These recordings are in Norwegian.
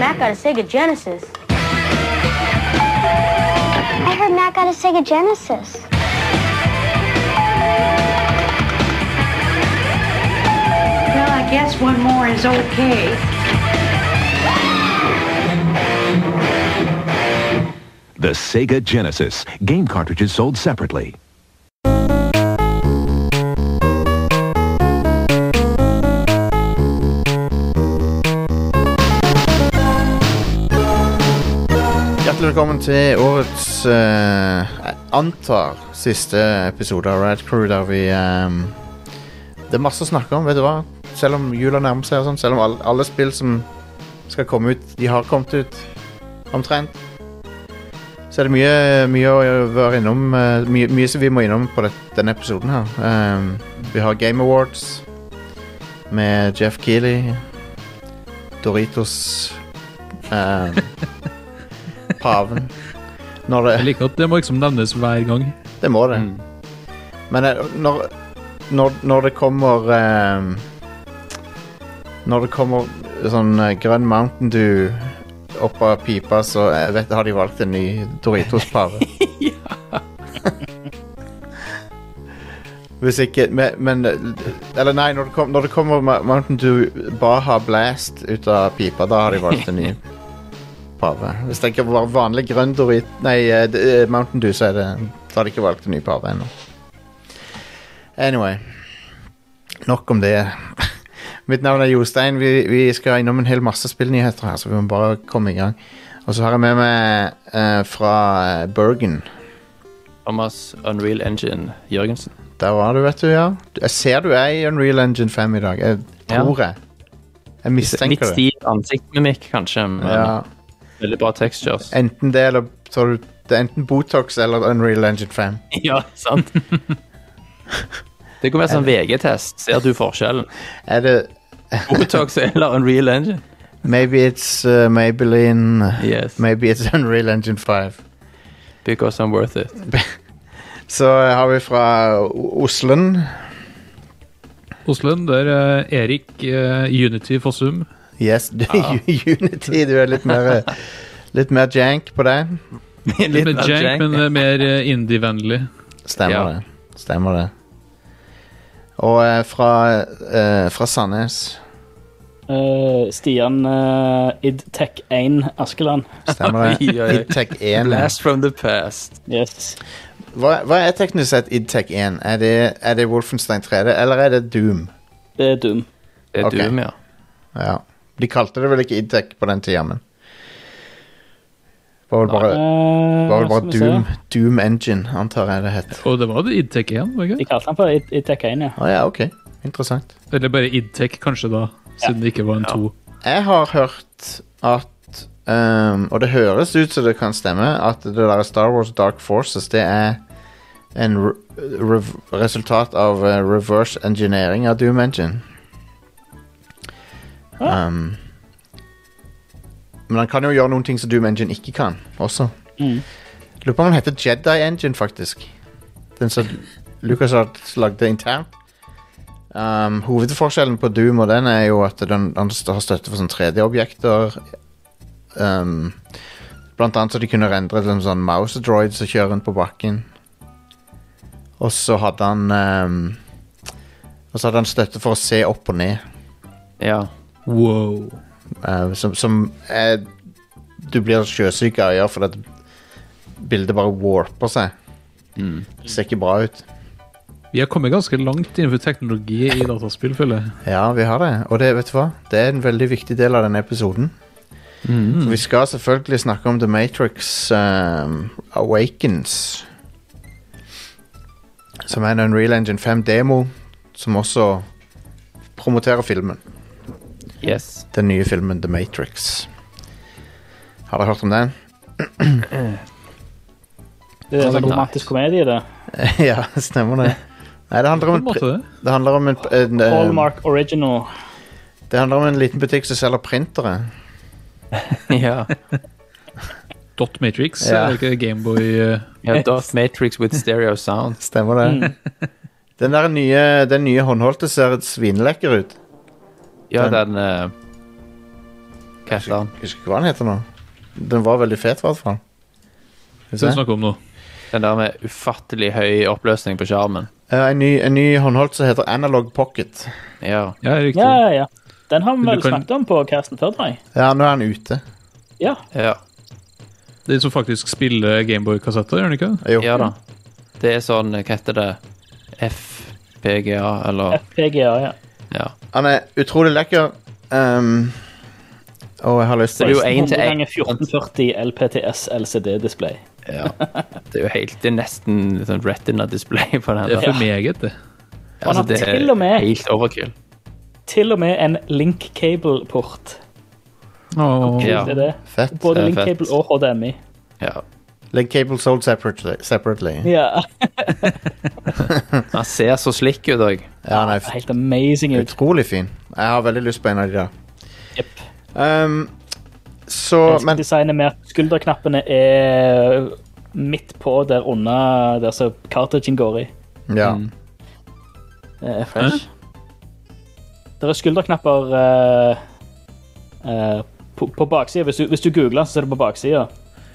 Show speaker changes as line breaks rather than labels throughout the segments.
Mac got a Sega Genesis.
I heard Matt got a Sega Genesis.
Well, I guess one more is okay.
The Sega Genesis. Game cartridges sold separately.
Hjertelig velkommen til årets eh, jeg antar siste episode av Rad Crew, der vi ehm, Det er masse å snakke om, vet du hva? Selv om jula nærmer seg, og sånn, selv om alle, alle spill som skal komme ut, de har kommet ut omtrent, så er det mye, mye å være innom. eh, mye, mye som vi må innom på det, denne episoden her. Ehm, vi har Game Awards med Jeff Keeley, Doritos ehm, Paven. Når det
Jeg liker at det må liksom nevnes hver gang.
det må
Mm.
det. Men eh, når, når, når det kommer eh, Når det kommer sånn eh, grønn Mountain Dew opp av pipa, så eh, vet, har de valgt en ny Doritos-pave. Hvis ikke Men, men eh, Eller nei, når det, kom, når det kommer Ma- Mountain Dew Baha Blast ut av pipa, da har de valgt en ny pave. Hvis det ikke var vanlig grønn Dorit... Nei, eh, d- eh, Mountain Dew, så er det Så har de ikke valgt en ny pave ennå. Anyway. Nok om det. Mitt navn er Jostein. Vi, vi skal innom en hel masse spillnyheter her, så vi må bare komme i gang. Og så har jeg med meg eh, fra eh, Bergen.
Thomas Unreal Engine Jørgensen.
Der var du, vet du, ja. Jeg ser du er i Unreal Engine 5 i dag. Jeg tror jeg. Jeg
Litt
mistenker det.
stiv ansiktsmimikk, kanskje, men
Ja,
veldig bra textures.
enten det eller så har du, Det er enten Botox eller Unreal Engine 5.
ja, sant? Det kunne vært sånn VG-test. Ser du forskjellen?
Er det
Botox eller Unreal Engine?
Maybe it's uh, Maybelline
Yes.
Maybe it's Unreal Engine 5.
Because I'm worth it.
Så eh, har vi fra O- Oslen.
Oslund, der er Erik eh, Unity Fossum.
Yes, du, Unity. Du er litt mer eh, Litt mer jank på det.
Litt med jank, men eh, mer eh, indie-vennlig.
Stemmer
Ja.
det. Stemmer det. Og eh, fra, eh, fra Sandnes.
Eh, Stian eh, IdTech1 Askeland.
Stemmer det.
Oi, oi, oi.
IdTech 1. ja.
Blast from the past.
Yes.
Hva, hva er teknisk sett IdTech 1? Er det, er det Wolfenstein 3D, eller er det Doom?
Det er dum.
Det er
Ok.
Doom, ja.
Ja. De kalte det vel ikke IdTech på den tida, men Det var vel bare,
Eh,
det var vel bare Doom, Doom Engine, antar jeg det het.
Og det var det IdTech 1, var det
De
ikke?
kalte han for Id- IdTech1, ja.
Å ja, OK. Interessant.
Eller bare IdTech, kanskje, da. Siden det ikke var en to.
Jeg har hørt at ehm, Og det høres ut som det kan stemme, at det der Star Wars Dark Forces, det er en re rev- resultat av eh, reverse engineering av Doom Engine. Um, men han kan jo gjøre noen ting som Doom Engine ikke kan, også.
Mm.
Lurer på om han heter Jedi Engine, faktisk. Den som Lucas har lagde internt. Um, hovedforskjellen på Doom og den er jo at den, den st- har støtte for sånn 3D-objekter. Um, blant annet så de kunne rendre til en sånn mouse-droid som kjører rundt på bakken. Og så hadde han um, Og så hadde han støtte for å se opp og ned.
ja.
Wow.
Eh, som som eh, du blir sjøsyk av å gjøre fordi at bildet bare warper seg. Det ser ikke bra ut.
Vi har kommet ganske langt innenfor teknologi i dataspill, føler jeg.
Ja, vi har det. Og det, vet du hva? det er en veldig viktig del av denne episoden.
Mm.
For vi skal selvfølgelig snakke om The Matrix ehm, Awakens. Som er en Unreal Engine 5-demo som også promoterer filmen.
Yes.
Den nye filmen The Matrix. Har dere hørt om den?
Det er en sånn
Nice.
romantisk komedie, det.
ja, stemmer det. Nei, det handler
På
om
en
en, pri-
måte, det.
det handler om en, en, eh,
Hallmark Original.
det handler om en liten butikk som selger printere.
Ja.
Dot Matrix,
Ja.
er det ikke Gameboy eh,
ja Darth Matrix with stereo sound.
Stemmer det.
Mm.
Den der nye, den nye håndholdte ser svinelekker ut.
Ja,
Den-
den eh, Hva heter han?
Jeg husker ikke hva den heter nå. Den var veldig fet, i hvert fall. Skal vi
Som vi
se.
snakker om nå.
Den der med ufattelig høy oppløsning på skjermen.
Eh, en, ny, en ny håndholdt som heter Analog Pocket.
Ja.
Ja, riktig.
Ja, ja, ja. Den har vi
Men du
vel
kan-
snakket om på Karsten før, tror jeg.
Ja, nå er den ute.
Ja.
ja.
Det er som faktisk spiller Gameboy-kassetter, gjør den ikke? det?
Jo.
Ja da. Det er sånn Hva heter det? FPGA, eller
FPGA, ja.
Ja.
Han er utrolig lekker. Um, og jeg har lyst
Så det er
til
jo en til
100
en.
ganger 1440 LPTS LCD-display.
Ja. Det er jo helt Det er nesten litt sånn retina-display på den.
Det er
der.
for meget, det.
Altså,
Han har til og med-
helt overkill.
Til og med en link cable-port.
Åh.
Ja.
Det er det.
Fett.
Både
Det er
link
fett.
cable og HDMI.
Ja.
Legg cable sold separately. separately.
Ja,
Han ser så slik ut òg.
Ja, han er f-
Helt amazing ut.
utrolig fin. Jeg har veldig lyst på en av de der.
Jepp.
Um, så, men
Designet med at skulderknappene er midt på der under der som cartridgen går i.
Ja.
Det er fresh. Det er skulderknapper eh, eh, på, på baksida. Hvis, du- hvis du googler, så er det på baksida.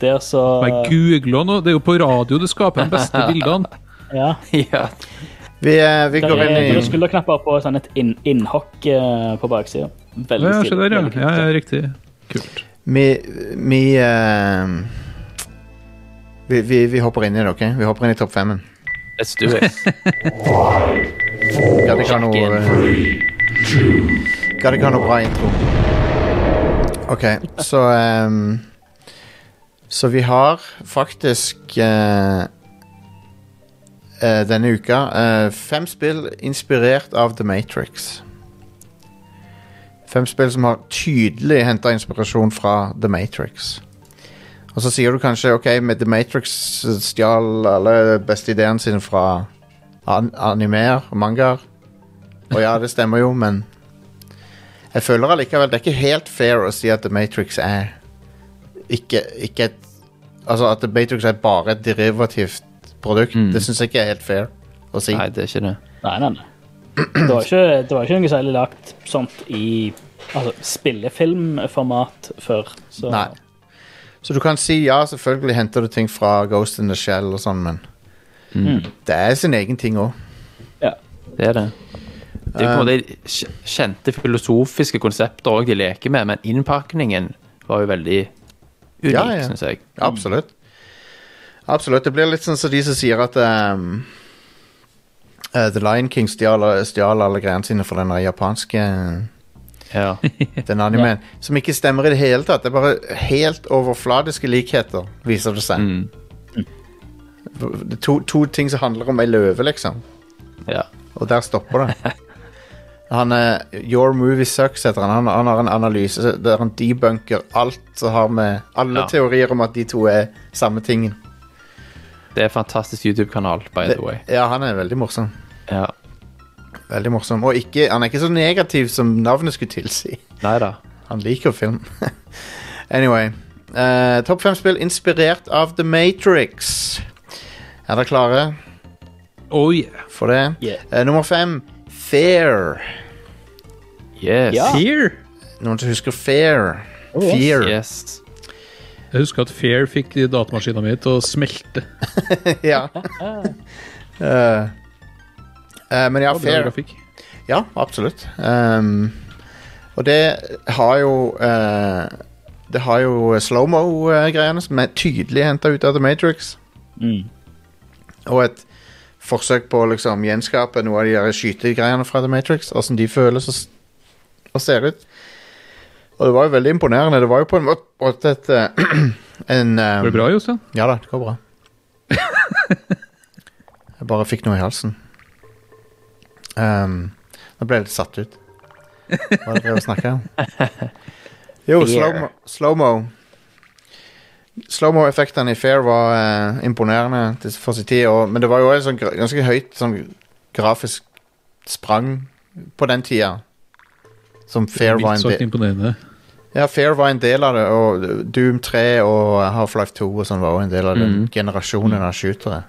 Der så
Men googler nå. Det er jo på radio det skaper de beste bildene.
Ja.
ja.
Vi, eh, vi
Der
går
er, der
inn
er
i
skulderknapper på sånn et inn, innhokk eh, på baksida. Veldig
Ja, se
stilig.
der, ja.
veldig kult.
ja. ja, Riktig. Kult.
Vi, vi, eh, vi, vi, vi hopper inn i det, ok? Vi hopper inn i topp femmen.
Let's do it.
Gadd ikke ha noe
Check
eh, Gadd ikke ha noe bra intro. OK, så ehm, Så vi har faktisk eh, eh, denne uka eh, fem spill inspirert av The Matrix. Fem spill som har tydelig henta inspirasjon fra The Matrix. Og så sier du kanskje OK, med The Matrix stjal alle beste ideene sine fra an animer og mangaer. Og ja, det stemmer jo, men jeg føler allikevel det er ikke helt fair å si at The Matrix er ikke, ikke et Altså at The Matrix er bare et derivativt produkt. Det syns jeg ikke er helt fair å si.
Nei, det er ikke det.
Nei, nei, nei. Det var ikke, det var ikke noe særlig lagt sånt i altså, spillefilmformat før. Så
Nei. Så du kan si ja, selvfølgelig henter du ting fra Ghost in the Shell og sånn, men det er sin egen ting òg.
Ja.
Det er det. Det er på en
Um,
måte kj- kjente filosofiske konsepter òg de leker med, men innpakningen var jo veldig unik,
Ja, ja.
syns jeg.
Absolutt. Absolutt. Det blir litt sånn som de som sier at ehm, eh, The Lion King stjal stjal alle greiene sine fra den der japanske eh,
Ja.
den animen. Som ikke stemmer i det hele tatt. Det er bare helt overfladiske likheter, viser det seg.
Mm.
Det er to, to ting som handler om ei løve, liksom.
ja.
Og der stopper det. Han, eh, Your Movie Sucks heter han. han. Han har en analyse der han debunker alt som har med alle
Ja.
teorier om at de to er samme tingen.
Det er en fantastisk YouTube-kanal, by the way.
Ja, han er veldig morsom.
Ja.
Veldig morsom. Og ikke, han er ikke så negativ som navnet skulle tilsi.
Nei da.
Han liker film. anyway. eh, Topp fem spill inspirert av The Matrix. Er dere klare
Oh, yeah.
for det?
Yeah.
Eh, nummer fem Fair.
Yes.
Ja.
Fear.
Noen som husker Fair?
yes.
Fear.
Oh, Yes.
Jeg husker at Fair fikk datamaskina mi til å smelte.
ja. Eh, eh, men ja,
Bra
Fair.
grafikk.
Ja, absolutt. Ehm, og det har jo eh, Det har jo slow-mo-greiene, som er tydelig henta ut av The Matrix.
Mm.
Og et forsøk på å liksom gjenskape noe av de der skytegreiene fra The Matrix. Åssen de føles og, s- og ser ut. Og det var jo veldig imponerende. Det var jo på en må- måte et eh, en, ehm,
Var det bra, Jostein?
Ja da, det går bra. Jeg bare fikk noe i halsen. Ehm, nå ble jeg litt satt ut. Hva er det jeg snakker om? Jo, slow-mo- slow-mo. Slow-mo-effektene i Fair var eh, imponerende til- for sin tid, og, men det var jo også sånn, gra- ganske høyt sånn, grafisk sprang på den tida. Som Fair var
Mildt
en del
sagt imponerende.
ja, Fair var en del av det, og Doom 3 og Half-Life 2 og sånn var også en del av den
Mhm.
generasjonen av skytere.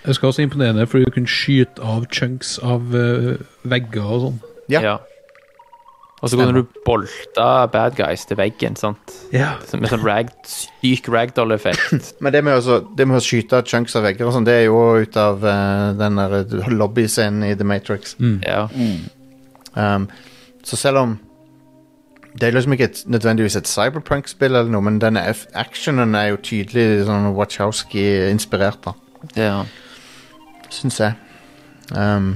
Jeg husker også imponerende fordi du kunne skyte av chunks av eh, vegger og sånn.
Ja.
Ja. Og så kunne du bolte bad guys til veggen, sant?
Ja.
Med sånn rag, syk ragdoll-effekt.
Men det med, å så- det med å skyte chunks av vegger og sånn, det er jo ut av eh, den der lobbyscenen i The Matrix.
Mm.
Ja.
Um, så selv om det er liksom ikke et, nødvendigvis et cyberpunk-spill, eller noe, men denne f- actionen er jo tydelig sånn Wachowski-inspirert, da,
ja.
syns jeg. Um,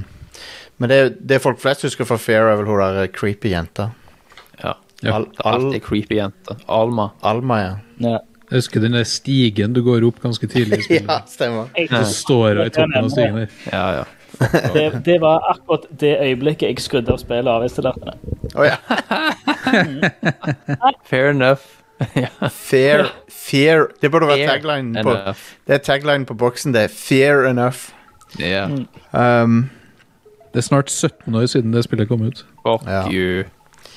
men det, det folk flest husker fra Fair, er vel hun der eh, creepy jenta.
ja.
Ja.
Al, al,
Alltid creepy jente. Alma.
Alma, ja.
Ja.
Jeg husker den der stigen du går opp ganske tidlig i spillet.
ja, stemmer.
Jeg,
Du står i toppen av stigen der.
Ja, ja.
det, det var akkurat det øyeblikket jeg skrudde av spillet og avinstallerte det.
Å ja.
Fair enough. ja.
Fair, fair Det burde vært
Fair
taglinen på,
enough.
det er taglinen på boksen. Det er 'fair enough'.
Ja.
Um,
Det er snart 17 år siden det spillet kom ut.
Fuck
Ja.
you.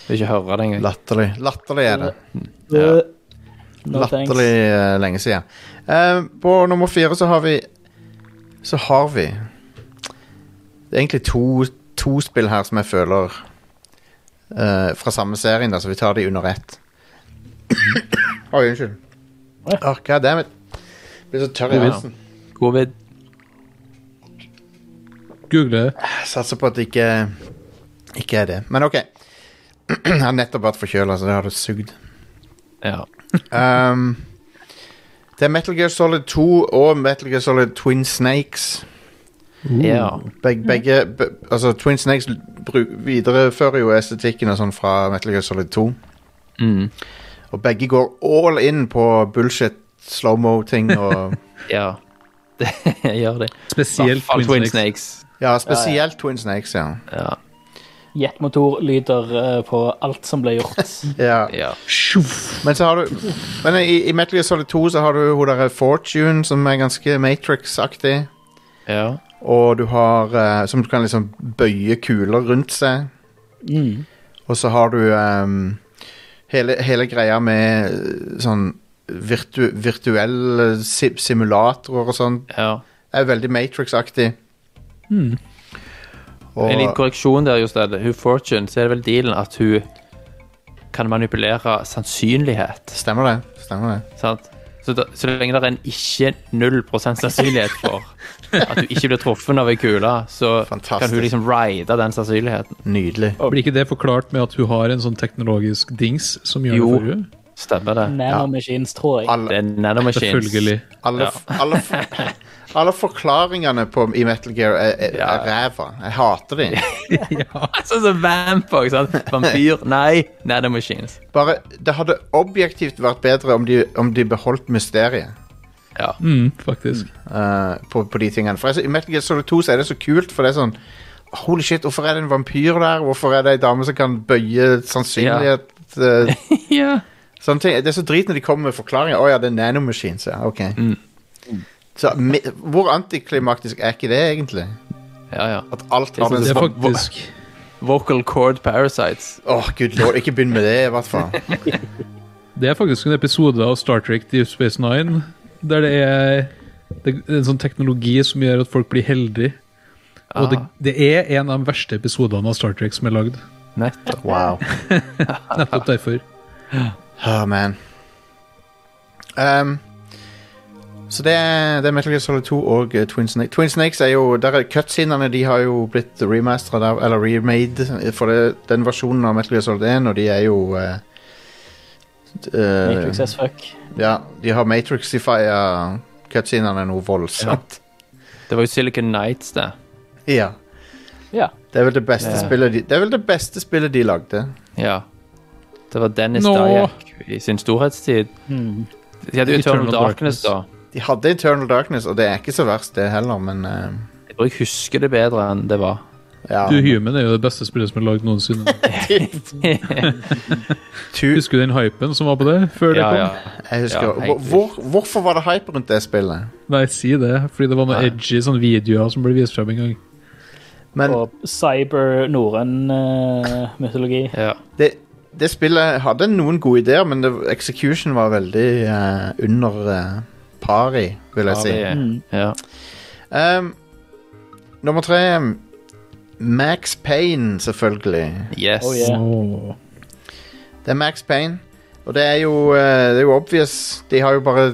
Vil ikke høre det engang.
latterlig. Latterlig er det.
Ja.
No thanks.
Latterlig eh, lenge siden. Eh, på nummer fire så har vi Så har vi Det er egentlig to, to spill her som jeg føler eh, fra samme serien, da, så vi tar de under ett. Oi, unnskyld. Oh, God damn it. Blir så tørr i halsen.
Covid.
Google det.
Jeg satser på at det ikke, ikke er det. Men OK. Jeg har nettopp vært forkjøla, så det har det sugd.
Ja.
Um, det er Metal Gear Solid 2 og Metal Gear Solid Twin Snakes.
ja.
Beg, begge be, Altså, Twin Snakes l- bru- viderefører jo estetikken og sånn fra Metal Gear Solid 2.
Mm.
Og begge går all in på bullshit, slowmo-ting og
Ja. Det gjør det.
Spesielt
Fall
Twin Snakes.
Snakes.
Ja, spesielt Twin Snakes, ja.
Ja.
Jetmotorlyder eh, på alt som ble gjort.
ja.
ja.
Men så har du Men i, i Metal Gear Solid 2 så har du hun derre Fortune, som er ganske Matrix-aktig.
ja.
Og du har eh, Som du kan liksom bøye kuler rundt seg. Og så har du ehm, hele, hele greia med eh, sånn virtu, virtuelle si simulatorer og sånn.
ja.
Er veldig Matrix-aktig. Og
En liten korreksjon der, Jostein. Hun Fortune, så er det vel dealen at hun kan manipulere sannsynlighet.
Stemmer det. Stemmer det.
Sant? Så, da, så lenge det er en ikke 0 sannsynlighet for at du ikke blir truffet av ei kule, så
Fantastisk.
kan hun liksom ride den sannsynligheten.
Nydelig.
Blir ikke det forklart med at hun har en sånn teknologisk dings som gjør
Jo.
det for henne?
Stemmer det?
Nanomachines, tror jeg.
Det
Alle,
er nanomachines.
Selvfølgelig.
alle,
Ja.
alle, alle forklaringene på, i Metal Gear er, er,
Ja.
er ræva. Jeg hater dem.
Sånn som vamp òg, sant? Vampyr. Nei, nanomachines.
Bare, det hadde objektivt vært bedre om de, om de beholdt mysteriet.
Ja.
Mm, faktisk.
eh, på, på de tingene. For jeg, I Metal Gear Solid 2 så er det så kult, for det er sånn Holy shit, hvorfor er det en vampyr der? Hvorfor er det ei dame som kan bøye sannsynlighet? eh,
ja.
sånne ting. Det er så drit når de kommer med forklaringer. Å ja, det er nanomachines, ja. Ok.
Mm.
Så, mi- hvor antiklimaktisk er ikke det, egentlig?
Ja, ja.
At alt har
synes
den
Det er
samme
faktisk
Vocal cord parasites.
Åh, gud lord, ikke begynn med det, i hvert fall.
Det er faktisk en episode av Star Trek Deep Space Nine der det er, det er en sånn teknologi som gjør at folk blir heldige. Og det, det er en av de verste episodene av Star Trek som er lagd.
Nettopp.
Wow.
Nettopp derfor.
Oh, man. Um, så det er, det er Metal Gear Solid 2 og eh, Twin Snakes. Twin Snakes er jo, der er cutscenene de har jo blitt remasteret av, eller remade eh, for det, den versjonen av Metal Gear Solid 1, og de er jo eh, d- eh,
Matrix as fuck.
Ja, de har Matrixifia cutscenene noe voldsomt.
Det var jo Silicon Nights, det.
Ja.
Ja.
Det er vel det beste
Ja.
spillet de, Det er vel det beste spillet de lagde.
Ja. Det var Dennis
Nå.
Dyack i sin storhetstid. De hadde jo Eternal,
Eternal
Darkness,
Darkness.
da.
De hadde Eternal Darkness, og det er ikke så verst det heller, men eh,
Jeg tror jeg husker det bedre enn det var.
ja.
Du Human er jo det beste spillet som er lagd noensinne.
Tu-
Husker du den hypen som var på det før det
Ja,
kom?
ja.
Jeg husker,
Ja,
hvor,
helt
hvor, Hvorfor var det hype rundt det spillet?
Nei, si det, fordi det var noen
Nei.
edgy sånne videoer som ble vist frem en gang.
Men
Og cyber-norrøn eh, mytologi.
ja.
det, det spillet hadde noen gode ideer, men det, execution var veldig eh, under eh, par i, vil jeg si.
Ja.
Um, nummer Ehm, tre Max Payne, selvfølgelig.
Yes.
Oh, yeah.
Åh.
Det er Max Payne. Og det er jo, eh, det er jo obvious. De har jo bare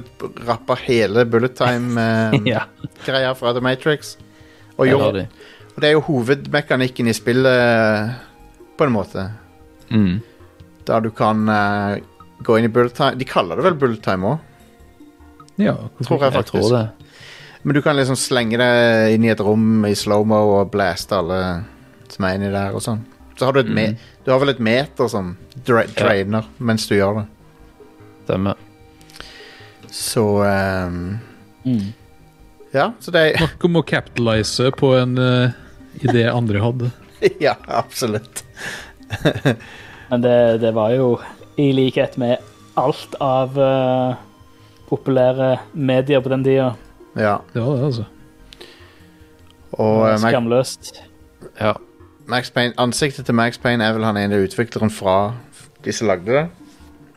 rappa hele bullet time-greia
Ja,
fra The Matrix. Og,
det
gjort,
har de.
og det er jo hovedmekanikken i spillet, eh, på en måte.
Mm.
Der du kan eh, gå inn i bullet time. De kaller det vel bullet time òg,
Ja,
tror jeg
Jeg
faktisk.
tror det.
Men du kan liksom slenge deg inn i et rom i slow-mo og blaste alle som er inni der og sånn. Så har du et me Du har vel et meter som dra drainer mens du gjør det.
Stemmer.
Så ehm,
Mm.
Ja, så det er
Snakk om å capitalize på en eh, idé andre hadde.
Ja, absolutt.
Men det, det var jo i likhet med alt av eh, populære medier på den tida.
Ja.
Det var det, altså.
Og eh, Max,
Skamløst.
Ja.
Max Payne, ansiktet til Max Payne er vel han ene utvikleren fra de som lagde det.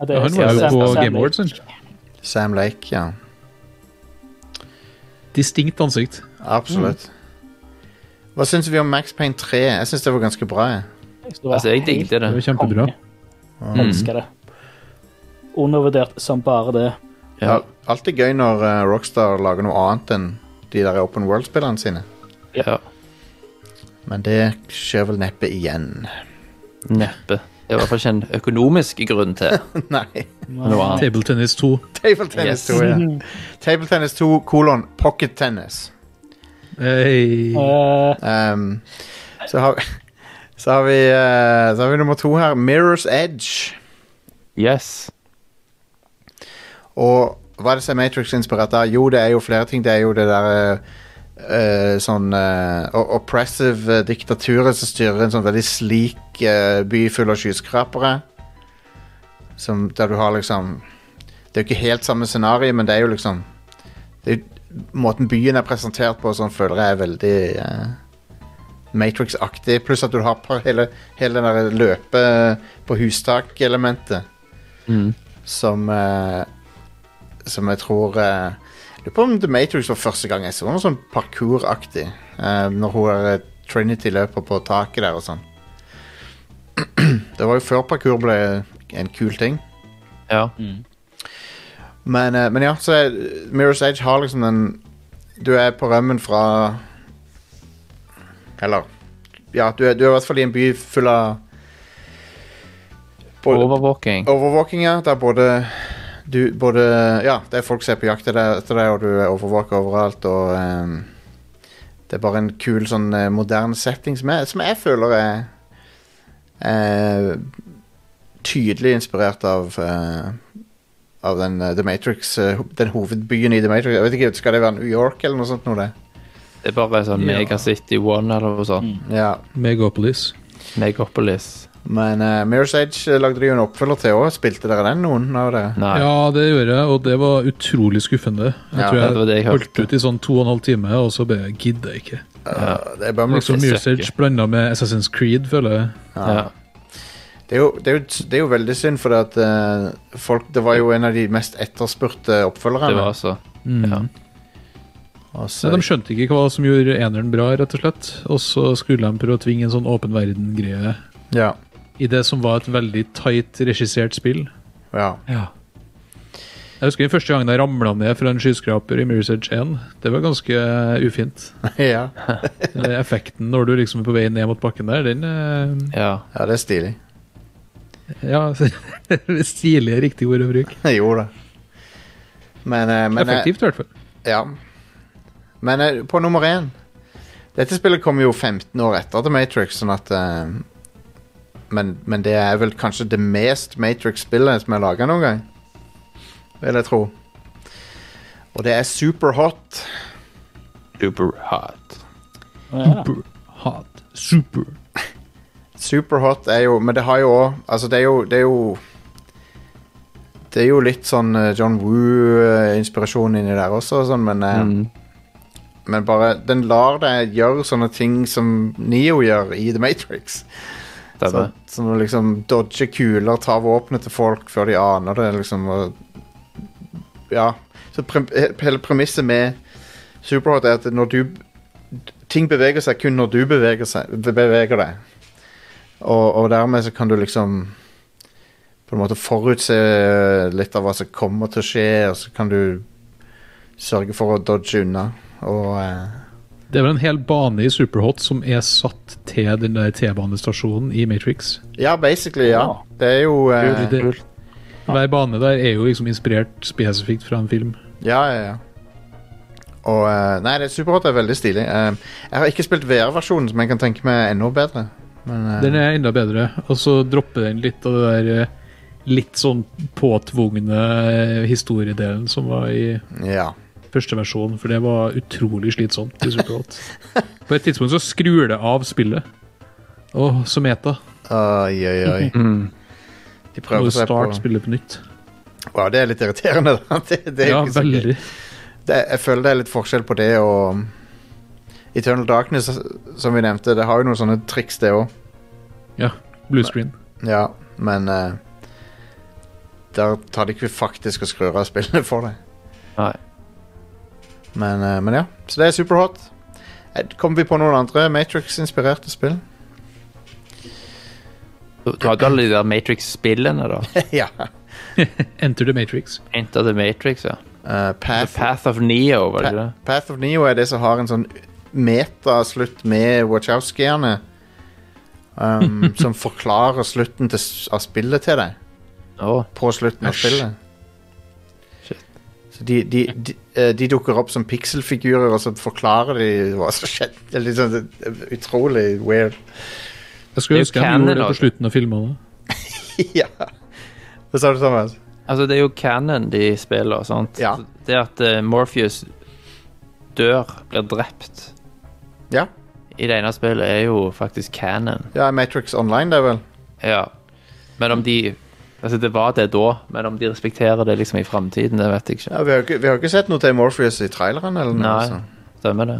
Ja, det
Ja,
er
han var jo
Sam-
på
Sam
Game Awards. han.
Sam Lake, ja.
Distinkt ansikt.
Absolutt. Hva syns vi om Max Payne 3? Jeg syns det var ganske bra. jeg.
Lake. Det var
Altså, jeg
helt
digget
Det var
det. Hmm.
kjempebra.
konge.
Mm.
Elsker det. Undervurdert som bare det.
Det
Ja.
er alltid gøy når eh, Rockstar lager noe annet enn de der Open World-spillene sine.
ja.
Men det skjer vel neppe igjen.
Neppe. Det var i hvert fall ikke en økonomisk grunn til
Nei.
noe annet.
Table Tennis 2.
Table Tennis
Yes.
2, ja. Table Tennis 2 kolon pocket tennis.
Hey.
Eh,
Um, så har vi så har, vi, eh, så har vi nummer to her. Mirror's Edge.
Yes.
Og hva er det som er Matrix-inspirert av? Jo, det er jo flere ting. Det er jo det der eh, eh, sånn eh, o- oppressive eh, diktaturet som styrer en sånn veldig slik eh, by full av skyskrapere. Som, der du har liksom Det er jo ikke helt samme scenario, men det er jo liksom det er, jo- Måten byen er presentert på, sånn føler jeg er veldig eh, Matrix-aktig. Pluss at du har på hele, hele den der løpe på hustak-elementet
Mm.
som eh, Som jeg tror eh, Lurer på om The Matrix var første gang jeg så noe sånn parkouraktig. eh, når hun er eh, Trinity løper på taket der og sånn. det var jo før parkour ble en kul ting.
Ja.
Men, eh, men ja, så er, Mirror's Edge har liksom den Du er på rømmen fra Eller Ja, du er, du er i hvert fall i en by full av både-
Overvåking.
Overvåking, ja. Der både, du, både Ja, det er folk som er på jakt etter deg- etter deg, og du er overvåka overalt, og ehm, Det er bare en kul, sånn eh, moderne setting som jeg, som jeg føler er eh, Tydelig inspirert av eh, Av den eh, The Matrix eh, ho- Den hovedbyen i The Matrix. Jeg vet ikke, Skal det være New York eller noe sånt? Noe det?
Det er bare sånn
Ja.
Mega City One eller noe sånt.
Ja.
Megapolis.
Megapolis.
Men uh, Mirror's Edge eh, lagde de jo en oppfølger til òg. Spilte dere den, noen av dere?
Nei.
Ja, det gjorde jeg, og det var utrolig skuffende. Jeg
Ja,
tror jeg,
det var det jeg hørte.
holdt ut i sånn to og en halv time, og så bare gidder jeg ikke.
Eh, det er bummer.
Liksom
det søkker.
Mursage blanda med Assassin's Creed, føler jeg.
Ja.
Det er, jo, det, er jo, det er jo veldig synd, for at, eh, folk, det var jo en av de mest etterspurte
Det
oppfølgerne.
var altså Ja.
Og
Mm. Nei,
så-
de skjønte ikke hva som gjorde eneren bra, rett og slett. Og så skulle de prøve å tvinge en sånn åpen verden-greie
ja,
i det som var et veldig tight regissert spill.
ja.
Jeg husker den første gangen jeg ramla ned fra en skyskraper i Mirror's Edge 1. Det var ganske ufint.
ja.
Eh, Effekten når du liksom er på vei ned mot bakken der, den eh,
ja.
Ja, det er stilig.
Ja, stilig er riktig ord å bruke.
jo da. Men, eh, men eh,
Effektivt, i hvert fall.
Ja. Men eh, på nummer én Dette spillet kom jo 15 år etter The Matrix, sånn at eh, men, men det er vel kanskje det mest Matrix-spillet som er laga noen gang. Vil jeg tro. Og det er superhot.
Super hot.
ja.
Hot. Super.
Superhot er jo Men det har jo òg Altså, det er jo Det er jo, det er jo litt sånn eh, John Woo-inspirasjon inni der også, og sånn, men eh,
Mm.
Men bare Den lar deg gjøre sånne ting som Neo gjør i The Matrix. Så,
Stemmer.
sånn å liksom dodge kuler, ta våpenet til folk før de aner det, liksom. Og, ja. Så pre hele premisset med Superhot er at når du ting beveger seg kun når du beveger, seg, be- beveger deg. Og, og dermed så kan du liksom på en måte forutse litt av hva som kommer til å skje, og så kan du sørge for å dodge unna. Og eh,
Det er vel en hel bane i Superhot som er satt til den der T-banestasjonen i Matrix.
Ja, basically, ja.
Ja.
Ah. Det er jo eh,
Det- Hver bane der er jo liksom inspirert spesifikt fra en film.
Ja, ja, ja. Og eh, Nei, det Superhot er veldig stilig. Eh, jeg har ikke spilt VR-versjonen, som jeg kan tenke meg er enda bedre. Men eh,
Den er enda bedre, og så dropper den litt av det der eh, litt sånn påtvungne eh, historiedelen som var i
ja.
første versjon, for det var utrolig slitsomt i Superhot. På et tidspunkt så skrur det av spillet. Åh, som meta.
Oi, oi, oi. De
Mm. Må
prøver
du
seg på
starte spillet på nytt.
Wow, det er litt irriterende. da. det, det er
Ja,
ikke så gøy.
veldig.
det, jeg føler det er litt forskjell på det og um, Eternal Darkness, som vi nevnte, det har jo noen sånne triks, det òg.
Ja, blue screen.
Ja, men eh, Der tar de ikke faktisk og skrur av spillene for deg.
Nei.
Men, eh, men ja, så det er superhot. Eh, Kommer vi på noen andre Matrix-inspirerte spill?
Du, du hadde alle de der Matrix-spillene, da.
ja.
Enter the Matrix.
Enter the Matrix, ja.
Eh,
The
Path,
Path of Neo, var det ikke
pa
det?
Path of Neo er det som har en sånn metaslutt med Wachowskiene. Um, som forklarer slutten til, s- av spillet til deg.
Å,
på slutten av
Æsj.
spillet.
Shit.
Så de, de, de, eh, de dukker opp som pikselfigurer, og så forklarer de hva som skjedde. Det er litt sånn eh, utrolig weird.
Jeg skulle
Det er jo
ønske han
canon,
gjorde det på
altså.
slutten av filmene.
ja. Hva sa du, Thomas?
Altså, det er jo canon de spiller, sant?
Ja.
Det at eh, Morpheus dør, blir drept
Ja.
i det ene spillet, er jo faktisk canon.
ja, Matrix Online, det er vel?
Ja. Men om de Altså, det var det da, men om de respekterer det liksom i framtiden, det vet jeg ikke.
Ja, vi, har jo ikke, vi har jo ikke sett noe til Morpheus i traileren. eller noe
Nei,
altså.
stemmer det.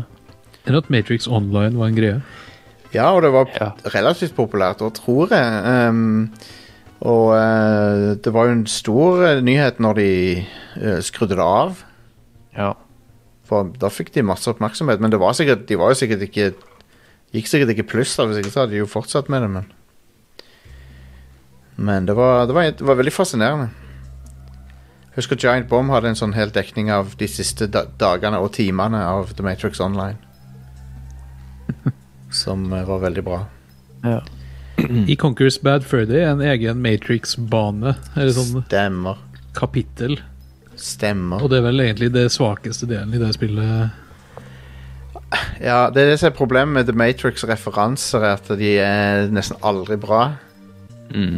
Enn at Matrix Online var en greie.
Ja, og det var
Ja.
relativt populært, og tror jeg. ehm, og eh, det var jo en stor eh, nyhet når de eh, skrudde det av.
Ja.
For da fikk de masse oppmerksomhet, men det var sikkert, de var jo sikkert ikke Gikk sikkert ikke pluss, da, hvis ikke så hadde de jo fortsatt med det, men Men det var, det var, det var veldig fascinerende. Jeg husker Giant Bomb hadde en sånn hel dekning av de siste da dagene og timene av The Matrix Online. Som eh, var veldig bra.
ja.
I Conquerors Bad Friday er en egen Matrix-bane, eller sånn
Stemmer.
kapittel.
Stemmer.
Og det er vel egentlig det svakeste delen i det spillet.
Ja, det er det som er problemet med The Matrix-referanser, er at de er nesten aldri bra.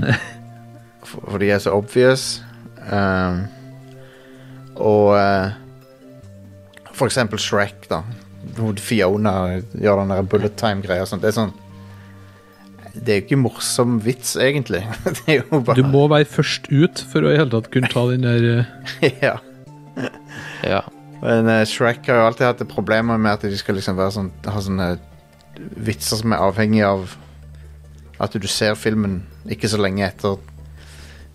For, for de er så obvious. Um, og eh, for eksempel Shrek, da. Hvor Fiona gjør den der bullet time-greia og sånt. Det er sånn Det er jo ikke morsom vits, egentlig. det er jo bare
Du må være først ut for å i hele tatt kunne ta den der eh,
ja.
ja.
Men eh, Shrek har jo alltid hatt problemer med at de skal liksom være sånn, ha sånne vitser som er avhengig av at du ser filmen ikke så lenge etter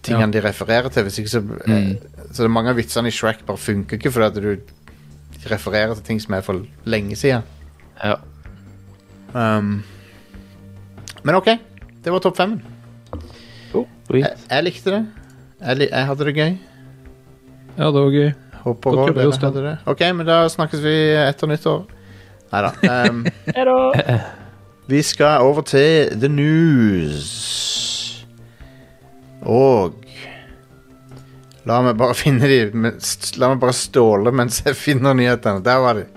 tingene de refererer til. Hvis ikke så, eh,
Mm.
så det er mange av vitsene i Shrek bare funker ikke fordi at du refererer til ting som er for lenge siden.
ja.
Um, men OK, det var topp femmen.
Sweet.
Jeg, jeg likte det. Jeg, li jeg hadde det gøy.
Ja, det var gøy.
Håper
Da
også
klapper vi
dere
oss da.
hadde det. OK, men da snakkes vi etter nyttår. Nei da. Um,
Er det
Vi skal over til The News. Og La meg bare finne de men- st- La meg bare ståle mens jeg finner nyhetene. Der var de.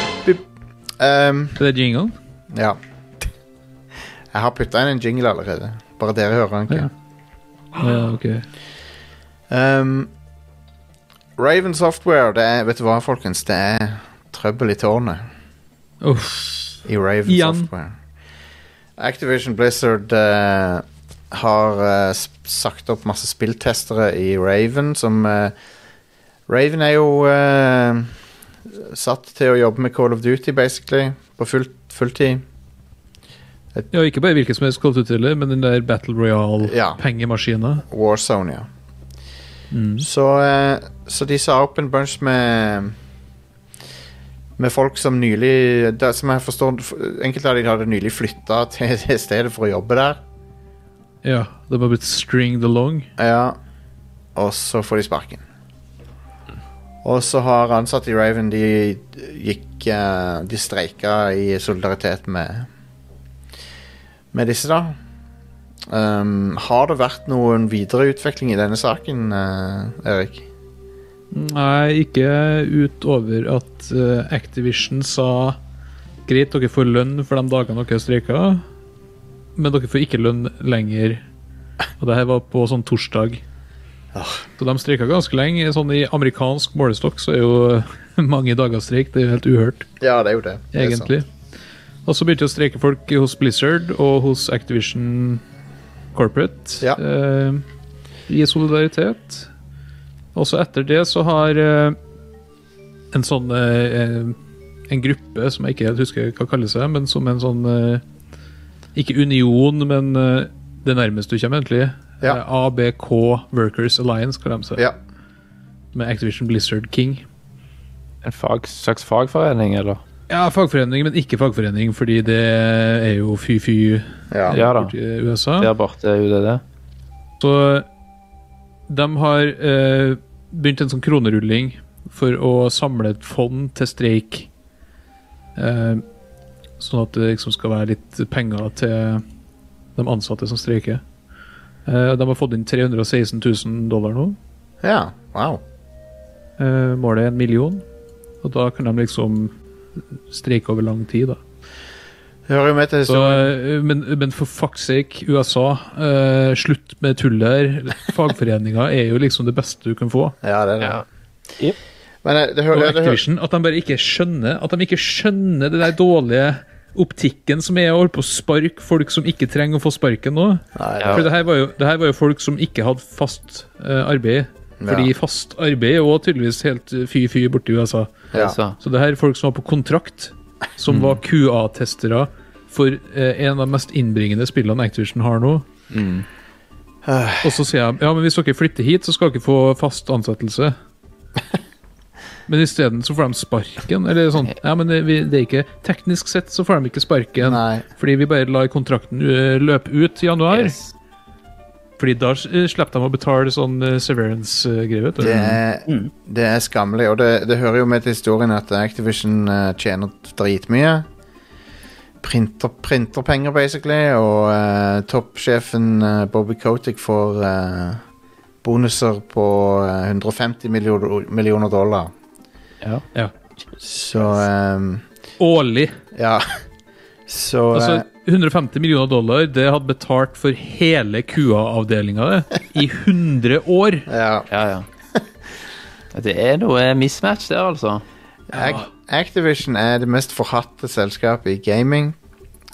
um,
Er det jinglen?
ja. Jeg har putta inn en jingle allerede. Bare dere hører den. ikke?
Ja. Ja, ok.
Um, Raven Software, det er, vet du hva, folkens? Det er trøbbel i tårnet.
Uff.
I Raven
Igjen.
Software. Activision Blizzard eh, har eh, s- sagt opp masse spilltestere i Raven, som eh, Raven er jo eh, satt til å jobbe med Call of Duty, basically, på full, fulltid.
Ja, ikke bare hvilken som helst Cold Tuteller, men den der Battle
Ja.
Royale-pengemaskina.
Warzone, ja.
Mm.
Så, eh, så de sa opp en bunch med med folk som nylig da- Som jeg forstår Enkelte av dem hadde nylig flytta til det stedet for å jobbe der.
Ja, det var blitt stringed along.
Ja. Og så får de sparken. Og så har ansatte i Raven De gikk eh, De streika i solidaritet med Med disse, da. Um, har det vært noen videreutvikling i denne saken, eh, Erik?
Nei, ikke utover at eh, Activision sa greit, dere får lønn for de dagene dere streika, men dere får ikke lønn lenger. Og det her var på sånn torsdag. Så de streika ganske lenge. Sånn I amerikansk målestokk så er jo mange dager streik det er jo helt uhørt,
Ja, det er jo det. Det er sant.
egentlig. Og så begynte å streike folk hos Blizzard og hos Activision Corporate
Ja.
eh, i solidaritet. Også etter det så har eh, en sånn eh, En gruppe som jeg ikke helt husker hva kaller seg, men som en sånn eh, Ikke union, men eh, det nærmeste du kommer, egentlig.
Ja.
Eh, ABK Workers Alliance, kaller de seg.
Ja.
Med Activision Blizzard King.
En fag, slags fagforening, eller?
Ja, fagforening, men ikke fagforening, fordi det er jo fy-fy
Ja.
Ja da.
borti USA.
Der borte er jo det det.
Så de har eh, begynt en sånn kronerulling for å samle et fond til streik. Eh, sånn at det liksom skal være litt penger til de ansatte som streiker. Eh, de har fått inn 316 000 dollar nå.
ja. Wow.
Eh, målet er en million. Og da kan de liksom streike over lang tid, da.
Hører jo med til
Så,
historien.
eh, men, men for fuck's sake, USA, eh, slutt med tullet her. Fagforeninger er jo liksom det beste du kan få.
Ja, det er det.
Ja.
Jep.
Men eh, det hører,
Og
det, hører,
Activision, at de bare ikke skjønner At de ikke skjønner det der dårlige optikken som er å holde på å sparke folk som ikke trenger å få sparken nå.
Nei,
Ja.
For det her var jo, det her var jo folk som ikke hadde fast eh, arbeid. Fordi
Ja.
fast arbeid er også tydeligvis helt eh, fy-fy borti USA.
Ja.
Altså.
Så det her er folk som var på kontrakt, som var
Mm.
QA-testere for eh, en av de mest innbringende spillene Activision har nå.
Mm.
Og så sier jeg ja, men hvis dere flytter hit, så skal dere få fast ansettelse. Men isteden så får de sparken. Eller sånn. Ja, men det, vi, det er ikke Teknisk sett så får de ikke sparken,
Nei.
fordi vi bare lar kontrakten eh, løpe ut i januar. Fordi da eh, slipper de å betale sånn eh, severance-greie, vet du.
det, er,
Mm.
det er skammelig, og det, det hører jo med til historien at Activision eh, tjener dritmye. Printer, printer penger, basically, og eh, toppsjefen eh, Bobby Kotick får eh, bonuser på eh, 150 millioner, millioner dollar.
Ja.
Ja.
Så eh,
Årlig.
Ja. Så
Altså,
eh,
150 millioner dollar, det hadde betalt for hele QA-avdelinga i 100 år.
ja.
Ja, ja. Det er noe mismatch der, altså.
Ac- Activision er det mest forhatte selskapet i gaming.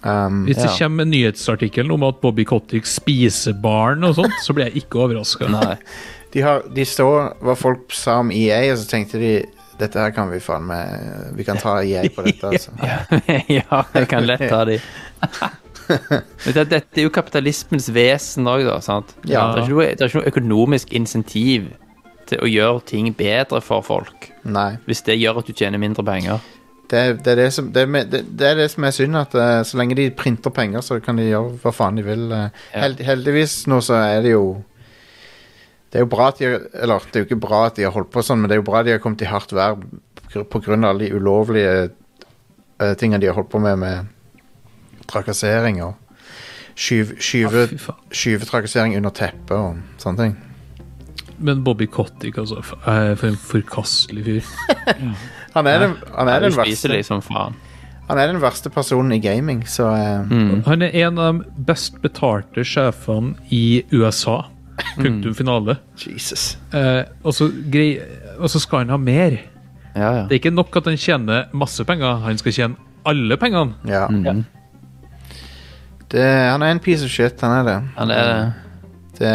Um,
Hvis det
Ja.
kommer en nyhetsartikkel om at Bobby Cottick spiser barn og sånt, så blir jeg ikke overraska.
Nei.
de, har, de så hva folk sa om EA, og så tenkte de dette her kan vi faen meg Vi kan ta EA på dette, altså.
ja, jeg kan lett ta de. Men det, dette er jo kapitalismens vesen òg, da. sant?
Ja.
Det, er ikke noe, det er ikke noe økonomisk insentiv til å gjøre ting bedre for folk,
Nei.
hvis det gjør at du tjener mindre penger.
Det, er- det, er det, som, det, er med- det, det er det som er synd, at eh, så lenge de printer penger, så kan de gjøre hva faen de vil. eh.
Ja.
Held, heldigvis nå så er det jo Det er jo bra at de Eller det er jo ikke bra at de har holdt på sånn, men det er jo bra at de har kommet i hardt vær på gr- på grunn av alle de ulovlige eh, tingene de har holdt på med, med trakassering og skyv- skyve
fy faen.
skyvetrakassering under teppet og sånne ting.
Men Bobby Cottick, altså. f- eh, For en forkastelig fyr.
Han er, den, han, er
Du
den verste,
spiser liksom. deg som faen.
han er den verste personen i gaming, så eh,
Mm.
Han er en av de best betalte sjefene i USA.
Mm.
Punktum finale.
Jesus.
Eh, og, så grei, og så skal han ha mer.
Ja, ja.
Det er ikke nok at han tjener masse penger, han skal tjene alle pengene.
Ja.
Mm.
Det, han er en piece of shit, han er det.
Han er
det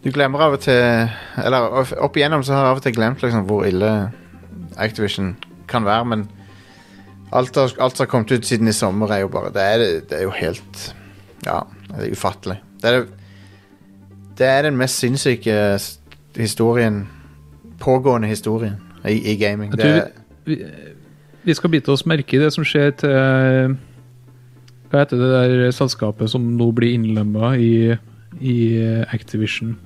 du glemmer av og til Eller of- opp igjennom så har jeg av og til glemt liksom, hvor ille Activision kan være, men alt, har, alt som har kommet ut siden i sommer, er jo bare Det er, det er jo helt Ja, det er ufattelig. Det er, det er den mest sinnssyke s- historien Pågående historien i, i gaming.
Jeg
Det,
tror
er-
vi, vi, vi skal bite oss merke i det som skjer til eh, Hva heter det der selskapet som nå blir innlemma i, i eh, Activision?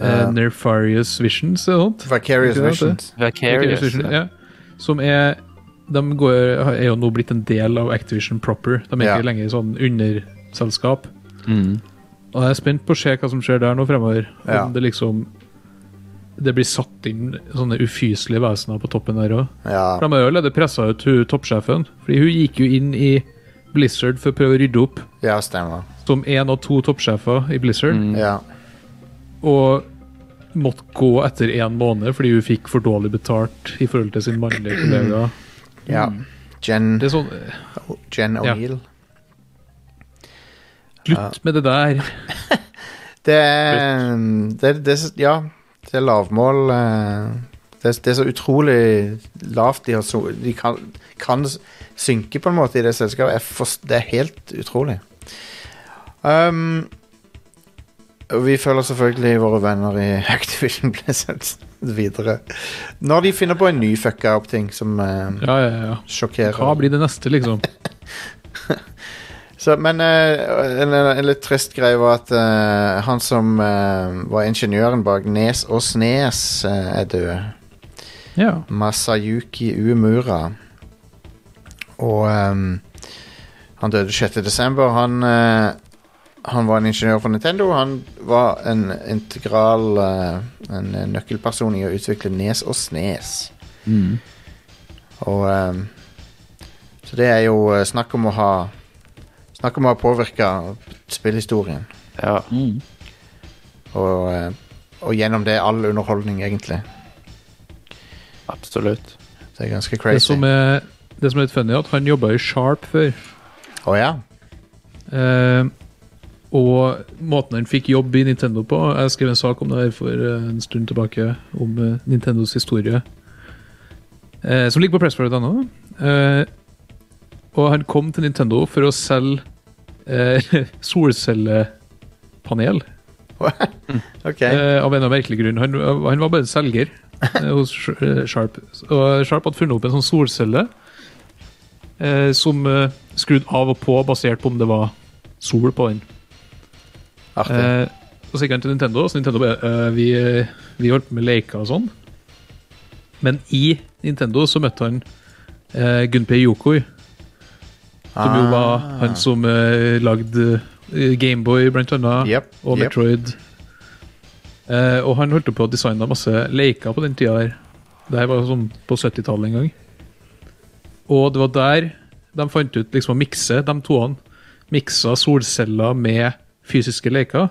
Uh,
Eh.
Nerfarious Visions eller noe sånt?
Vicarious
Ikke det,
Visions.
Vicarious.
Activision, ja. Som er De går, er jo nå blitt en del av Activision proper. De er
Ja.
ikke lenger sånn underselskap.
Mm.
Og jeg er spent på å se hva som skjer der nå fremover. Om
Ja.
det liksom Det blir satt inn sånne ufyselige vesener på toppen der òg.
Ja.
For de har jo allerede pressa ut hun toppsjefen. Fordi hun gikk jo inn i Blizzard for å prøve å rydde opp
ja, stemmer.
som én av to toppsjefer i Blizzard.
Ja.
Og måtte gå etter én måned fordi hun fikk for dårlig betalt i forhold til sin mannlige kollega.
ja. Jen,
Det er sånn
Jen
Ja.
O'Neill.
Slutt med det der.
Det er det, det, er- Ja, det er lavmål. eh, Det, er- det er så utrolig lavt de, har, so- de kan, kan synke på en måte i det selskapet. Jeg forst- det er helt utrolig. Um, og vi følger selvfølgelig våre venner i Activision Blizzard videre. Når de finner på en ny fucka opp ting som eh,
Ja, ja, ja. Hva
sjokkerer.
blir det neste, liksom?
Så, men eh, en, en litt trist greie var at eh, han som eh, var ingeniøren bak Nes og Snes, eh, er død.
Ja.
Masayuki Uemura. Og ehm, han døde 6. desember. Han, eh, han var en ingeniør for Nintendo. Han var en integral eh, en nøkkelperson i å utvikle Nes og Snes.
Mm.
Og ehm, Så det er jo eh, snakk om å ha Snakk om å ha påvirka spillhistorien.
Ja.
Og, eh, og gjennom det all underholdning, egentlig.
Absolutt.
Det er ganske
Det
crazy.
som er, det som er litt funny, er at han jobba i Sharp før.
Å ja.
Eh, og måten han fikk jobb i Nintendo på Jeg skrev en sak om det her for eh, en stund tilbake, om eh, Nintendos historie. Eh, som ligger på pressfire.no. Eh, og han kom til Nintendo for å selge eh, solcellepanel.
OK.
Eh, av en av merkelig grunn. Han, han var bare en selger eh, hos Sh- eh, Sharp. Og Sharp hadde funnet opp en sånn solcelle eh, som eh, skrudde av og på basert på om det var sol på den.
Artig.
Eh, og så gikk han til Nintendo, så Nintendo bare eh, vi, vi holdt på med leker og sånn. Men i Nintendo så møtte han eh, Gunpei Yokoi, som jo var
Ah.
han som eh, lagde eh, Gameboy, blant annet,
Jep,
og
jep.
Metroid. Eh, og han holdt på å designe masse leker på den tida her. Det her var sånn på 70-tallet en gang. Og det var der de fant ut liksom å mikse de toene. Miksa solceller med fysiske leker.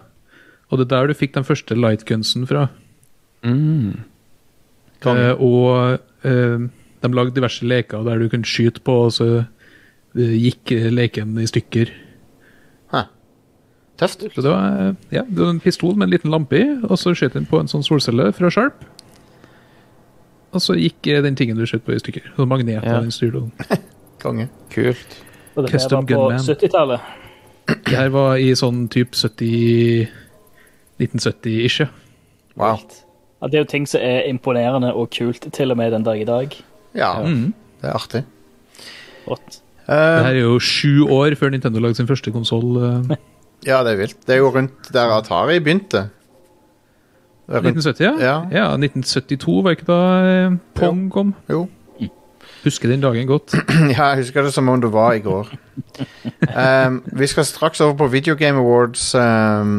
Og det er der du fikk den første lightgunsen fra. Eh, og eh, de lagde diverse leker der du kunne skyte på, og så eh, gikk eh, leken i stykker.
Tøft.
Så det var, eh, ja, det var en pistol med en liten lampe i, og så skjøt den på en sånn solcelle fra Sharp. Og så gikk eh, den tingen du skjøt på, i stykker. Sånn magnet
Ja.
og den styrte den.
Konge.
Kult.
Og dette her
Custom
var på
gunman.
70-tallet.
Det her var i sånn type 70 1970-ish. ja.
Wow.
Ja, det er jo ting som er imponerende og kult til og med den dag i dag.
Ja, det er artig.
Mm.
Rått.
Det
Eh,
her er jo sju år før Nintendo lagde sin første eh, konsoll.
ja, det er vilt. Det er jo rundt der Atari begynte. Det er Rundt,
1970, ja?
Ja.
1972 var ikke da eh, Pong kom.
jo.
Husker den dagen godt.
Ja, jeg husker det som om det var i går. Ehm, vi skal straks over på Video Game Awards. ehm,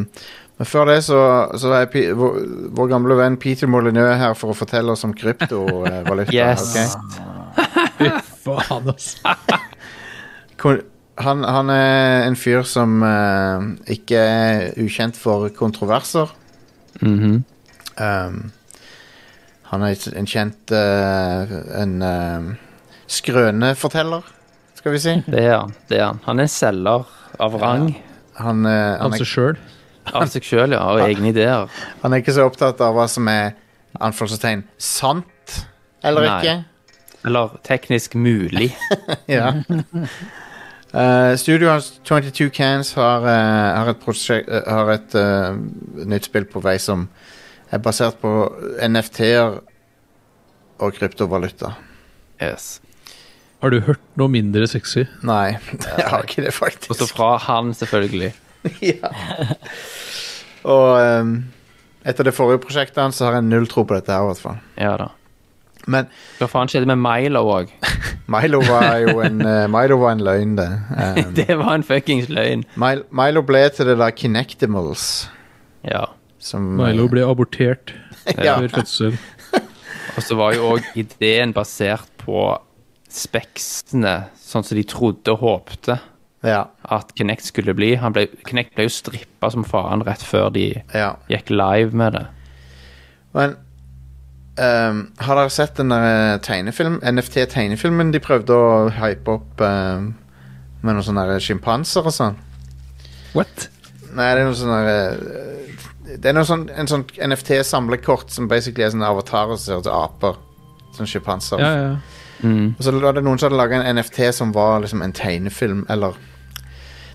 men før det så, så er Pi- vår, vår gamle venn Peter Molyneux her for å fortelle oss om uh, kryptovaluta.
Yes.
Faen, ass.
Kon- han, han er en fyr som eh, ikke er ukjent for kontroverser. um, han er et- en kjent eh, en eh, skrøneforteller, skal vi si.
Det er han. Det er han. Han er en selger av rang.
Han, eh, han,
Av
er,
seg sjøl.
Av seg sjøl, ja. Av egne ideer.
han er ikke så opptatt av hva som er anførselstegn sant eller
Nei.
ikke.
Eller teknisk mulig.
Ja. Eh, Studio hans 22 Cans har, eh, har et, prosjekt, eh, har et eh, nytt spill på vei som er basert på NFT-er og kryptovaluta.
Yes.
Har du hørt noe mindre sexy?
Nei, jeg har ikke det,
Og så
faktisk.
fra han, selvfølgelig.
ja. Og ehm, etter det forrige prosjektet hans, så har jeg null tro på dette her, i hvert fall.
Ja da.
Men
Hva faen skjedde med Milo òg?
Milo var jo en, eh, Milo var en løgn, det. Ehm,
Det var en fuckings løgn.
Mil- Milo ble til det der Kinectimals.
Ja.
Som,
Milo ble abortert
Ja.
før fødsel.
Og så var jo òg ideen basert på speksene, sånn som de trodde og håpte
eh, Ja,
at Kinect skulle bli. Han ble, Kinect ble jo strippa som faen rett før de
ja.
gikk live med det.
Men ehm, har dere sett den der eh, tegnefilm, NFT-tegnefilmen de prøvde å hype opp ehm, med noen sånne der sjimpanser og sånn?
What?
Nei, det er noe sånn der, eh, Det er noe sånn, en sånn NFT-samlekort som basically er sånne avatarer som ser ut som aper. Sånn sjimpanser.
Ja, ja.
Mm,
Og så var det noen som hadde laga en NFT som var liksom en tegnefilm, eller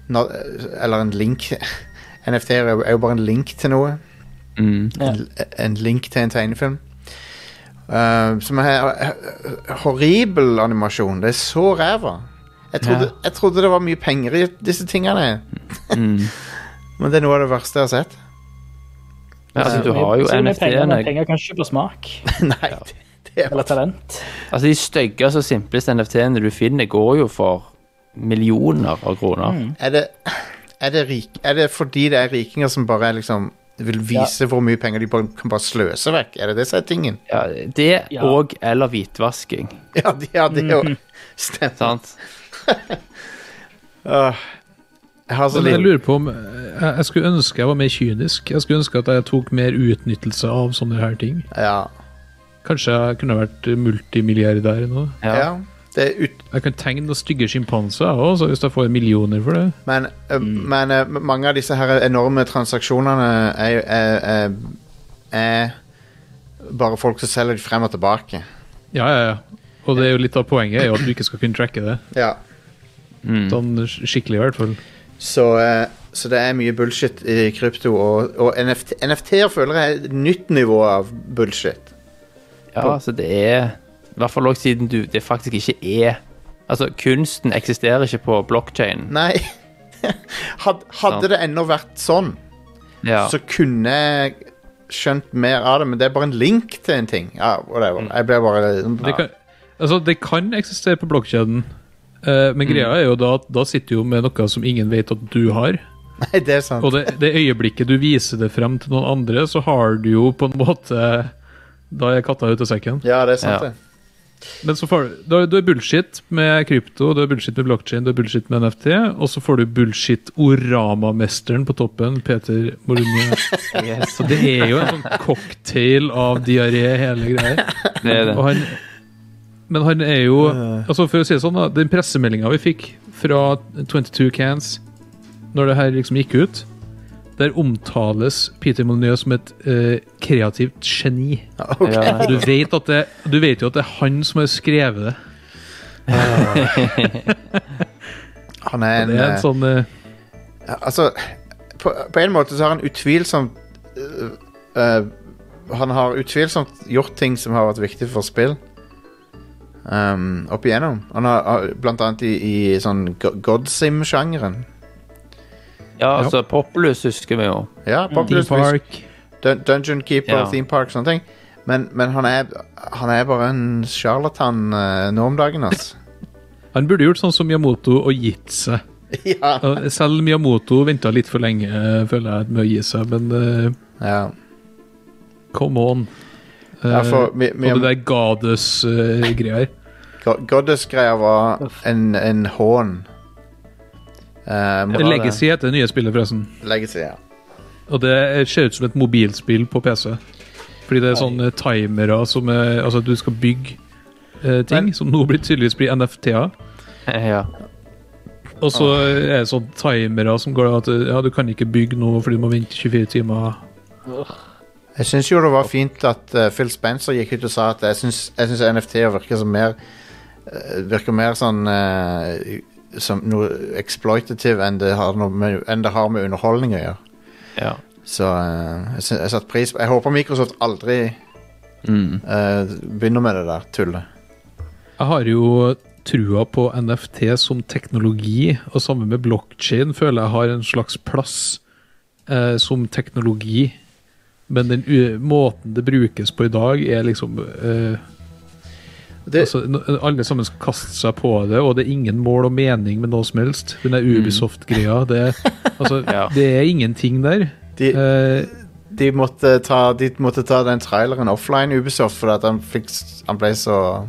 na- Eller en link. NFT er jo er jo bare en link til noe.
Mm.
En, en link til en tegnefilm. Eh, som er eh, horribel animasjon. Det er så ræva. Jeg trodde, jeg trodde det var mye penger i disse tingene. Mm. Men det er noe av det verste jeg har sett.
Men, altså, du har jo
Så mye penger, men
NFT-ene.
penger kan ikke kjøpe smak
Nei, det, det er
eller talent.
Altså, de styggeste og simpleste NFT-ene du finner, går jo for millioner av kroner.
Er det, er, det rik, er det fordi det er rikinger som bare er liksom vil vise hvor mye penger de bare, kan bare sløse vekk? Er det det som er tingen?
Ja, det
Ja.
og eller hvitvasking,
Ja, de, ja det er jo Stemmer.
sant?
Åh. Jeg har så
Men jeg
lite
lurer på om jeg, jeg skulle ønske jeg var mer kynisk. Jeg skulle ønske at jeg tok mer utnyttelse av sånne her ting.
ja,
Kanskje jeg kunne vært multimilliardær nå.
Ja.
ja. Det er ut,
Jeg kan tegne noen stygge sjimpanser jeg også, hvis jeg får millioner for det.
men,
Mm.
øh, men øh, mange av disse her enorme transaksjonene er, jo- er, er, er bare folk som selger de frem og tilbake.
Ja, ja, ja. Og det er jo litt av poenget er jo at du ikke skal kunne tracke det.
Ja. Mm.
Sånn skikkelig, i hvert fall.
Så, eh, så det er mye bullshit i krypto, og, og NFT, NFT-er føler jeg er et nytt nivå av bullshit.
Ja, altså det er I hvert fall også siden du, det faktisk ikke er Altså, kunsten eksisterer ikke på blockchain.
Nei. Had, hadde
Sant.
det ennå vært sånn,
Ja.
så kunne jeg skjønt mer av det, men det er bare en link til en ting. Ja, whatever. Jeg ble bare
Mm. Det kan, altså, det kan eksistere på blokkjeden, eh, men greia er jo da at da sitter du jo med noe som ingen vet at du har.
Nei, det er sant.
Og det, det øyeblikket du viser det frem til noen andre, så har du jo på en måte Da er katta ute av sekken.
Ja, det er sant,
Ja.
det.
Men så får du, da, du er bullshit med krypto, du er bullshit med blockchain, du er bullshit med NFT, og så får du bullshit Orama-mesteren på toppen, Peter Molyneux. Så det er jo en sånn cocktail av diaré, hele greia.
Det er det.
Og han, men han er jo altså For å si det sånn, da. Den pressemeldinga vi fikk fra 22 Cans når det her liksom gikk ut, der omtales Peter Molyneux som et eh, kreativt geni.
Ja,
Du vet, at det, du vet jo at det er han som har skrevet det.
Han er en,
Det er en
eh,
sånn eh,
Altså, på, på en måte så har han utvilsomt øh, øh, Han har utvilsomt gjort ting som har vært viktig for spill. Um, opp igjennom. Han har, har blant annet i, i sånn go- Godsim-sjangeren.
ja altså Populus husker vi jo.
Ja,
Deep
Populous Music.
Park.
Dun Dungeon Keeper,
Ja.
Theme Park, sånne ting. Men, men han, er, han er bare en sjarlatan eh, nå om dagen, altså.
Han burde gjort sånn som Miyamoto og gitt seg.
ja.
Eh, Selv Miyamoto venta litt for lenge, eh, føler jeg, med å gi seg, men eh,
ja.
come on. Eh,
Ja, for Mi-
og
Miyam-
det der Gades-greier.
Go- Goddess-greia var en, en hån. Eh, mot
var det.
Legacy heter det nye spillet, forresten.
Legacy, ja.
Og det ser ut som et mobilspill på PC. Fordi det er sånne timere som er, Altså, du skal bygge eh, ting, som nå blir tydeligvis blir NFT-er.
Ja.
Og så
Ah.
er det sånn timere som går at ja, du kan ikke bygge noe fordi du må vente 24 timer.
Jeg syns jo det var fint at eh, Phil Spencer gikk ut og sa at jeg syns, jeg syns NFT-er virker som mer eh, Virker mer sånn eh, som noe exploitative enn det har, noe med, enn det har med underholdning å gjøre.
ja.
Så eh, jeg, syns- jeg satte pris på Jeg håper Microsoft aldri
Mm.
eh, begynner med det der tullet.
Jeg har jo trua på NFT som teknologi, og sammen med blokkjede, føler jeg har en slags plass eh, som teknologi. Men den u måten det brukes på i dag, er liksom eh,
Det-
altså, no- Alle sammen skal kaste seg på det, og det er ingen mål og mening med noe som helst. Den der Ubisoft-greia, det, altså,
Ja.
det er ingenting der.
De,
Eh,
de, måtte ta, de måtte ta den traileren offline Ubisoft fordi at han, fikk, s- han ble så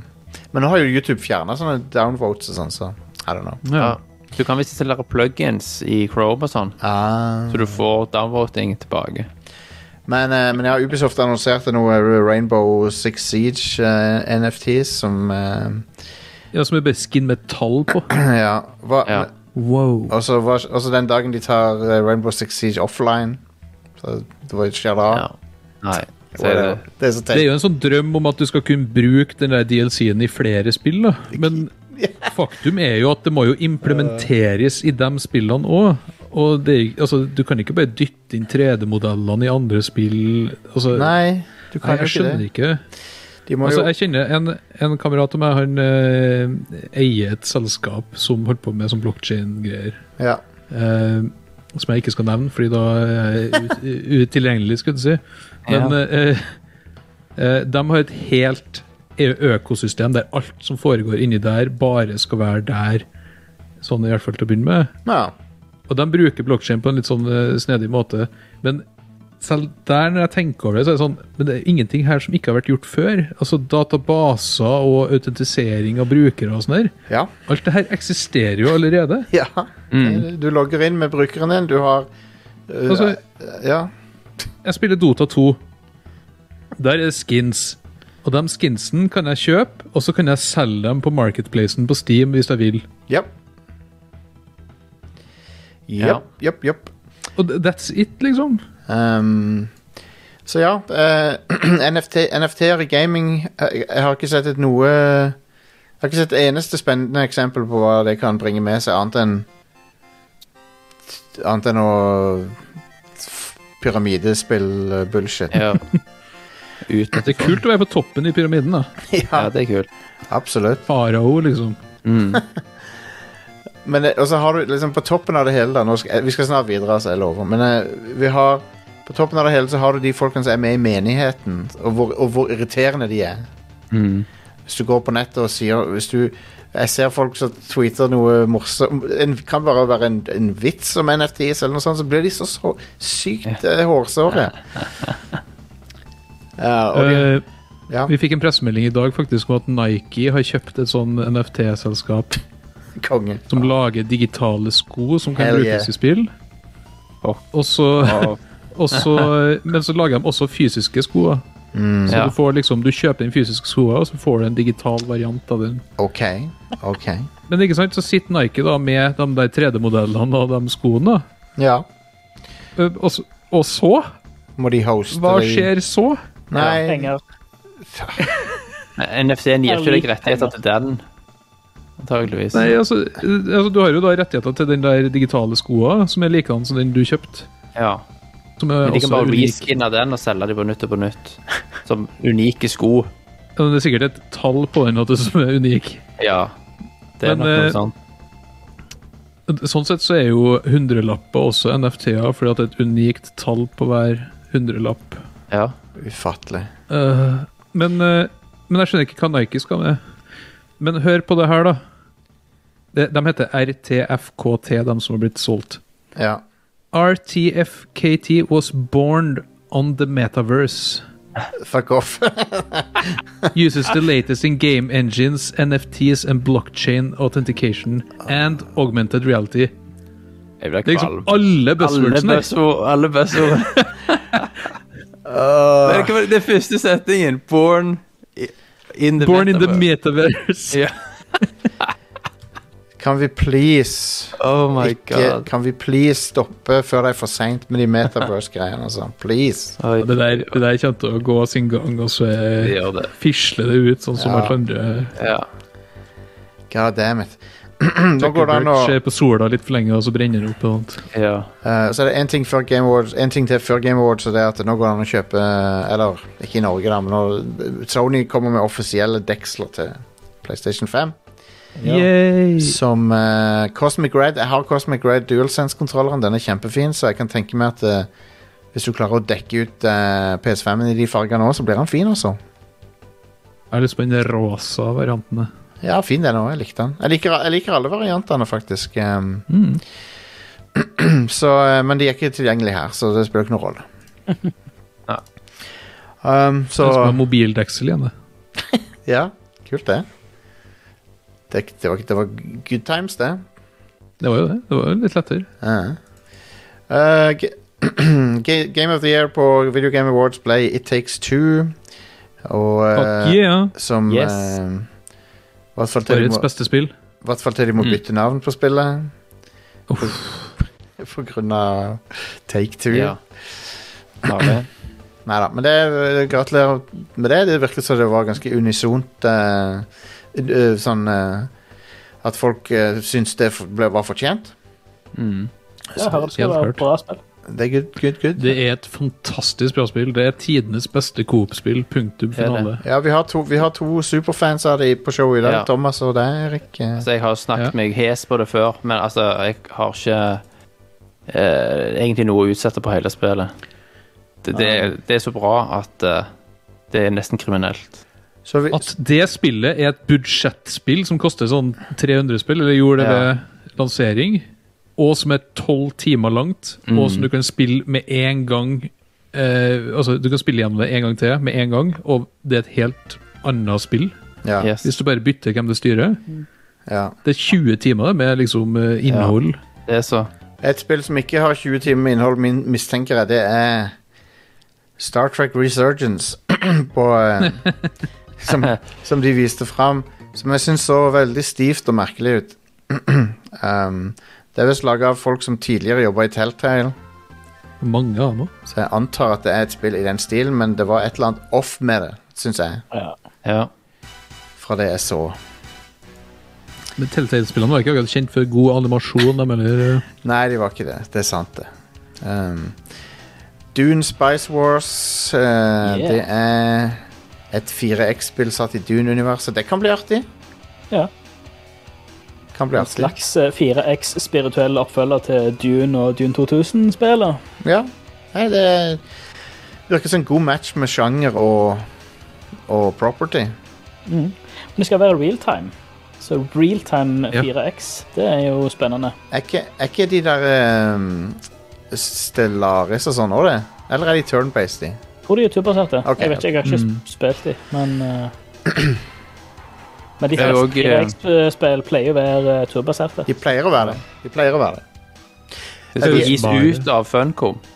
Men nå har jo YouTube fjerna sånne downvotes og sånn, så I don't know.
ja.
Ja. Du kan visst installere plugins i Chrome og sånn, så du får downvoting tilbake.
Men, eh, men ja, Ubisoft annonserte noe Rainbow Six Siege eh, NFTs som eh,
ja, som er bare skin med tall på.
Ja. Hva,
Ja.
Wow.
Og så var- og så den dagen de tar eh, Rainbow Six Siege offline så Det var jo skjer da.
Ja. Nei, så er det
Det er så
Det er
teit.
jo en sånn drøm om at du skal kunne bruke den der DLC-en i flere spill, da. Men faktum er jo at det må jo implementeres i de spillene òg. Og det, er- altså, du kan ikke bare dytte inn 3D-modellene i andre spill. Altså,
Nei, du
nei,
kan
jeg
jo ikke
skjønner
det.
ikke.
De må
Altså,
jo
jeg kjenner en, en kamerat av meg, han eh, eier et selskap som holder på med sånn blockchain-greier.
Ja.
Eh, som jeg ikke skal nevne, fordi da er jeg ut- utilgjengelig, skulle du si. Men eh, eh, de har et helt e- økosystem der alt som foregår inni der, bare skal være der. Sånn i hvert fall til å begynne med.
ja.
Og de bruker blokkjede på en litt sånn eh, snedig måte. Men selv der, når jeg tenker over det, så er det sånn Men det er ingenting her som ikke har vært gjort før. Altså databaser og autentisering av brukere og sånn der.
Ja.
Alt det her eksisterer jo allerede.
ja.
Mm.
Du logger inn med brukeren din, du har eh,
Altså,
Ja.
Jeg spiller Dota 2. Der er det skins. Og de skinsen kan jeg kjøpe, og så kan jeg selge dem på marketplacen på Steam hvis jeg vil.
Jepp.
Ja.
Jepp, jepp, jepp.
Og th- that's it, liksom.
Ehm, så ja, eh, NFT, NFT-er i gaming eh, Jeg har ikke sett et noe Jeg har ikke sett et eneste spennende eksempel på hva det kan bringe med seg, annet enn Annet enn å Pyramidespill-bullshit.
Ja. Ut.
Det er kult å være på toppen i pyramiden. da.
Ja, det er kult.
Absolutt.
Farao, liksom.
Men eh, og så har du liksom på toppen av det hele da, nå skal, eh, Vi skal snart videre, altså, jeg lover. Men eh, vi har på toppen av det hele så har du de folkene som er med i menigheten, og hvor, og hvor irriterende de er.
Mm.
Hvis du går på nettet og sier hvis du, Jeg ser folk som tweeter noe morsomt Det kan bare være en, en vits om NFTs, eller noe sånt, så blir de så, så sykt eh, hårsåre. Ja, og de,
Eh,
ja,
vi fikk en pressemelding i dag faktisk om at Nike har kjøpt et sånn NFT-selskap
konge.
som lager digitale sko som kan
Hell yeah.
brukes i spill. Og så, og så, men så lager de også fysiske sko. da. Så
Ja.
du får liksom, du kjøper den fysiske skoa, og så får du en digital variant av den.
OK. OK.
Men ikke sant, så sitter Nike da med de der 3D-modellene og de skoene. da.
Ja.
Ø, Og så, og så?
Må de hoste
Hva
det i-
skjer så?
Nei,
Penger.
Men NFC-en gir ikke deg rettigheter til den, antageligvis.
Nei, altså, ø, altså Du har jo da rettigheter til den der digitale skoa, som er likedan som den du kjøpte.
Ja.
Som er
Men de
også
kan bare
unik.
reskinne den og selge dem på nytt og på nytt. Som unike sko.
Ja, men Det er sikkert et tall på den at det som er unik.
Ja. Det er
Men,
nok
eh,
noe sånt.
Sånn sett så er jo hundrelapper også NFT-er, fordi at det er et unikt tall på hver hundrelapp.
Ja.
ufattelig.
Eh, men, eh, men jeg skjønner ikke hva Nike skal med. Men hør på det her, da. Det, de heter RTFKT, de som har blitt solgt.
Ja.
RTFKT was born on the metaverse.
Fuck off.
Uses the latest in game engines, NFTs and blockchain authentication and augmented reality.
Jeg ble
Det er
kvalm.
liksom alle
Alle
buzzwordsene.
buzzord- alle buzzord.
Ah.
Men hva var det- Det er første setningen. Born i- in the
Born in the
metaverse.
metaverse.
Ja.
Kan vi please
Oh my
ikke,
god.
Kan vi please stoppe før det er for seint med de metaverse-greiene og sånn? Please.
Oi,
Det der, det der kommer til å gå sin gang, og så
det
er-
gjør det.
fisler det ut, sånn som
Ja.
alt andre.
Ja.
God damn it. Nå går det an å
Zuckerberg ser på sola litt for lenge, og så brenner det opp. og sånt.
ja.
eh, Så er det én ting før Game Awards En ting til før Game Awards, og det er at nå går det an å kjøpe eh, Eller ikke i Norge, da, men nå Sony kommer med offisielle deksler til PlayStation 5.
Yay!
Som eh, Cosmic Red Jeg har Cosmic Red DualSense-kontrolleren. Den er kjempefin, så jeg kan tenke meg at eh, hvis du klarer å dekke ut eh, PS5-en i de fargene òg, så blir han fin, altså.
Jeg har lyst på den rosa variantene.
Ja, fin den òg. Jeg likte den. Jeg liker, jeg liker alle variantene, faktisk. ehm.
Mm.
så, eh, men de er ikke tilgjengelige her, så det spiller ikke noen rolle.
Nei.
um, så
Jeg skal ha mobildeksel igjen. jeg.
Ja, kult det. Det, det, var, det var good times, det.
Det var jo det. Det var jo litt lettere.
Ja. Eh, Ga- Ga- Game of the Year på Video Game Awards ble It Takes Two. Og eh,
Fuck yeah!
som
Yes.
eh, i hvert fall til de
Årets
må-
beste spill.
i hvert fall til de må bytte navn på spillet.
Uff.
På grunn av Take Two.
Ja. Bare.
Neida, men det, gratulerer med det. Det virket som det var ganske unisont. eh, eh, sånn eh, at folk uh, syntes det f- ble, var fortjent.
Mm.
Jeg hører det skal
Helt
være
klart.
bra spill.
Det er good, good, good.
Det er et fantastisk bra spill. Det er tidenes beste Coop-spill. Punktum
er det.
finale.
Ja, vi har to, vi har to superfans av de på showet i dag.
Ja.
Thomas og deg, Erik. Eh,
Altså, jeg har jo snakket
Ja.
meg hes på det før, men altså, jeg har ikke eh, egentlig noe å utsette på hele spillet. Det, det, er- det er så bra at eh, det er nesten kriminelt.
Så vi,
At det spillet er et budsjettspill som koster sånn 300 spill, eller gjorde det
Ja.
ved lansering, og som er 12 timer langt, og som du kan spille med en gang eh, Altså, du kan spille gjennom det en gang til med en gang, og det er et helt annet spill.
ja,
Yes.
Hvis du bare bytter hvem du styrer.
ja.
Det er 20 timer med liksom eh, innhold.
Det er så
Et spill som ikke har 20 timer med innhold, min, mistenker jeg, det er Star Trek Resurgence. på, eh, som, som de viste fram. Som jeg syns så veldig stivt og merkelig ut. um, det er visst laga av folk som tidligere jobba i Telltale.
Mange av dem.
Så jeg antar at det er et spill i den stilen, men det var et eller annet off med det, syns jeg.
Ja.
Ja.
Fra det jeg så.
Men Telltale-spillene var ikke akkurat kjent for god animasjon. Jeg mener, eh,
Nei, de var ikke det. Det er sant, det. Um, Dune Spice Wars eh, Det er et 4X-spill satt i Dune-universet. Det kan bli artig.
Ja.
Kan bli
En
artig.
slags eh, 4X spirituell oppfølger til Dune og Dune 2000-spillet.
Ja. Nei, det virker som en god match med sjanger og, og property.
Men det skal være realtime. Så realtime
Ja.
4X, det er jo spennende.
Er ikke, er ikke de der um, Stellaris og sånn òg det? Eller er de turn-based, de?
Tror de er turbaserte.
Ok.
Jeg vet ikke, jeg har ikke sp- spilt de, men eh, Men de
Det er jo
fleste
også, eh,
4X-spill pleier å være eh, turbaserte.
De pleier å være det. De pleier å være det.
Det skal
vi-
jo gis
Bare.
ut av Funcom.
nei,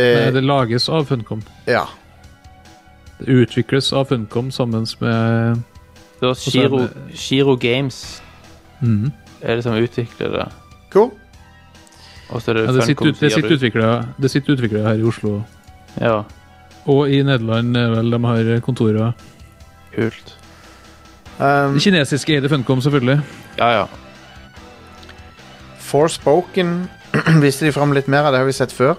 Eh,
det lages av Funcom.
ja.
Det utvikles av Funcom sammen med
Det var
så er
Shiro, Shiro Games
Mhm.
er det som utvikler det.
Cool.
Og så er det
ja, det, sitter,
Funcom
ut- det, sitter
som gir det ut.
utviklere, det sitter utviklere her i Oslo.
Ja,
Og i Nederland, eh, vel, de har kontorer.
kult.
Um,
Det kinesiske eide Funcom, selvfølgelig.
Ja, ja.
Forspoken viste de fram litt mer av, det har vi sett før.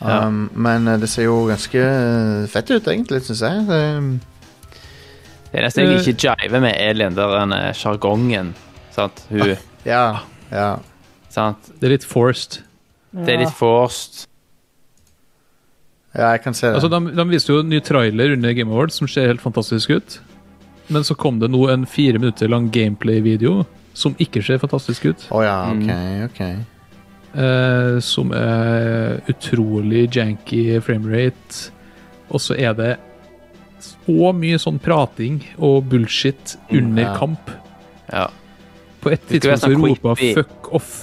Ja.
Um, men eh, det ser jo ganske eh, fett ut, egentlig, syns jeg. Um,
Det eneste
Eh.
jeg ikke jiver med, er den der eh, sjargongen. Sant? Hun,
ja, ja.
sant?
Det er litt forced.
Det er litt forced.
ja, jeg kan se det.
Altså, de, de viste jo en ny trailer under Game Awards som ser helt fantastisk ut. Men så kom det nå en fire minutter lang gameplay-video som ikke ser fantastisk ut.
Å ja, ok, ok.
Eh, som er utrolig janky framerate. Og så er det så mye sånn prating og bullshit under
ja.
kamp.
Mm, Ja.
På et
Det skal
tidspunkt så
være sånn
roper hun
creepy.
'fuck off'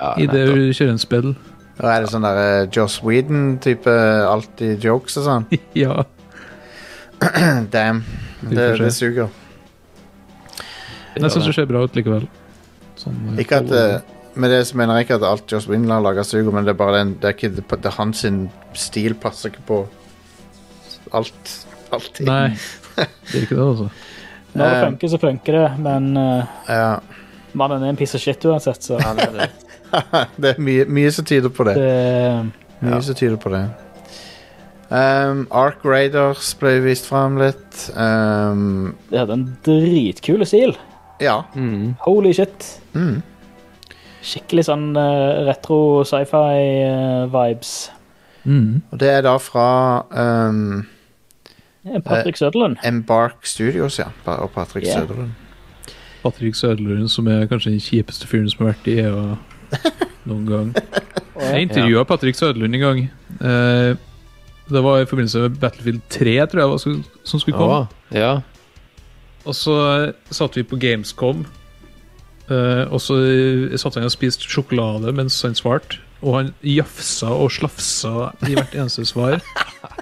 ja
i det
nettopp.
hun kjører en spill.
Og er det sånn der eh, Joss Whedon-type alltid jokes og sånn?
ja.
Damn. Det, det suger.
Men jeg syns det ser bra ut likevel. Sånn, eh,
Ikke at eh, Med det så mener jeg ikke at alt Joss Whedon har laga, suger, men det er bare den, det er ikke det, det er hans sin stil passer ikke på alt. Alltid.
Nei, det er ikke det, altså.
Når det
Eh,
funker, så funker det, men eh,
Ja,
mannen er en piece of shit uansett, så
det er mye, mye som tyder på det.
det
Mye som tyder på det. Um, Ark Raiders ble vist fram litt. Um,
Det hadde en dritkul stil.
Ja.
Mm.
Mm.
Holy shit. Skikkelig sånn eh, retro eh, sci-fi-vibes.
Mm.
Og det er da fra ehm,
Eh, Patrick Søderlund.
Embark Studios, ja. Pa- Og Patrick
Ja.
Søderlund.
Patrick Sødlund, som er kanskje den kjipeste fyren som har vært i EVA noen gang. Jeg intervjua Patrick Sødlund en gang. Eh, Det var i forbindelse med Battlefield 3, tror jeg, var, som- som skulle komme.
Å, ja.
Og så eh, satt vi på Gamescom, eh, og så satt han og spiste sjokolade mens han svarte. Og han jafsa og slafsa i hvert eneste svar.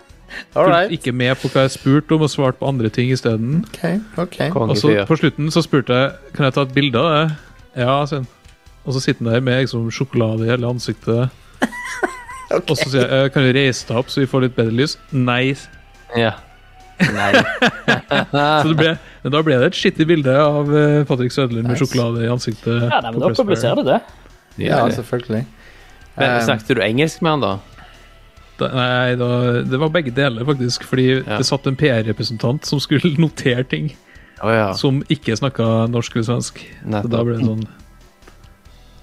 All
Fulgte
right.
ikke med på hva jeg spurte om, og svarte på andre ting isteden.
OK. ok.
Og så
Kongefyr.
Altså, på slutten så spurte jeg Kan jeg ta et bilde av det. Ja, sier han. Og så sitter han der med liksom, sjokolade i hele ansiktet. Og så sier jeg «Eh, Kan du reise deg opp så vi får litt bedre lys. Nei.
Ja. Nei.
Så det ble, men da ble det et skittig bilde av eh, Patrick Sødlund med sjokolade i ansiktet.
Ja, nei, men
på
Da
Press Fair.
publiserer du det.
Ja, selvfølgelig.
Men
Um,
snakket du engelsk med han, da?
Da, nei, da, det var begge deler, faktisk. Fordi det satt en PR-representant som skulle notere ting,
Å ja.
som ikke snakka norsk eller svensk. Så
Nettopp.
da ble det sånn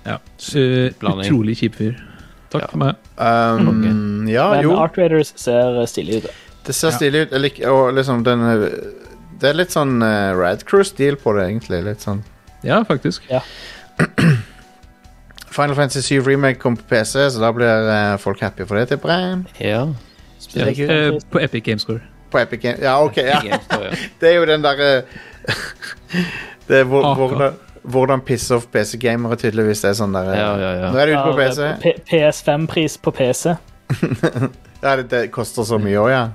Ja. eh,
Blanding.
utrolig kjip fyr. Takk for meg.
Um, Ja,
Men
jo.
Art Raiders ser stille ut.
Det ser stilig ut. jeg lik- Og liksom den eh, Det er litt sånn uh, Rad Crew-stil på det, egentlig. Litt sånn
Ja, faktisk.
Final Fantasy 7 Remake kom på PC, så da blir eh, folk happy for det, tipper jeg.
Ja.
Ja.
Spesielt-
Eh, på Epic Gamescore.
På Epic Games. Ja, OK. Ja.
Gamescore, ja.
Det er jo den derre Det er hvor,
Ah.
Aka.
hvordan, hvordan pisse off PC-gamere tydeligvis det er sånn der eh,
Ja, ja, ja.
Nå er det ute på
Ja,
PC.
eh, P- PS5-pris på PC.
Ja, det, det koster så mye òg, ja.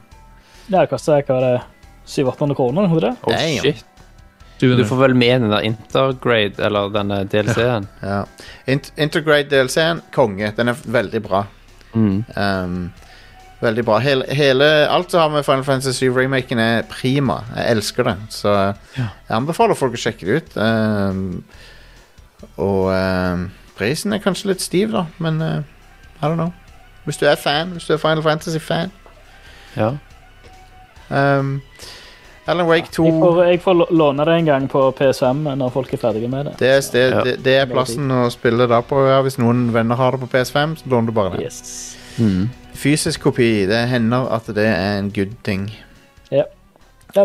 Ja, det koster hva var det 700-800 kroner? noe det?
Å,
Damn.
shit. Du får vel med den der Intergrade, eller denne DLC-en.
ja. Int Intergrade DLC-en, konge. Den er veldig bra.
Mm.
Um, veldig bra. Hele, hele, alt som har med Final Fantasy 7-remaken, er prima. Jeg elsker det. Så jeg anbefaler folk å sjekke det ut. Um, og um, prisen er kanskje litt stiv, da, men uh, I don't know. Hvis du er fan, hvis du er Final Fantasy-fan.
Ja.
Um, Alan Wake 2
Jeg får, jeg får lå- låne det en gang på PS5 når folk er ferdige med det.
det er, sted,
Ja.
det, det er plassen å spille da på. Ja, hvis noen venner har det på PS5, så låner du bare det.
Yes.
Mm.
Fysisk kopi. Det hender at det er en good thing.
Ja,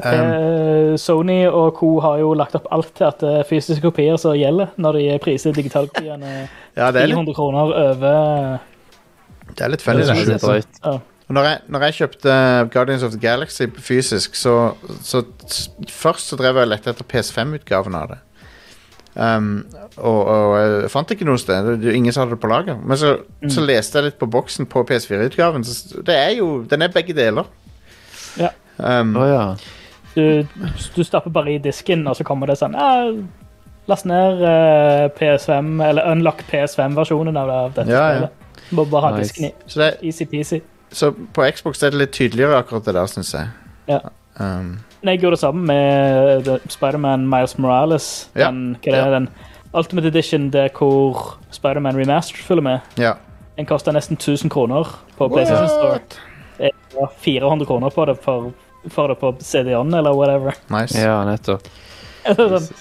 P- Sony og co. har jo lagt opp alt til at det er fysiske kopier som gjelder når de priser digitalkopiene
Ja, det er litt,
300 kroner over
det er litt funny,
Det
det.
er litt drøyt.
Og Når jeg, når jeg kjøpte Guardians of the Galaxy på fysisk, så, så s- Først så drev jeg og lette etter PS5-utgaven av det. Um, og, og jeg fant ikke noe sted. Det- det- Ingen som hadde det på lager. Men så,
Mm.
så leste jeg litt på boksen på PS4-utgaven. så s- Det er jo, Den er begge deler.
Ja.
Um,
Å ja.
Du, du stapper bare i disken, og så kommer det sånn ja, Last ned eh, PS5, eller unlock PS5-versjonen av, det- av dette
Ja, ja.
spillet. Må bare ha
Nice.
disken i.
så, det,
Easy-peasy.
så på Xbox er det litt tydeligere akkurat det der, syns jeg.
Ja.
Um,
Nei, Jeg gjorde det samme med The- Spider-Man Miles Morales.
Ja.
Den, hva det er, den Ultimate Edition der hvor Spider-Man Remastered følger med.
ja.
Den koster nesten 1000 kroner på PlayStation Store. Det var 400 kroner på det for, for det på CD-on eller whatever.
Nice.
ja, nettopp.
sånn,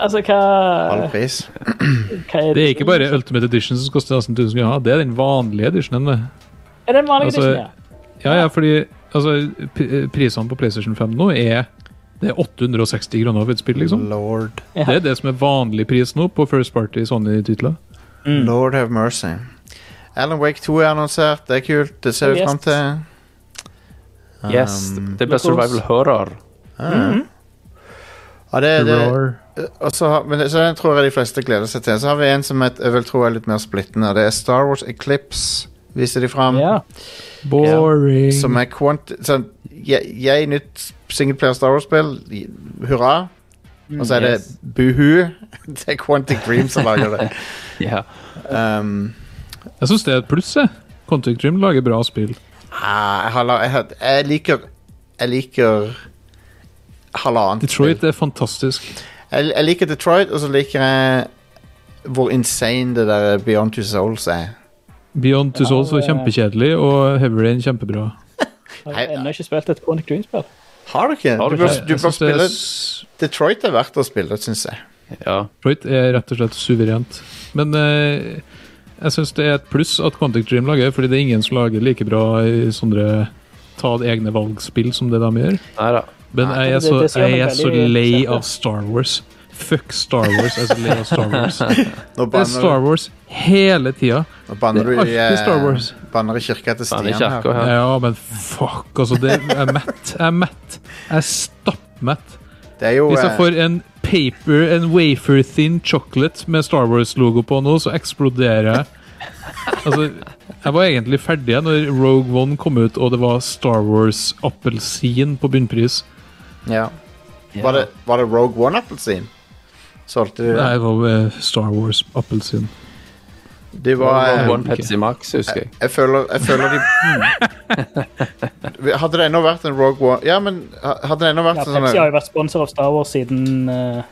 altså, hva,
Halv pris.
hva er
Det er ikke bare Ultimate Edition som koster nesten 1000 kroner. Det er den vanlige editionen. det.
Er det en vanlig
altså,
edition, ja?
Ja, ja, fordi altså, p- prisene på PlayStation 5 nå er det er 860 kroner for et spill, liksom.
Lord.
Det er det som er vanlig pris nå på First Party Sony-titler.
Lord have mercy. Alan Wake 2 er annonsert. Det er kult. Det ser vi
Yes.
fram til.
Yes,
Um, ah.
det blir survival horror.
Ja, det, det, og så, har- men det, så den tror jeg de fleste gleder seg til. Så har vi en som et, jeg vil tro er litt mer splittende. og Det er Star Wars Eclipse, viser de
um,
fram.
ja.
Boring.
Som er quant... Sånn, jeg, jeg nytt singleplayer Star Wars-spill. i- Hurra. Og så er det
yes.
Buhu. Det er Quantic Dream som lager det.
Ja.
Um,
Jeg syns det er et pluss, jeg. Contact Dream lager bra spill.
ah, jeg, har, la- jeg, har- jeg liker Jeg liker halvannet
Detroit er fantastisk.
Jeg, jeg liker Detroit, og så liker jeg hvor insane det der Beyond Two Souls er.
Beyond Two Souls var kjempekjedelig, og Heavy Rain kjempebra.
Jeg
Hei, eh.
har ennå ikke spilt et Quantic Dream-spill.
Har du ikke?
Har du
du bør,
ikke?
du
Jeg
bør
synes det er
spille
s-
Detroit er verdt å spille, syns jeg.
Ja.
Detroit er rett og slett suverent. Men eh, jeg syns det er et pluss at Quantic Dream lager, fordi det er ingen som lager like bra i sånne ta egne valgspill som det de gjør.
Nei da.
Men
Nei,
jeg er
det-
så,
det ser
jeg
meg
er så
veldig
lei
kjent, ja.
av Star Wars. Fuck Star Wars. Jeg er så lei av Star Wars.
Nå
Det er Star
banner,
Wars hele tida.
nå banner du
Det er
i
alltid Star
eh,
Wars.
Banner i kirka til
Faen,
Stian
det er ikke
her.
akkurat her.
Ja, men fuck, altså. Det, jeg er mett. Jeg er mett. Jeg er stappmett.
Det er jo
Hvis jeg
eh,
får en paper, en wafer thin chocolate med Star Wars-logo på nå, så eksploderer jeg. Altså, jeg var egentlig ferdig jeg, når Rogue One kom ut og det var Star Wars-appelsin på bunnpris.
ja. var, det, var det Rogue One-appelsin? Solgte du
Nei,
det?
det var eh, Star Wars-appelsin.
De var eh,
One Pepsi Max, husker jeg.
Jeg føler, jeg føler de Hadde det ennå vært en Rogue One Ja, men ha- hadde det ennå vært
Ja,
en sånn
Pepsi har jo vært sponsor av Star Wars siden eh,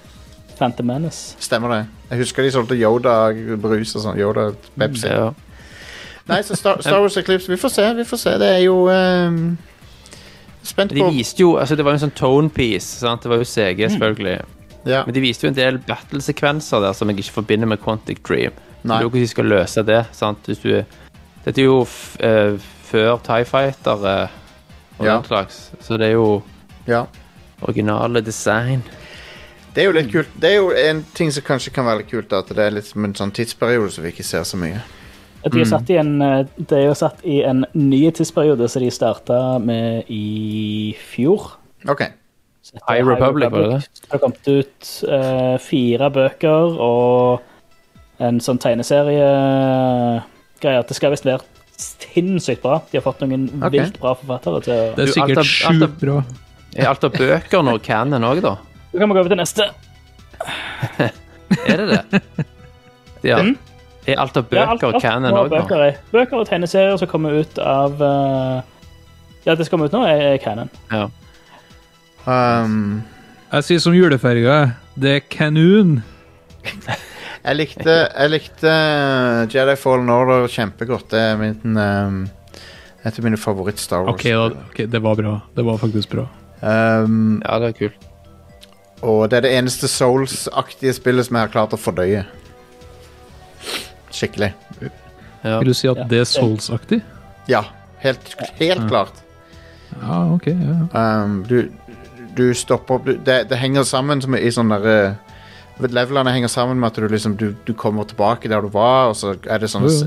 Phantom Menace.
Stemmer det. Jeg husker de solgte Yoda-brus og sånn. Yoda Pepsi.
Ja.
Nei, så Star, Star Wars Eclipse Vi får se, vi får se. Det er jo ehm, Spent
De
på
viste jo, altså Det var jo en sånn tone piece. sant? Det var jo CG, selvfølgelig.
ja.
Men de viste jo en del battle-sekvenser der som jeg ikke forbinder med Quantic Dream.
Nei.
Det er jo hvordan de skal løse det. sant? Hvis du, dette er jo f eh, før Tie Fighter eh, og
Ja.
den slags, så det er jo
ja.
originale design.
Det er jo litt kult. Det er jo en ting som kanskje kan være litt kult, at det er litt som en sånn tidsperiode som vi ikke ser så mye.
De
Mm.
er, satt i en, eh, de er jo satt i en ny tidsperiode som de starta med i fjor.
OK.
Så dette er
High Republic, var det det?
Det har kommet ut eh, fire bøker og en sånn tegneserie-greie. Det skal visst være sinnssykt bra. De har fått noen
Ok.
vilt bra forfattere til
Det
å
Du,
er
alt av-
sikkert
alt
sjukt
av-
bra.
Er alt av bøker nå canon òg, da?
Så kan vi gå over til neste.
Er det det? Ja. Er alt av
Ja, alt-
bøker
alt
canon
nå er
òg nå?
bøker, er- bøker og tegneserier som kommer ut av eh, Ja, det som kommer ut nå, er, er canon.
Ja.
Um,
Jeg sier som juleferga. Det er kanon.
jeg likte, jeg likte eh, Jedi Fallen Order kjempegodt. Det er min, um, et av mine favoritt-Star
OK, da,
Wars.
ok, det var bra. Det var faktisk bra.
Um,
ja, det er kult.
og det er det eneste Souls-aktige spillet som jeg har klart å fordøye. Skikkelig.
Ja.
Vil du si at
Ja.
det er Souls-aktig?
Ja. Helt,
Mm.
helt klart.
Ja, OK. Ja.
Um, du, du stopper opp du, det, det henger sammen som i sånn derre Levelene henger sammen med at du liksom du, du kommer tilbake der du var, og så er det sånne
Jo, jo.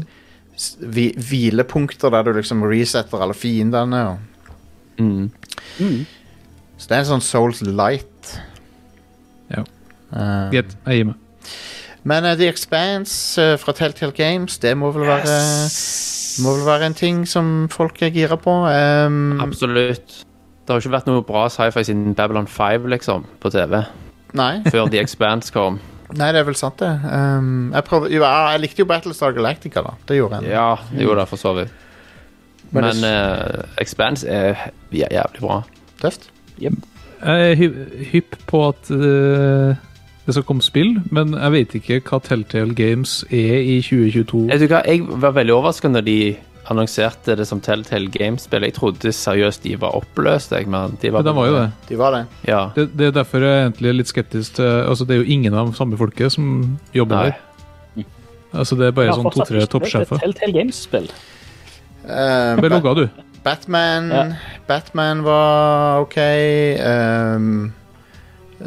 s- s- hvi, hvilepunkter der du liksom resetter alle fiendene. Og.
Mm.
Så det er en sånn Souls Light.
Ja.
Um,
Greit, jeg gir meg.
men eh, The Expanse eh, fra Telltale Games, det må vel være Må vel være en ting som folk er gira på. Um,
Absolutt. Det har ikke vært noe bra sci-fi siden Babylon 5, liksom, på TV.
nei,
Før The Expanse kom.
nei, det er vel sant, det. Um, jeg, prøvde, jo, jeg, jeg likte jo Battlestar Galactica, da. Det gjorde jeg.
Ja, jo da, for så vidt.
Men
Men
det-
eh, Expanse er he- ja, jævlig bra.
Tøft.
Jeg er hy- hypp på at eh, det skal komme spill, men jeg vet ikke hva Telltale Games er i 2022.
Vet du hva, Jeg var veldig overrasket når de annonserte det som Telltale Games-spill. Jeg trodde seriøst de var oppløst. Jeg, men de var,
Men de var jo det.
De var det.
Ja.
det. Det er derfor jeg egentlig er litt skeptisk til Altså, det er jo ingen av samme folket som jobber
Nei.
der. Altså, det er bare
Jeg har
sånn
fortsatt
to-tre
ikke prøvd et
toppsjefer.
Telltale Games-spill.
Eh,
Bare
Ba-
logga, du.
Batman
Ja.
Batman var ok. ehm,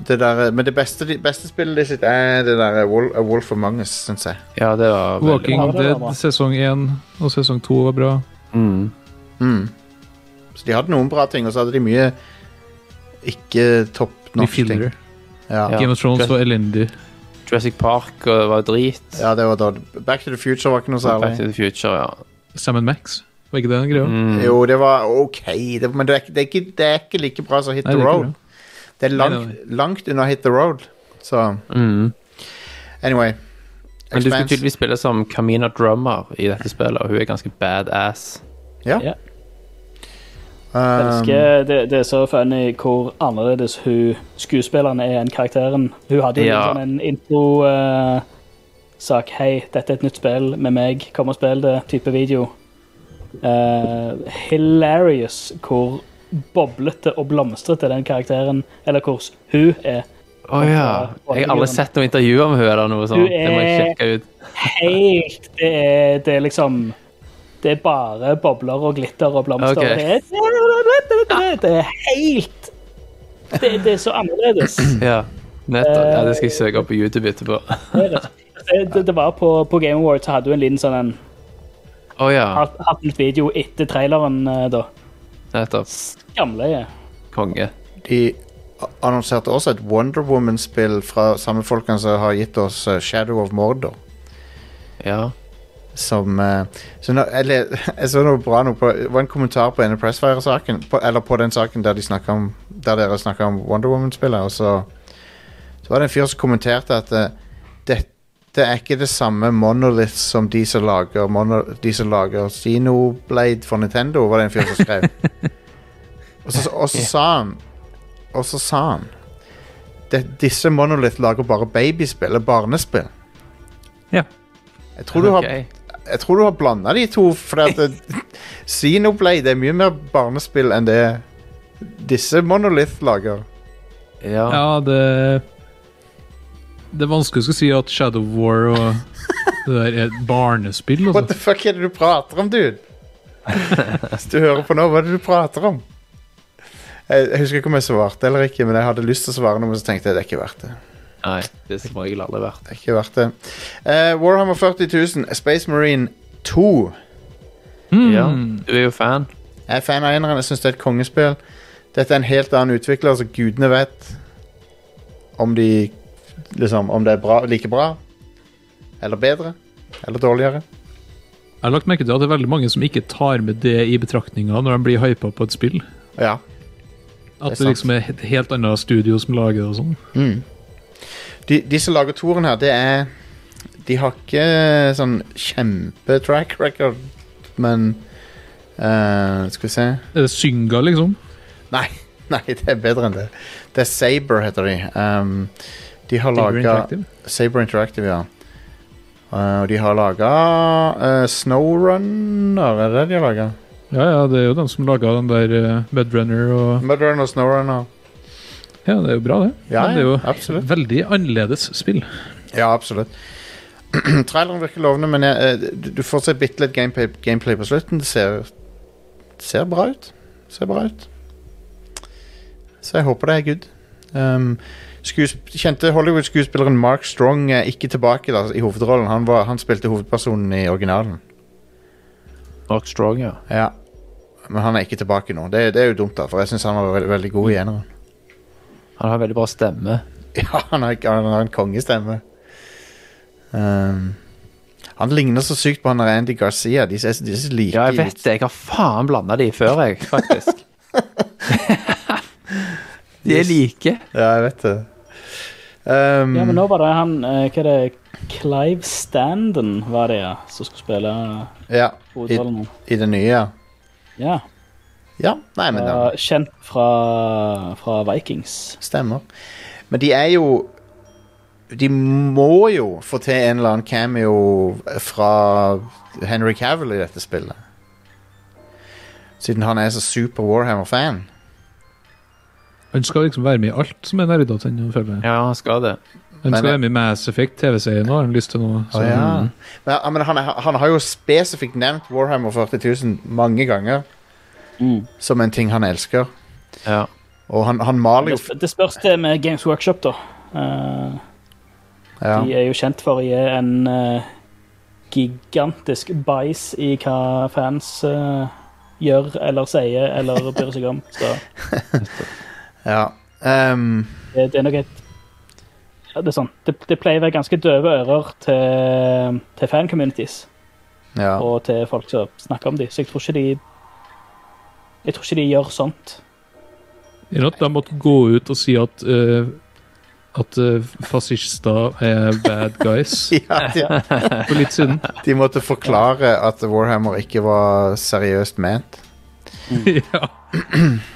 det der, men det beste, de- beste spillet de sitt er det der Wolf, A Wolf Among Us, syns jeg.
ja, det var veldig
Walking
bra. Det var
Dead
bra.
sesong én og sesong to var bra.
Mm.
Mm. Så de hadde noen bra ting, og så hadde de mye ikke topp
De
norsk ting.
fillere.
Ja.
Ja.
Game of Thrones var elendig.
Jurassic Park eh, var drit.
ja, det var da Back to the Future var ikke noe
Back to
særlig.
the Future, ja.
Sam Max, var ikke det en greie?
Mm.
Jo, det var ok, det, men det er, ikke, det, er ikke, det er ikke like bra som Hit
Nei,
the
det er ikke
Road. Det er
Nei,
langt, langt unna Hit the Road. Så
Mm.
anyway.
Men du skal
Expanse.
tydeligvis spille som Camina Drummer i dette spillet, og hun er ganske badass.
Ja.
Ja. Jeg
Um,
elsker det, det er så funny hvor annerledes hun skuespilleren er enn karakteren. Hun hadde jo
Ja.
en sånn intro-sak. Hei, dette er et nytt spill med meg. Kom og spill det. Type video. Eh, hilarious hvor boblete og blomstrete den karakteren Eller hvor hun er.
Å ja. Jeg har aldri sett noe intervju med henne eller noe sånt. Det må jeg sjekke ut.
Helt det er, det er liksom Det er bare bobler og glitter og blomster.
Ok.
Det, er, det er helt det, det er så annerledes.
Ja, nettopp. Ja, det skal jeg søke opp på YouTube etterpå. Å
Det, det, det var på, på Game Awards så hadde du en liten sånn en
ja,
halvt video etter traileren, eh, da.
nettopp.
Gamle.
Konge.
Um, De annonserte også et Wonder Woman-spill fra samme folkene som har gitt oss eh, Shadow of Mordor.
Ja.
Som eh, så nå, jeg, le- jeg så noe bra noe på Det var en kommentar på denne Pressfire-saken, på- eller på den saken der, de snakket om, der dere snakka om Wonder Woman-spillet, og så, så var det en fyr som kommenterte at eh, dette er ikke det samme monolith som de som lager, mono, de som lager Xenoblade for Nintendo, var det en fyr som skrev. og, så, og så sa han Og så sa han "Det- Disse monolith lager bare babyspill, eller barnespill.
Ja.
Jeg tror du har
Ok.
jeg tror du har blanda de to, for at det- Xenoblade er mye mer barnespill enn det disse Monolith lager.
Ja.
Ja, det Det er vanskelig å skulle si at Shadow War og det der er et barnespill.
What the
Altså.
fuck er det du prater om, dude? Hvis du hører på nå, hva er det du prater om? Jeg, jeg husker ikke om jeg svarte eller ikke, men jeg hadde lyst til å svare noe, men så tenkte jeg det er ikke verdt det.
Nei, det er som regel aldri vært.
Det er ikke verdt det. Eh, Warhammer 40 000, Space Marine 2.
Ja. Du er jo fan.
Jeg er fan av eneren, jeg syns det er et kongespill. Dette er en helt annen utvikler, så gudene vet om de liksom, om det er bra, like bra. Eller bedre. Eller dårligere.
Jeg har lagt merke til at det er veldig mange som ikke tar med det i betraktninga når de blir hypa på et spill.
Ja.
At
Det er
det,
sant.
liksom er et helt annet studio som lager det og sånn.
De, de som lager toren her, det er De har ikke sånn kjempe-track record, men eh, Skal vi se
Er det Synga, liksom?
Nei, nei, det er bedre enn det. Det er Saber, heter de. Um, de har
Saber
laga
Interactive?
Saber Interactive, ja. Uh, og de har laga uh, Snowrunner, er det de har laga?
Ja, ja, det er jo den som laga den der eh, Mudrunner og
Mudrunner og Snowrunner.
Ja, det er jo bra, det.
Ja,
Men det er jo
ja, absolutt.
veldig annerledes spill.
Ja, absolutt. Traileren virker lovende, men jeg, eh, du- du får se bitte litt gameplay, gameplay på slutten. Det ser, ser bra ut. Ser bra ut. Så jeg håper det er good. Um, skuesp kjente Hollywood-skuespilleren Mark Strong er ikke tilbake da, i hovedrollen. Han, var, han spilte hovedpersonen i originalen.
Mark Strong, ja.
Ja. Men han er ikke tilbake nå. Det, det er jo dumt, da, for jeg syns han var veldig, veldig god i eneren.
Han har veldig bra stemme.
Ja, han har, han har en kongestemme. Ehm, han ligner så sykt på han der Andy Garcia. De ser, de ser like
Ja, jeg vet
ut.
det. Jeg har faen blanda de før, jeg, faktisk. de er like.
Ja, jeg vet det. Ehm,
Ja, men nå var det han eh, Hva er det? Clive Standen var det, ja, som skulle spille
ja, i,
hovedrollen.
I det nye, ja.
Ja.
Ja, nei, men
ja.
det
Kjent fra, fra Vikings.
stemmer. Men de er jo De må jo få til en eller annen cameo fra Henry Cavill i dette spillet. Siden han er så super Warhammer-fan.
Han skal liksom være med i alt som er nerdete. Han føler jeg.
Ja, han skal det.
Han
Men-
skal være med i Mass Effect, TV-serien, og har han lyst til noe.
Å, ja. Men, ja, men han, er- han har jo spesifikt nevnt Warhammer 40 000 mange ganger
Mm.
som en ting han elsker.
Ja.
Og han, han maler jo
Det, det spørs det med Games Workshop, da. Eh, De
ja.
er jo kjent for å gi en eh, gigantisk bæsj i hva fans eh, gjør eller sier eller bryr seg om. Så
ja. Ehm,
det, det er nok et ja, det, er sånn. det, det pleier å være ganske døve ører til, til fan-communities
ja.
og til folk som snakker om dem, så jeg tror ikke de jeg tror ikke de gjør sånt.
Eller at de måtte gå ut og si at eh, at eh, fascister er bad guys
ja de,
for litt siden.
de måtte forklare at Warhammer ikke var seriøst ment.
ja.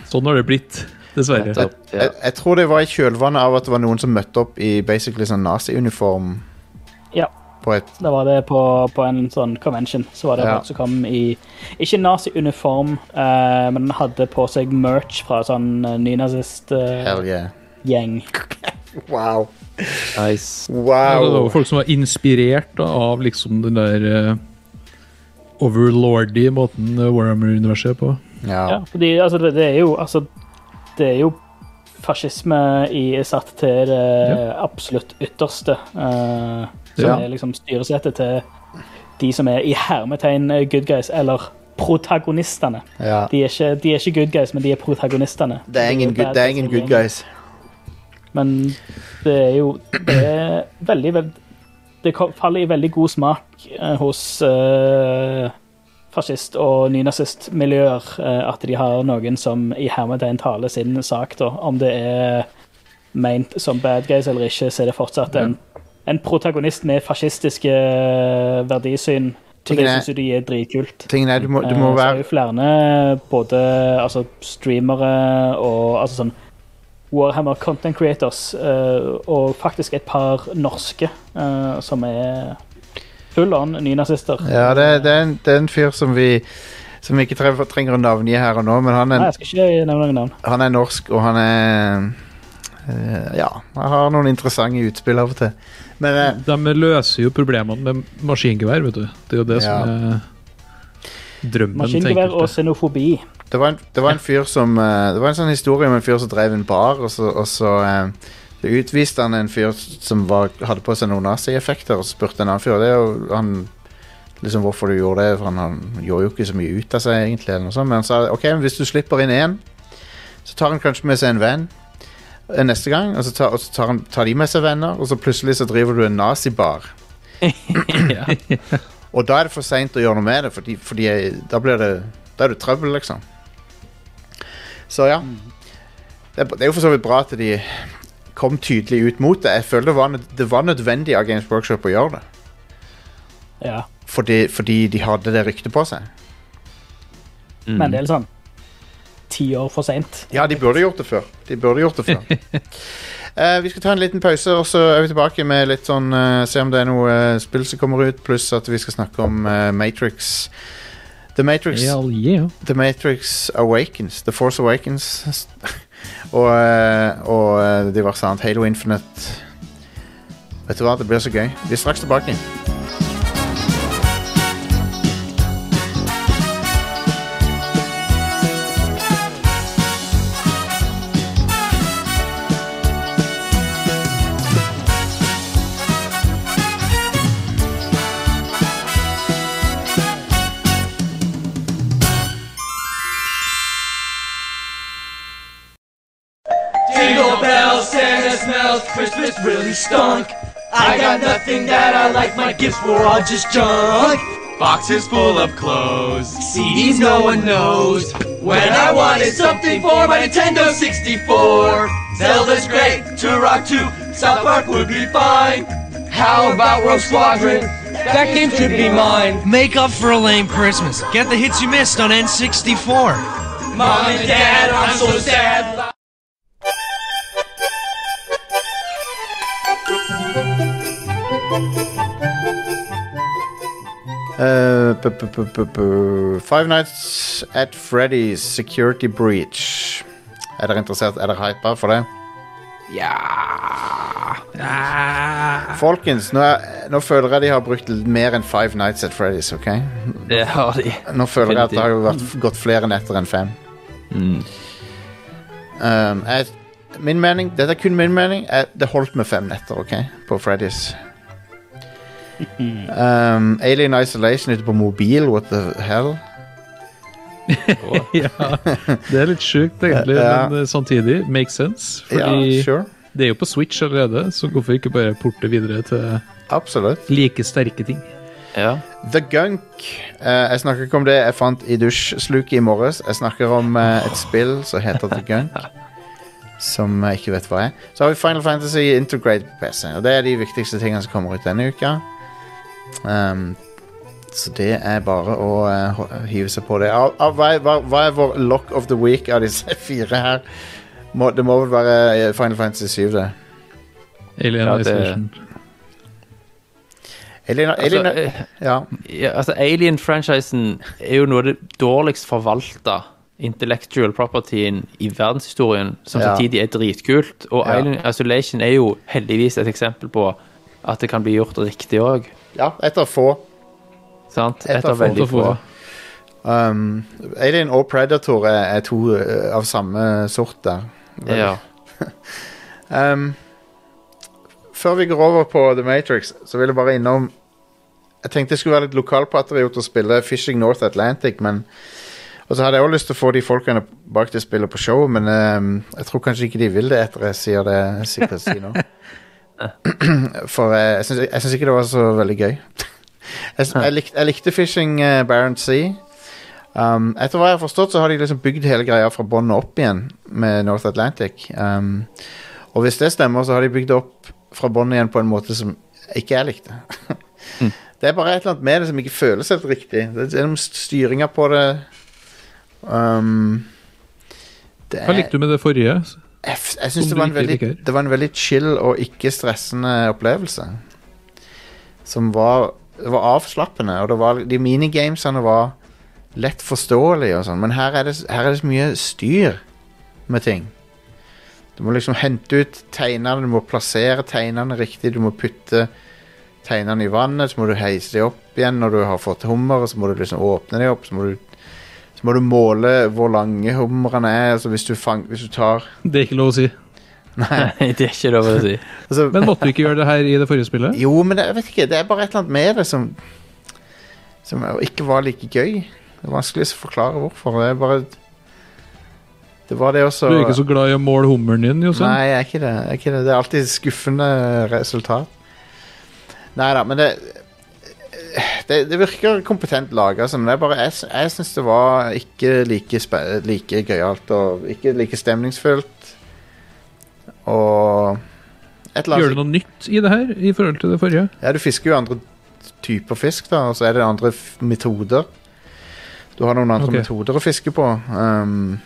Sånn har det blitt, dessverre.
Nettopp. Ja.
Jeg, jeg tror det var i kjølvannet av at det var noen som møtte opp i basically sånn naziuniform
Ja.
på et
Da var det på, på en sånn convention. Så var det
Ja.
folk som kom i Ikke nazi-uniform, eh, men hadde på seg merch fra sånn eh, nynazist eh,
helge.
gjeng.
Wow. Eh,
Nice.
Ja, det var jo
Wow.
folk som var inspirert da, av liksom den der eh, overlordy måten eh, Warhammer-universet er på.
Ja.
Ja, fordi altså, det, det er jo altså, Det er jo fascisme i, satt til det absolutt ytterste. eh, som
Ja.
er liksom styresettet til de som er i hermetegn eh, good guys, eller protagonistene.
ja.
De er ikke, de er ikke good guys, men de er protagonistene.
Det er ingen good, det er ingen good guys.
Men det er jo Det er veldig, veld- Det kom- faller i veldig god smak eh, hos eh, fascist- og nynazistmiljøer eh, at de har noen som i hermetegn taler sin sak, da. Om det er meint som bad guys eller ikke, så er det fortsatt en, en protagonist med fascistiske eh, verdisyn. Og det
Tingene-
syns jo de er dritkult.
Tingen er, du må, du
Eh,
må
Så er det
være
jo flere både altså, streamere og altså, sånn Warhammer content creators, eh, og faktisk et par norske eh, som er full on nynazister.
Ja, det, det, er en, det er en fyr som vi som vi ikke trenger, trenger å navngi her og nå, men han er,
Nei, jeg skal ikke nevne noen navn.
han er norsk, og han er eh, Ja, han har noen interessante utspill av og til. Men eh,
De løser jo problemene med maskingevær, vet du. Det er jo det som er drømmen til
Maskingevær og
enkelte.
xenofobi.
Det var en, det var en fyr som eh, Det var en sånn historie om en fyr som drev en bar, og så, og så eh, så utviste han en fyr som var, hadde på seg noen nazieffekter, og så spurte en annen fyr det, og han liksom hvorfor du gjorde det, for han, han gjorde jo ikke så mye ut av seg, egentlig, eller noe sånt, men han sa OK, men hvis du slipper inn én, så tar han kanskje med seg en venn eh, neste gang, og så tar, og så tar, han, tar de med seg venner, og så plutselig så driver du en nazibar. Og da er det for seint å gjøre noe med det, fordi, fordi da blir det Da er det trøbbel, liksom. Så ja. Det er, det er jo for så vidt bra at de kom tydelig ut mot det. Jeg føler det var, nød- det var nødvendig av Games Workshop å gjøre det.
Ja.
Fordi, fordi de hadde det ryktet på seg. Mm.
Men det er litt sånn ti år for seint.
Ja, de burde gjort det før. De burde gjort det før. Eh, vi skal ta en liten pause, og så er vi tilbake med litt sånn eh, Se om det er noe eh, spill som kommer ut, pluss at vi skal snakke om eh, Matrix. The Matrix
Hell yeah.
The Matrix Awakens. The Force Awakens. og eh, og eh, diverse annet. Halo Infinite. Vet du hva, det blir så gøy. Vi er straks tilbake.
Jingle bells, Santa smells, Christmas really stunk. I got nothing that I like, my gifts were all just junk. Boxes full of clothes, CDs no one knows. When I wanted something for my Nintendo 64, Zelda's great, Turok 2, South Park would be fine. How about Rogue Squadron? That game should be mine.
Make up for a lame Christmas. Get the hits you missed on N64.
Mom and Dad, I'm so sad.
Eh, bu- bu- bu- bu- bu. Five Nights at Freddy's Security Breach. Er dere interessert? Er dere hypa for det? Ja Folkens, nå, er, nå føler jeg de har brukt mer enn Five Nights at Freddy's. ok?
Det har de.
Nå føler jeg at det har jo vært, gått flere netter enn fem. Um, jeg, min mening, dette er kun min mening, jeg, det holdt med fem netter, ok? På Freddy's. Um, Alien Isolation ute på mobil, what the hell?
Det er litt sjukt, egentlig,
Ja.
men eh, samtidig makes sense. Fordi
ja, sure.
det er jo på Switch allerede, så hvorfor ikke bare porte videre til
Absolutt.
like sterke ting?
Ja.
The Gunk. eh, jeg snakker ikke om det jeg fant i dusjsluket i morges. Jeg snakker om eh, et spill som heter The Gunk. Som jeg ikke vet hva er. Så har vi Final Fantasy Integrate på PC. Og det er de viktigste tingene som kommer ut denne uka. Ehm, så det er bare å eh, ho- hive seg på det. Av, av, hva, er- hva, hva er vår lock of the week av disse fire her? Må, det må vel være eh, Final Fantasy 7, det.
Alien
Ja, det-
Isolation.
Elina,
Altså,
Elina,
eh,
ja.
ja, altså Alien-franchisen er jo noe av det dårligst forvalta intellectual propertyen i verdenshistorien, som
Ja.
samtidig er dritkult. Og
Ja.
Island Isolation er jo heldigvis et eksempel på at det kan bli gjort riktig òg.
Ja, et av få.
Sant?
Et
Et av
av
veldig
få.
få.
Um, Alien og Predator er, er to eh, av samme sort der. Vel.
Ja.
Um, før vi går over på The Matrix, så vil jeg bare innom Jeg tenkte jeg skulle være litt lokalpatriot og spille Fishing North Atlantic, men Og så hadde jeg også lyst til å få de folkene bak det spillet på showet, men um, jeg tror kanskje ikke de vil det etter jeg sier det jeg sikkert sier nå. For eh, jeg syns- jeg syns ikke det var så veldig gøy. Jeg, s- jeg, likte, jeg likte Fishing eh, Barents Sea. Um, etter hva jeg har forstått, så har de liksom bygd hele greia fra bånn og opp igjen med North Atlantic. Um, og hvis det stemmer, så har de bygd det opp fra bånn igjen på en måte som ikke jeg likte. Det er bare et eller annet med det som ikke føles helt riktig. Det er noen styringer på det um, det
Hva likte du med det forrige?
jeg, f- jeg syns
Som
det, var
du
en
ikke
veldig-
liker?
det var en veldig chill og ikke stressende opplevelse. Som var, det var avslappende, og det var, de minigamesene var lett forståelige og sånn, men her er, det, s- her er det så mye styr med ting. Du må liksom hente ut teinene, du må plassere teinene riktig, du må putte teinene i vannet, så må du heise dem opp igjen når du har fått hummer, og så må du liksom åpne dem opp, så må du, så må du måle hvor lange humrene er, altså hvis du, fang, hvis du tar
Det er ikke lov å si.
Nei, det er ikke lov å si.
altså,
Men måtte du ikke gjøre det her i det forrige spillet?
Jo, men det, jeg vet ikke, det er bare et eller annet med det som Som ikke var like gøy. Det er vanskelig å forklare hvorfor. Det er bare Det var det også
Du er ikke så glad i å måle hummeren din, Jostein?
Nei, jeg er ikke det. Jeg er ikke det. det er alltid skuffende resultat. Nei da, men det det, det virker kompetent laga, men det er bare, jeg, sy- jeg syns det var ikke like, spe- like gøyalt og ikke like stemningsfullt. Og et eller annet
Gjør du noe nytt i det her i forhold til det forrige?
ja, du fisker jo andre typer fisk, da, og så er det andre f metoder. Du har noen andre
Ok.
metoder å fiske på. Um,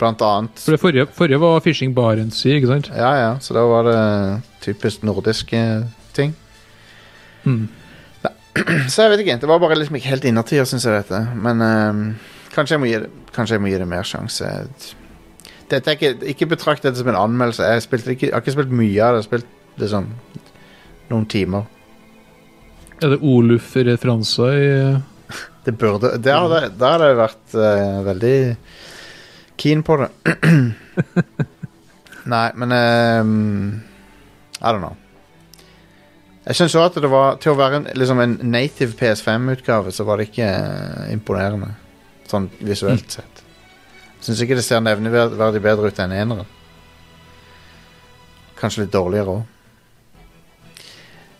blant annet
For det forrige, forrige var Fishing Barents Sea, ikke sant?
Ja, ja, så da var det typisk eh, nordiske ting.
Mm.
Nei, så jeg vet ikke. Det var bare liksom ikke helt innertier, syns jeg, dette. Men ehm, kanskje, jeg må gi det, kanskje jeg må gi det mer sjanse. Dette er ikke, ikke betrakt dette som en anmeldelse. Jeg, spilte ikke, jeg har ikke spilt mye av det. Jeg har spilt liksom noen timer.
Er det Oluf-referanser i
Det burde Da hadde da hadde jeg vært eh, veldig keen på det. Nei, men ehm, I don't know. Jeg syns òg at det var Til å være en, liksom en native PS5-utgave, så var det ikke eh, imponerende. Sånn visuelt sett. Syns ikke det ser nevneverdig bedre ut enn eneren. Kanskje litt dårligere òg.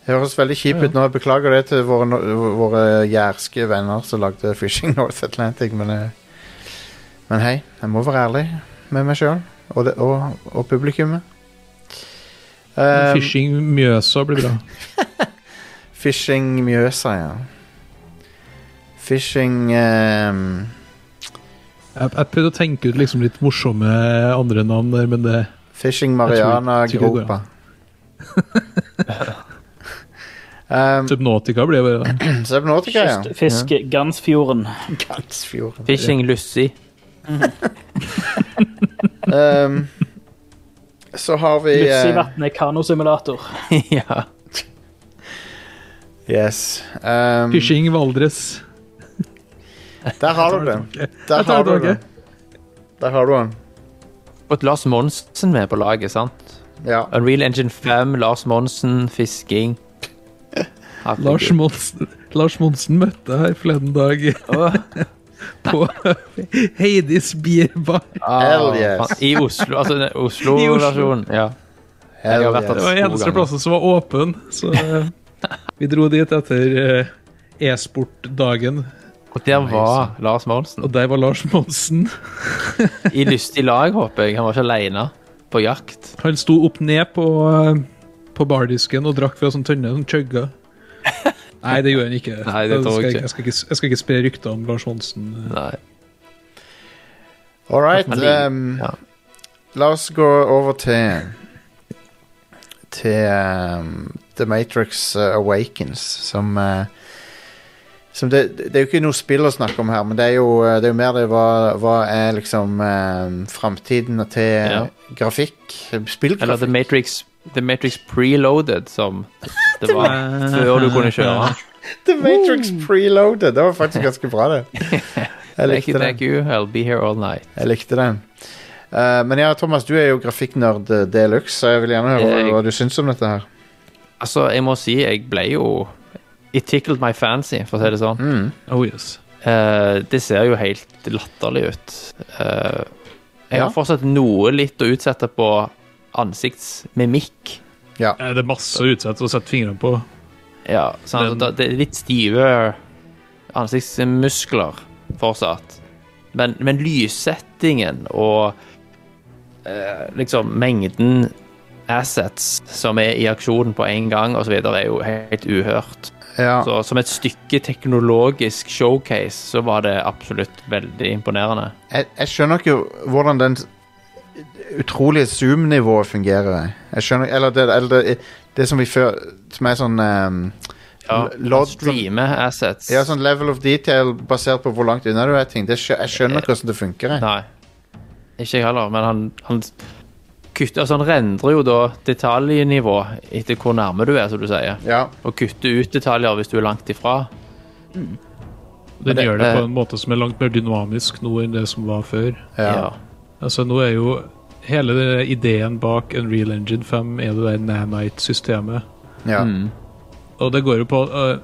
Høres veldig kjip
Ja, ja.
ut nå. Jeg beklager det til våre, no- våre jærske venner som lagde Fishing North Atlantic, men, eh, men hei, jeg må være ærlig med meg sjøl og, det- og, og publikummet. Um,
eh, Fishing Mjøsa blir bra.
Fishing Mjøsa, ja. Fishing ehm,
Jeg, jeg prøvde å tenke ut liksom litt morsomme andre navn der, men det
Fishing Mariana
Jeg tror- tror ikke det
Gropa. um,
Subnotica blir bare det.
Subnautica, ja.
Kyst- Fiske Gansfjorden.
Gansfjord.
Fishing Lucy.
Um, så har vi eh,
Lutsevatnet kanosimulator.
ja.
eh, Yes. Um,
Fishing Valdres.
der har du den. Der
Jeg tar
har
det
du
tilbake.
den. Der har du den.
Fått Lars Monsen med på laget, sant?
Ja.
Unreal Engine 5, Lars Monsen, fisking. Herregud.
Lars Monsen, Lars Monsen møtte jeg her forleden dag
Åh,
på Heidis Bierbar.
Hell yes.
faen. I Oslo, altså den
I Oslo.
Oslo-versjonen. Ja.
Hell
har vært
yes.
Det var eneste plassen som var åpen, så eh, vi dro dit etter eh, e-sportdagen.
Og der var Lars Monsen.
Og der var Lars Monsen.
I lystig lag, håper jeg. Han var ikke aleine på jakt.
Han sto opp ned på, eh, på bardisken og drakk fra sånn tønne, sånn chugga. Nei, det gjorde han ikke.
Nei, det tror jeg
skal
ikke.
Jeg, skal ikke jeg skal ikke spre rykter om Lars Monsen.
Nei.
All right.
Men-
Um,
ja.
La oss gå over til Til um, The Matrix uh, Awakens, som uh, som det, det er jo ikke noe spill å snakke om her, men det er jo, uh, det er jo mer det hva, hva er liksom eh, framtiden til
Ja.
grafikk.
Eller The
Spillgrafikk.
Matrix, The Matrix Preloaded, som det var før du kunne kjøre.
The Matrix Preloaded! Det var faktisk ganske bra, det. Jeg
Thank you,
likte den.
thank you, I'll be here all night.
Jeg likte den. Eh, men ja, Thomas, du er jo grafikknerd de luxe, så jeg vil gjerne høre
Jeg-
hva du syns om dette her.
Altså, jeg må si, jeg ble jo It tickled my fancy, for å si det sånn.
Mm.
Oh yes.
Eh, det ser jo helt latterlig ut. Eh, jeg
Ja.
har fortsatt noe litt å utsette på ansiktsmimikk.
Eh, Det er masse å utsette og sette fingrene på.
Ja, sant?
Men-
Da- Det er litt stive ansiktsmuskler fortsatt. Men, men lyssettingen og eh, liksom mengden assets som er i aksjon på én gang osv., er jo helt uhørt.
Ja.
Så som et stykke teknologisk showcase så var det absolutt veldig imponerende.
jeg, jeg skjønner ikke hvordan den s- utrolige zoom-nivået fungerer. Jeg skjønner Eller det, eller det, det som vi før Som er sånn ehm,
Ja,
l- lodd-
Streame assets.
ja, sånn level of detail basert på hvor langt unna du er ting. Det skjø, jeg skjønner ikke hvordan det funker. Jeg.
Nei. Ikke jeg heller, men han, han kutter Altså, han rendrer jo da detaljnivå etter hvor nærme du er, som du sier.
Ja.
Og kutter ut detaljer hvis du er langt ifra.
Den
det-
gjør det på
eh,
en måte som er langt mer dynamisk nå enn det som var før.
ja.
Altså, nå er jo hele den ideen bak Unreal Engine 5 er det der Nanite-systemet.
ja.
Og det går jo på øh,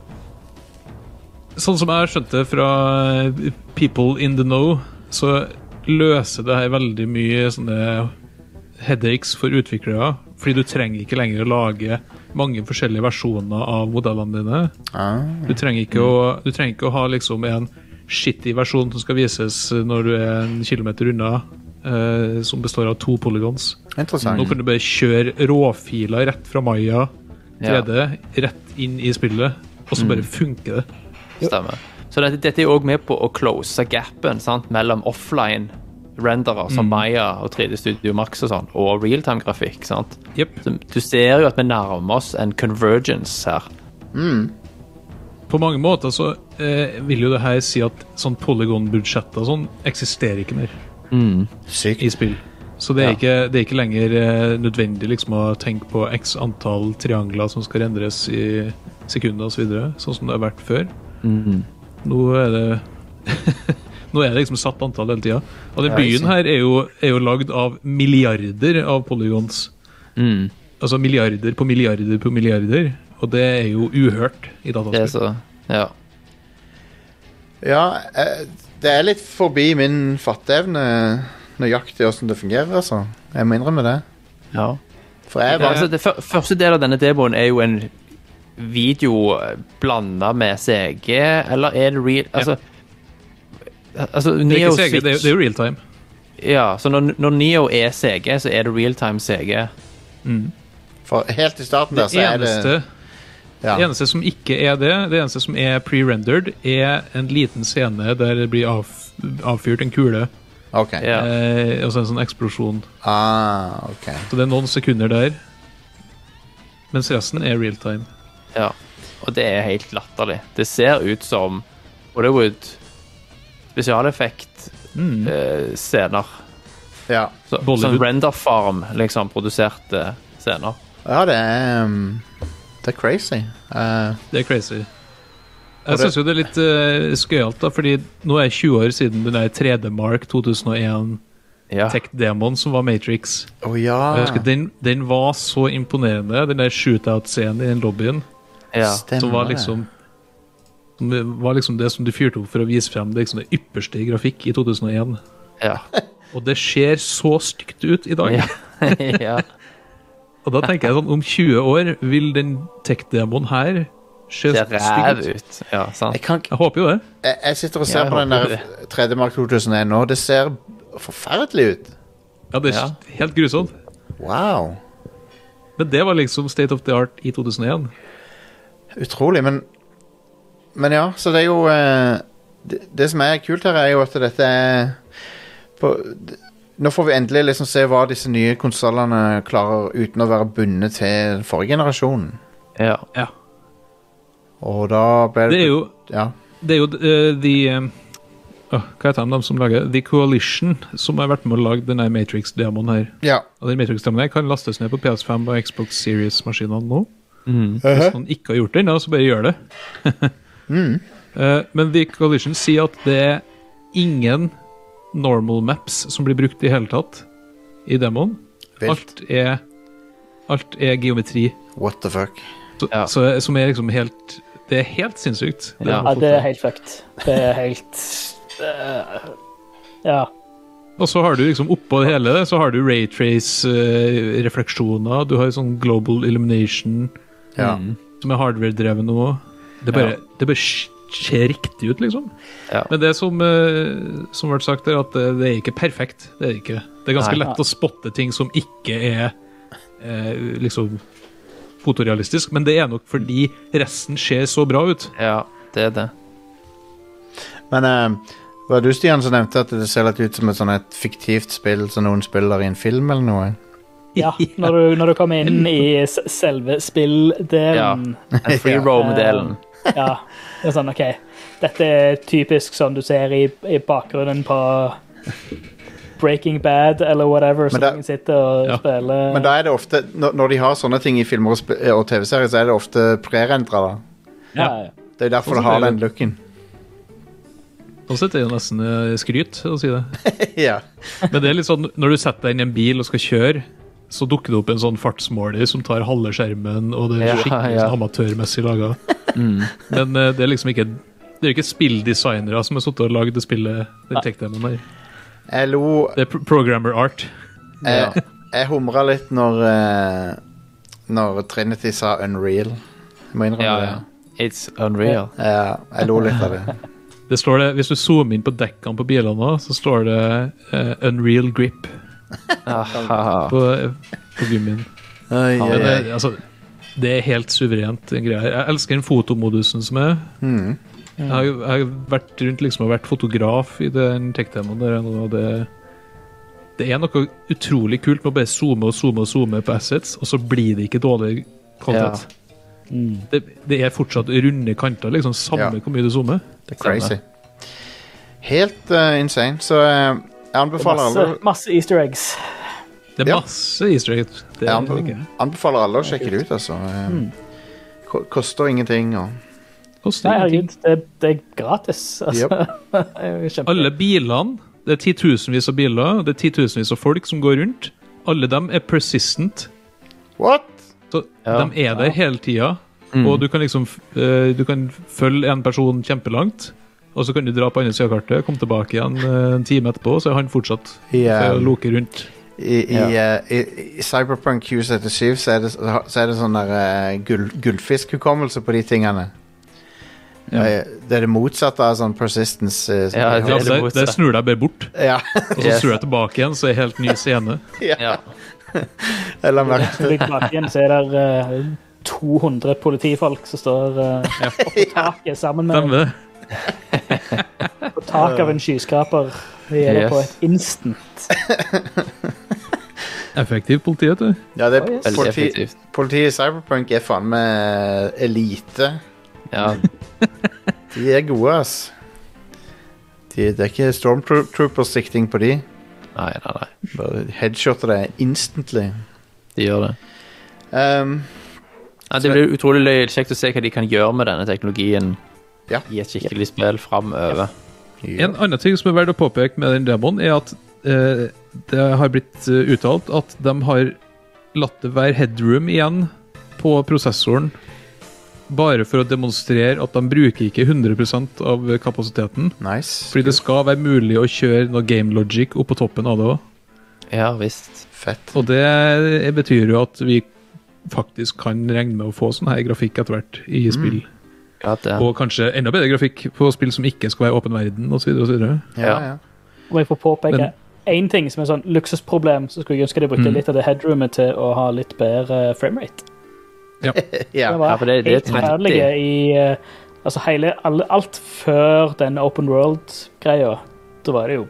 Sånn som jeg skjønte fra øh, People in the Know, så løser det her veldig mye sånne headaches for utviklere. Fordi du trenger ikke lenger å lage mange forskjellige versjoner av modellene dine.
Ah.
Du trenger ikke å, du trenger ikke å ha liksom en shitty versjon som skal vises når du er en kilometer unna, eh, som består av to polygons.
Interessant.
Nå kan du bare kjøre råfiler rett fra Maya 3D,
Ja,
rett inn i spillet, og så bare funker det.
stemmer. Så dette, dette er òg med på å close gapen sant, mellom offline renderer som Maya og 3D Studio Max og sånn, og realtime-grafikk. sant?
Jepp.
Så Du ser jo at vi nærmer oss en convergence her.
På mange måter så eh, vil jo det her si at sånn polygonbudsjett og sånn eksisterer ikke mer
Sykt.
i spill. Så det er,
Ja.
ikke, det er ikke lenger eh, nødvendig liksom å tenke på x antall triangler som skal rendres i sekunder osv., så videre, sånn som det har vært før.
Mm.
Nå er det Nå er det liksom satt antall hele tida. Og den
Ja, ikke
byen
sant.
her er jo, er jo lagd av milliarder av polygons. Altså milliarder på milliarder på milliarder. Og det er jo uhørt i
Det er
dataspill.
så Ja.
Ja, eh, det er litt forbi min fatteevne nøyaktig åssen det fungerer, altså. Jeg må innrømme det.
ja.
For jeg
Ja, altså,
var
det fyr- første del av denne demoen er jo en video blanda med CG, eller er det real Altså, altså
Det er
Neo
ikke CG, det er, det er jo real time.
Ja, så når, når Neo er CG, så er det realtime CG.
for Helt i starten der, så er
eneste,
det
det
ja.
eneste som ikke er det, det eneste som er pre-rendered, er en liten scene der det blir av, avfyrt en kule,
OK.
Ja.
eh, og så en sånn eksplosjon.
Ah, OK.
Så det er noen sekunder der. Mens resten er real time.
ja. Og det er helt latterlig. Det ser ut som Hollywood spesialeffekt-scener.
Ja.
så, sånn
Mm. Bollywood.
Render Farm, liksom, produserte scener.
Ja, det er um, Det er crazy. Eh,
Det er crazy.
Og
Jeg
det-
syns jo det er litt uh, skøyalt, da, fordi nå er det 20 år siden den der 3D-Mark 2001
Ja.
tech-demoen som var Matrix.
Å
Jeg
Ah, ja.
husker, den, den var så imponerende, den der shootout-scenen i den lobbyen.
ja.
Som var
det.
liksom som det var liksom det som du fyrte opp for å vise frem det, liksom det ypperste i grafikk i 2001.
ja.
Og det ser så stygt ut i dag.
Ja. ja.
Og da tenker jeg sånn, om 20 år vil den tech-demoen her se
Det ræv
stygg ut.
ut. Ja, sant.
Jeg, kan, ikke-
Jeg håper jo det.
jeg, jeg sitter og ser
Ja, jeg
på den
håper
der 3D Mark 2001 nå. Det ser forferdelig ut.
Ja, det er
Ja.
helt grusomt.
Wow.
Men det var liksom state of the art i 2001.
Utrolig, men Men ja, så det er jo eh, det, det som er kult her, er jo at dette er på, d- Nå får vi endelig liksom se hva disse nye konsollene klarer uten å være bundet til forrige generasjon.
Ja.
Og da ble
Det er jo
Ja.
Det er jo eh, de eh, åh, Hva heter de, de som lager The Coalition, som har vært med å lage denne Matrix-demoen her.
Ja.
Og den Matrix-demoen her kan lastes ned på PS5 og Xbox Series-maskinene nå.
Mm.
Hvis noen ikke har gjort det ennå, så bare gjør det. Eh, Men The Coalition sier at det er ingen normal maps som blir brukt i hele tatt i demoen.
Vilt.
Alt er, alt er geometri,
What the fuck.
så,
Ja.
så, som er liksom helt Det er helt sinnssykt. Det
Ja.
de
Ja,
har fått
det er
til.
helt fucked. Det er helt eh, Ja.
Og så har du liksom oppå det hele så har du Raytrace-refleksjoner. Du har sånn Global Illumination,
Ja.
Mm. som er hardware-dreven òg. Det bare, det bare sk- ser riktig ut, liksom.
Ja.
Men det som, eh, som ble sagt, er at eh, det er ikke perfekt. Det er det ikke. Det er ganske
Nei.
lett å spotte ting som ikke er eh, liksom fotorealistisk, men det er nok fordi resten ser så bra ut.
Ja, det er det.
Men eh, var det du, Stian, som nevnte at det ser litt ut som et sånn et fiktivt spill som noen spiller i en film eller noe?
ja. Når, du, når du kommer inn i s- selve spilldelen Eh,
En free roam-delen.
Ja. Det er sånn, OK. Dette er typisk sånn du ser i, i bakgrunnen på Breaking Bad eller whatever, som
det-
ingen sitter og
Ja.
spiller.
Men da er det ofte, når, når de har sånne ting i filmer og, sp- eh, og TV-serier, så er det ofte prerendra, da.
ja. Ja.
Det er jo derfor
Sånn
det har
er det.
den looken.
Sånn sett er det jo nesten eh, skryt å si det.
ja.
Men det er litt sånn, når du setter deg inn i en bil og skal kjøre, så dukker det opp en sånn fartsmåler som tar halve skjermen, og det
Ja,
er skikkelig
ja. Mm.
sånn amatørmessig laga. Men eh, det er liksom ikke det er jo ikke spilldesignere som har sittet og lagd det spillet. Den tech-demoen her.
Jeg lo
Det er pro programmer art.
Jeg, jeg humra litt når eh, Når Trinity sa Unreal. Jeg må innrømme
Ja,
det.
ja. It's unreal.
Ja, jeg lo litt av det.
Det står det, Hvis du zoomer inn på dekkene på bilene, nå, så står det eh, 'Unreal Grip'
Aha.
på, eh, på gummien. Men det, altså, det er helt suverent, den greia her. Jeg elsker den fotomodusen som er.
Mm,
Jeg har, jo- jeg har vært rundt liksom og vært fotograf i den tech-demoen der nå, og det det er noe utrolig kult med å bare zoome og zoome og zoome på assets, og så blir det ikke dårlig kvalitet. Det, det er fortsatt runde kanter, liksom, samme
Ja.
hvor mye du zoomer.
Det er crazy. Helt eh, insane. Så eh, jeg anbefaler
Masse,
alle
masse easter eggs.
Det er
Ja.
masse easter eggs. Det
jeg
er
anbe-
ikke.
anbefaler alle å sjekke det ut, altså. Eh, ko- Koster ingenting og
Koster
Nei,
ingenting.
herregud, det, det er gratis. Altså. Det er jo kjempe-
Alle bilene, det er titusenvis av biler, det er titusenvis av folk som går rundt. Alle dem er persistent.
What?!
Så de er der hele tida. Og du kan liksom eh, Du kan følge en person kjempelangt, og så kan du dra på andre sida av kartet, komme tilbake igjen eh, en time etterpå, så er han fortsatt
I, eh,
og loker rundt.
i, i, eh, i, i Cyberpunk Q77 så er det, så er det sånn der eh, gull, gullfiskhukommelse på de tingene. Eh, Det er det motsatte av sånn persistence. eh, som
Ja,
de har.
Ja,
det
så
motsatt.
der snur jeg bare bort,
Ja,
og så snur jeg tilbake igjen, så er det helt ny scene.
Ja.
jeg la merke
Når du ligger bak igjen, så er det eh, 200 politifolk som står eh, på taket sammen med
Stemmer det?
på taket
Eh.
av en skyskraper. Vi er der på
Yes.
et instant.
Effektivt politi, vet du.
Ja, det,
Veldig
politi,
effektivt.
politiet i Cyberpunk er faen meg elite.
Ja.
De er gode, ass. De, det er ikke stormtroopers-sikting på de.
Nei, nei, nei.
Bare headshotter det instantly.
De gjør det.
Um,
Ja, det blir utrolig løy- kjekt å se hva de kan gjøre med denne teknologien
Ja.
i et skikkelig spill framover.
ja.
En annen ting som er verdt å påpeke med den demoen, er at eh, det har blitt eh, uttalt at de har latt det være headroom igjen på prosessoren, bare for å demonstrere at de bruker ikke 100 av kapasiteten.
Nice.
Fordi det skal være mulig å kjøre noe game logic opp på toppen av det òg.
Ja visst.
Fett.
Og det eh, betyr jo at vi faktisk kan regne med å få sånn her grafikk etter hvert i spill.
Ja, det.
Og kanskje enda bedre grafikk på spill som ikke skal være åpen verden osv.
Ja, ja.
Om jeg får påpeke
Men-
én ting som er sånn luksusproblem, så skulle jeg ønske de
Mm.
brukte litt av det headroomet til å ha litt bedre framerate.
ja.
Det var
Ja, for det- det er
helt
30.
forferdelig i eh, Altså hele alle, Alt før den open world-greia, da var det jo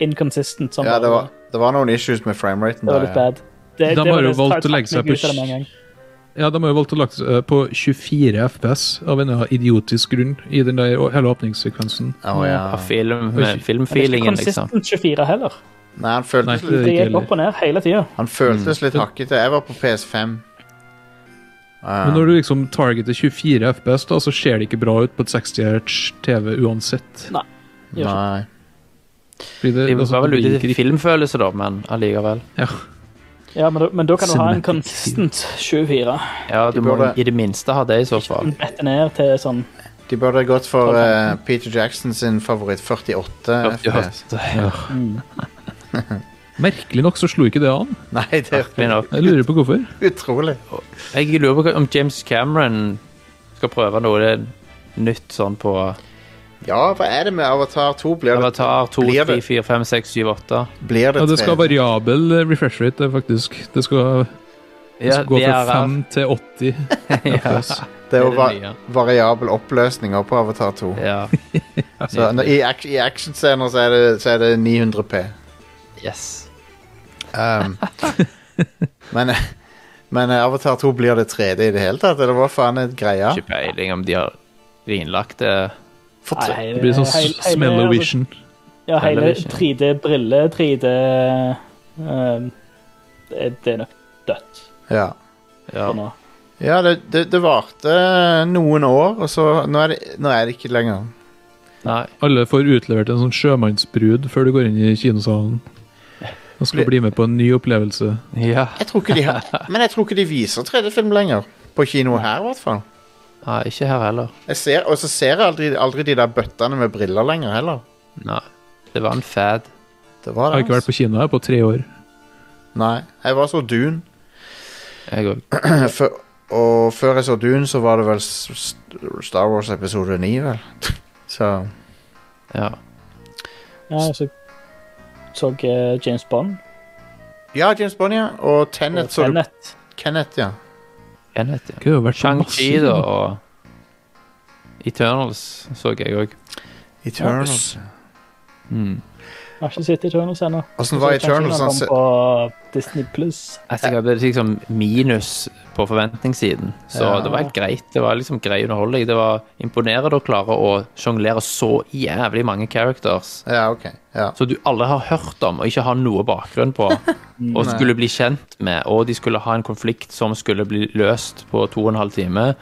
inconsistent. Som
ja det, var,
bare-
det var noen issues med frameraten.
det var
der,
litt
ja.
bad. Det,
De
det var
har jo
det som
valgt å
trakk
legge seg
meg
på
ut av det med en gang.
Ja, de har jo valgt å lagt seg på 24 FPS av en eller annen idiotisk grunn i den der å- hele åpningssekvensen.
Å, ja.
Av film,
Oi,
med filmfeelingen, liksom.
Consistent 24 heller.
Nei, han føltes,
Nei, det er
Det
ikke
gikk opp
heller.
og ned hele tida.
han føltes litt hakkete. Jeg var på PS5.
Men når du liksom targeter 24 FPS, da, så ser det ikke bra ut på et 60 Hz TV uansett.
Nei.
Fordi det,
De
altså,
var vel
det blir
ute til
ikke
filmfølelse, da, men allikevel.
Ja.
Ja, men, da- men da kan du ha en
Cinematic
consistent 24.
Ja, du må
burde-
i det minste ha det, i så fall.
Rett ned til sånn
De burde ha gått for eh, Peter Jackson sin favoritt 48 FPS.
Ja,
Merkelig nok så slo ikke det an.
Nei, det er
men nok.
Jeg lurer på hvorfor.
utrolig.
Jeg lurer på om James Cameron skal prøve noe nytt sånn på
Ja, hva er det med Avatar 2? Blir det,
Avatar 2,
Blir
3,
det-
4, 5, 6, 7, 8.
blir det,
Ja, det skal
tre-
variabel eh, refresh rate, det, faktisk. Det skal, det
Ja,
skal gå fra
VRR.
5 til 80 FPS.
det er jo
det
va
nye.
variabel oppløsning også på Avatar 2.
Ja.
Så, når- I, ac i actionscener så, er det- så er det 900P.
Yes.
Um, men, men Avatar 2 blir det 3D i det hele tatt, eller hva faen er greia?
Ikke peiling om de har vinlagt det.
For
Nei,
tre-
Det blir sånn
hele- hele-
Smellovision.
Ja, hele
Television.
3D-brille, 3D ehm, det, det er nok dødt
ja.
Ja.
for nå.
Ja, det, det, det varte noen år, og så nå er det, nå er det ikke lenger.
Nei.
Alle får utlevert en sånn sjømannsbrud før du går inn i kinosalen. Og skal bli med på en ny opplevelse.
Ja.
Jeg tror ikke de har, men jeg tror ikke de viser 3D-film lenger. På kino her, i hvert fall.
Nei, ikke her heller.
Jeg ser, og så ser jeg aldri, aldri de der bøttene med briller lenger heller.
Nei. Det var en fad.
Det var det. altså.
Jeg har ikke vært på kino her på tre år.
Nei, jeg var så Dune.
Jeg òg.
Før- og før jeg så Dune, så var det vel s- s- Star Wars episode 9, vel. Så
Ja.
Ja, så så eh, James Bond
Ja, James Bond, ja. Og
og
Tenet, så du
Tenet.
Kenneth, ja.
Enhet, ja.
Jeg har jo vært på masse
Shang-Chi, da,
kino.
og Eternals så jeg òg.
Eternals.
Mm.
Jeg har ikke sett Eternals ennå.
Åssen var Eternals? Han
Han
se-
kom på Disney Plus.
Altså, jeg hadde liksom minus på forventningssiden, så
Ja.
det var helt greit. Det var liksom grei underholdning. Det var imponerende å klare å sjonglere så jævlig mange characters
ja, OK. Ja.
som du alle har hørt om og ikke har noe bakgrunn på, og skulle bli kjent med, og de skulle ha en konflikt som skulle bli løst på to og en halv time.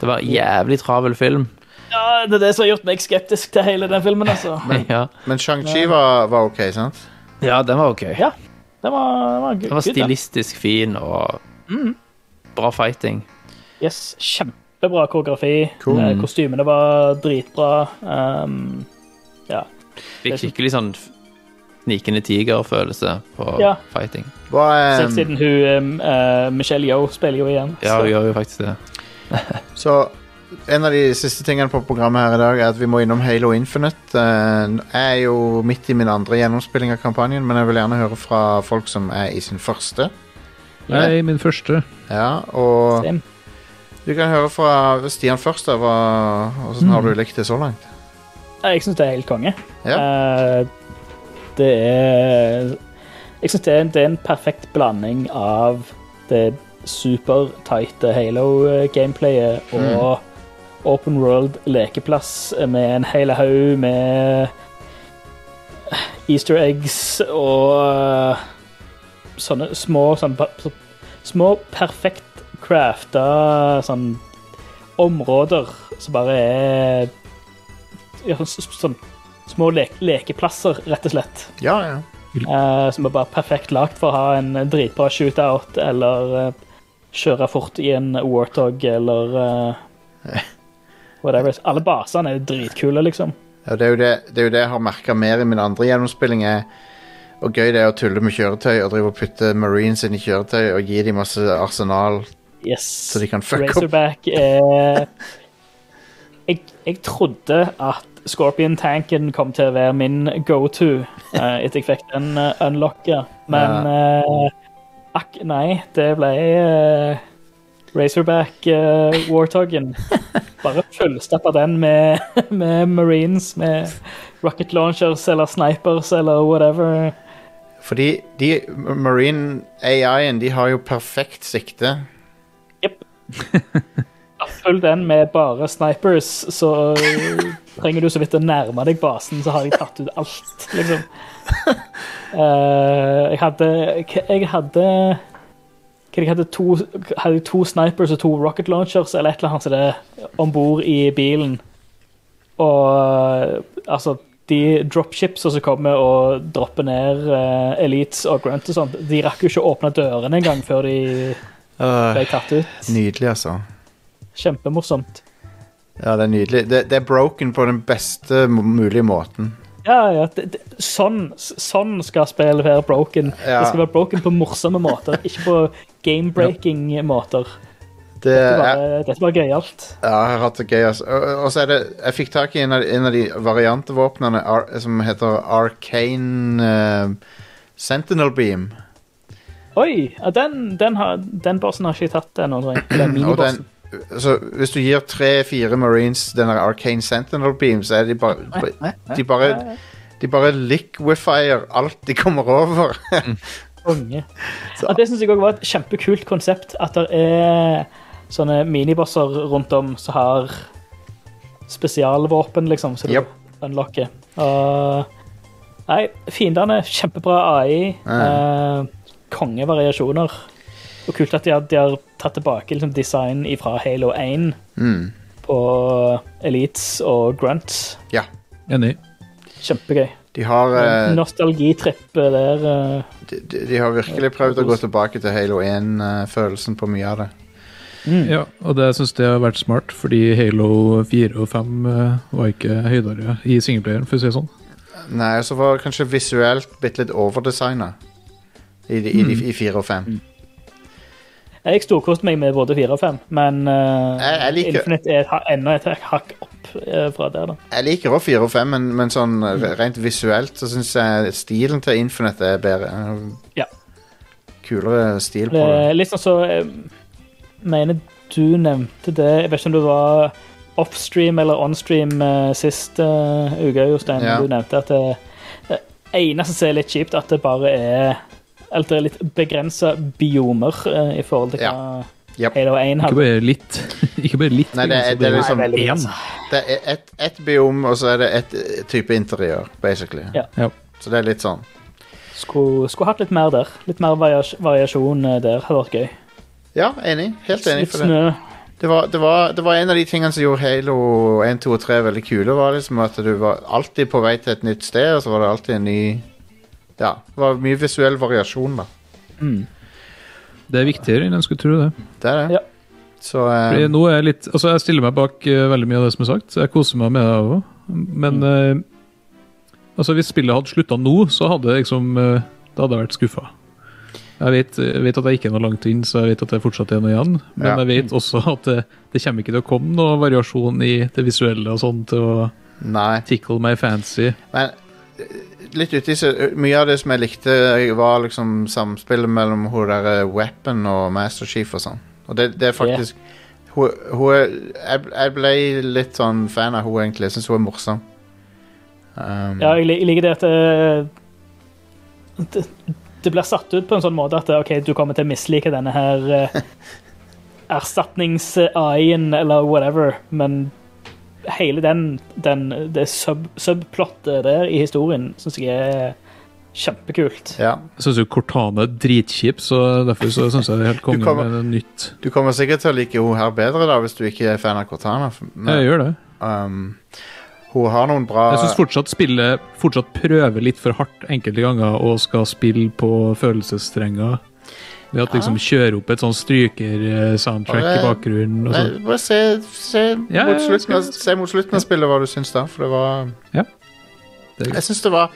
Det var en jævlig travel film.
Ja, det er det som har gjort meg skeptisk til hele den filmen, altså.
Ja,
Men Shang-Chi var, var OK, sant?
Mm. ja den var ok.
Ja, den var, den var,
Den var
good, den.
stilistisk fin og Mm. bra fighting.
Yes, kjempebra koreografi.
Cool.
Eh, Kostymene var dritbra. Um,
Fikk skikkelig sånn f- snikende tiger-følelse på
Ja.
fighting.
Hva er
Sett siden hun um, eh, Michelle Yeoh spiller jo igjen.
Ja,
så-
hun gjør jo faktisk det.
Så en av de siste tingene på programmet her i dag er at vi må innom Halo Infinite. Eh, Jeg er jo midt i min andre gjennomspilling av kampanjen, men jeg vil gjerne høre fra folk som er i sin første.
Nei, min første.
Ja, og
Same.
du kan høre fra Stian først. da, hva- Hvordan har du likt det så langt?
Nei, Jeg syns det er helt konge.
Ja.
Eh, det er Jeg syns det, er en- det er en perfekt blanding av det supertighte Halo-gameplayet og open world-lekeplass med en hel haug med easter eggs og eh, sånne små sånn, pa- så- Små perfekt crafta sånn områder som bare er ja, så- sånn små le lekeplasser, rett og slett.
Ja, ja.
Eh, som er bare perfekt lagt for å ha en dritbra shootout eller eh, kjøre fort i en Warthog eller eh, whatever. Alle basene er jo dritkule, liksom.
Ja, det, er jo det, det er jo det jeg har merka mer i min andre gjennomspilling. er Hvor gøy det er å tulle med kjøretøy og drive og putte marines inn i kjøretøy og gi dem masse arsenal
Yes.
så de kan fucke opp.
Razorback er jeg, jeg trodde at Scorpion-tanken kom til å være min go-to eh, etter jeg fikk den uh, unlocka, men eh, akk nei, det ble eh, Razorback uh, Warthogen. Bare fullstappa den med, med marines, med rocket launchers eller snipers eller whatever.
Fordi de Marine AI-en, de har jo perfekt sikte.
Jep. Følg den med bare snipers, så eh, trenger du så vidt å nærme deg basen, så har jeg tatt ut alt, liksom. Eh, jeg hadde Jeg hadde hva, jeg hadde to, hadde jeg to snipers og to rocket launchers eller et eller annet som det om bord i bilen. Og altså De dropshipsa som kommer og dropper ned eh, elites og grunt og sånt, de rakk jo ikke å åpne dørene engang før de
Øh,
ble tatt ut.
nydelig, altså.
Kjempemorsomt.
Ja, det er nydelig. Det, det er broken på den beste m- mulige måten.
Ja, ja, det, det, sånn, sånn skal spillet være broken.
Ja.
Det skal være broken på morsomme måter, ikke på game-breaking-måter.
Det
Det
er,
bare- Dette var gøyalt.
ja, jeg har hatt det gøy, altså. Og, og så er det Jeg fikk tak i en av, en av de variantvåpnene ar, som heter Arcane eh, Sentinel Beam.
Oi! Ja, den, den, har, den bossen har ikke jeg tatt ennå, tror jeg. Den
Og den,
minibossen.
så hvis du gir tre-fire Marines den der Arcane Sentinel Beam, så er de bare De bare, de bare liquifier alt de kommer over.
Konge. Ja, det syns jeg òg var et kjempekult konsept. At det er sånne minibosser rundt om som har spesialvåpen, liksom, som du
Yep.
unlocker. Og Nei, fiendene kjempebra AI. eh, kongevariasjoner. Og kult at de har, de har tatt tilbake liksom, design fra Halo 1 på Elites og Grunts.
ja.
Enig.
Kjempegøy.
De har, eh,
Nostalgitripp der. eh.
de, de de har virkelig prøvd å gå tilbake til Halo 1-følelsen på mye av det.
Ja, og det syns jeg har vært smart, fordi Halo 4 og 5 eh, var ikke høydere i singleplayeren, for å si det sånn.
Nei, og så var det kanskje visuelt bitte litt overdesigna i, de- i, de- i 4 og 5.
Jeg storkoste meg med både fire og fem, men eh,
Jeg- jeg liker-
Infinite er et ha- enda et hakk opp eh, fra der, da.
Jeg liker òg 4 og 5, men, men sånn eh, rent visuelt så syns jeg stilen til Infinite er bedre. Eh,
Ja.
Kulere stil på
Det
det.
er litt sånn så Jeg mener du nevnte det Jeg vet ikke om det var offstream eller onstream eh, sist eh, uke, Jostein.
Ja.
Du nevnte at det, det eneste som er litt kjipt, at det bare er Eller det er litt begrensa biomer eh, i forhold til hva
Yep.
Halo 1
Ikke
hadde.
bare litt. ikke bare litt.
Nei, det er-
altså,
det er
bare
liksom-
Nei, veldig
én.
begrenset.
Det er ett et biom, og så er det ett eh, type interiør, basically.
Ja.
Ja.
Så det er litt sånn.
Skulle, skulle hatt litt mer der. Litt mer varias variasjon eh, der hadde vært gøy.
Ja, enig. Helt enig.
Litt
For det.
snø.
Det, var, det, var, det var en av de tingene som gjorde Halo 1, 2 og 3 veldig kule, var liksom at du var alltid på vei til et nytt sted, og så var det alltid en ny Ja. Det var mye visuell variasjon, da.
Det er viktigere enn jeg skulle tro, det.
Det er det.
Ja.
Så
Fordi
eh,
nå er jeg litt Altså, jeg stiller meg bak eh, veldig mye av det som er sagt, så jeg koser meg med det òg. Men eh, altså, hvis spillet hadde slutta nå, så hadde jeg liksom eh, Da hadde jeg vært skuffa. Jeg vet, jeg vet at jeg ikke er noe langt inn, så jeg vet at jeg fortsatt er noe igjen. Men
Ja.
jeg vet også at det, det kommer ikke til å komme noe variasjon i det visuelle og sånn til å
Nei.
tickle my fancy.
Men eh, litt uti så eh, Mye av det som jeg likte, var liksom samspillet mellom hun der eh, Weapon og Master Chief og sånn. Og det, det er faktisk Hun, hun er, jeg, jeg ble litt sånn fan av hun egentlig. Jeg syns hun er morsom. Um,
Ja, jeg, lik- jeg liker det at eh, det, det blir satt ut på en sånn måte at eh, OK, du kommer til å mislike denne her eh, erstatnings-AI-en eller whatever, men hele den, den det sub, subplottet der i historien syns jeg er kjempekult.
ja.
Jeg syns jo Cortana er dritkjip, så derfor så syns jeg det er helt konge
kommer-
med noe nytt.
Du kommer sikkert til å like hun her bedre da hvis du ikke er fan av Cortana. f- men,
Jeg gjør det.
um, hun har noen bra
Jeg syns fortsatt spillet fortsatt prøver litt for hardt enkelte ganger og skal spille på følelsesstrenger. Ved at liksom kjøre opp et sånn stryker-soundtrack i bakgrunnen. Og
Nei,
sånn.
bare se, se,
Ja,
mot
ja,
slutten,
skal-
av- se mot slutten av spillet hva du syns, da. For det var
Ja. Det er greit.
Jeg syns det var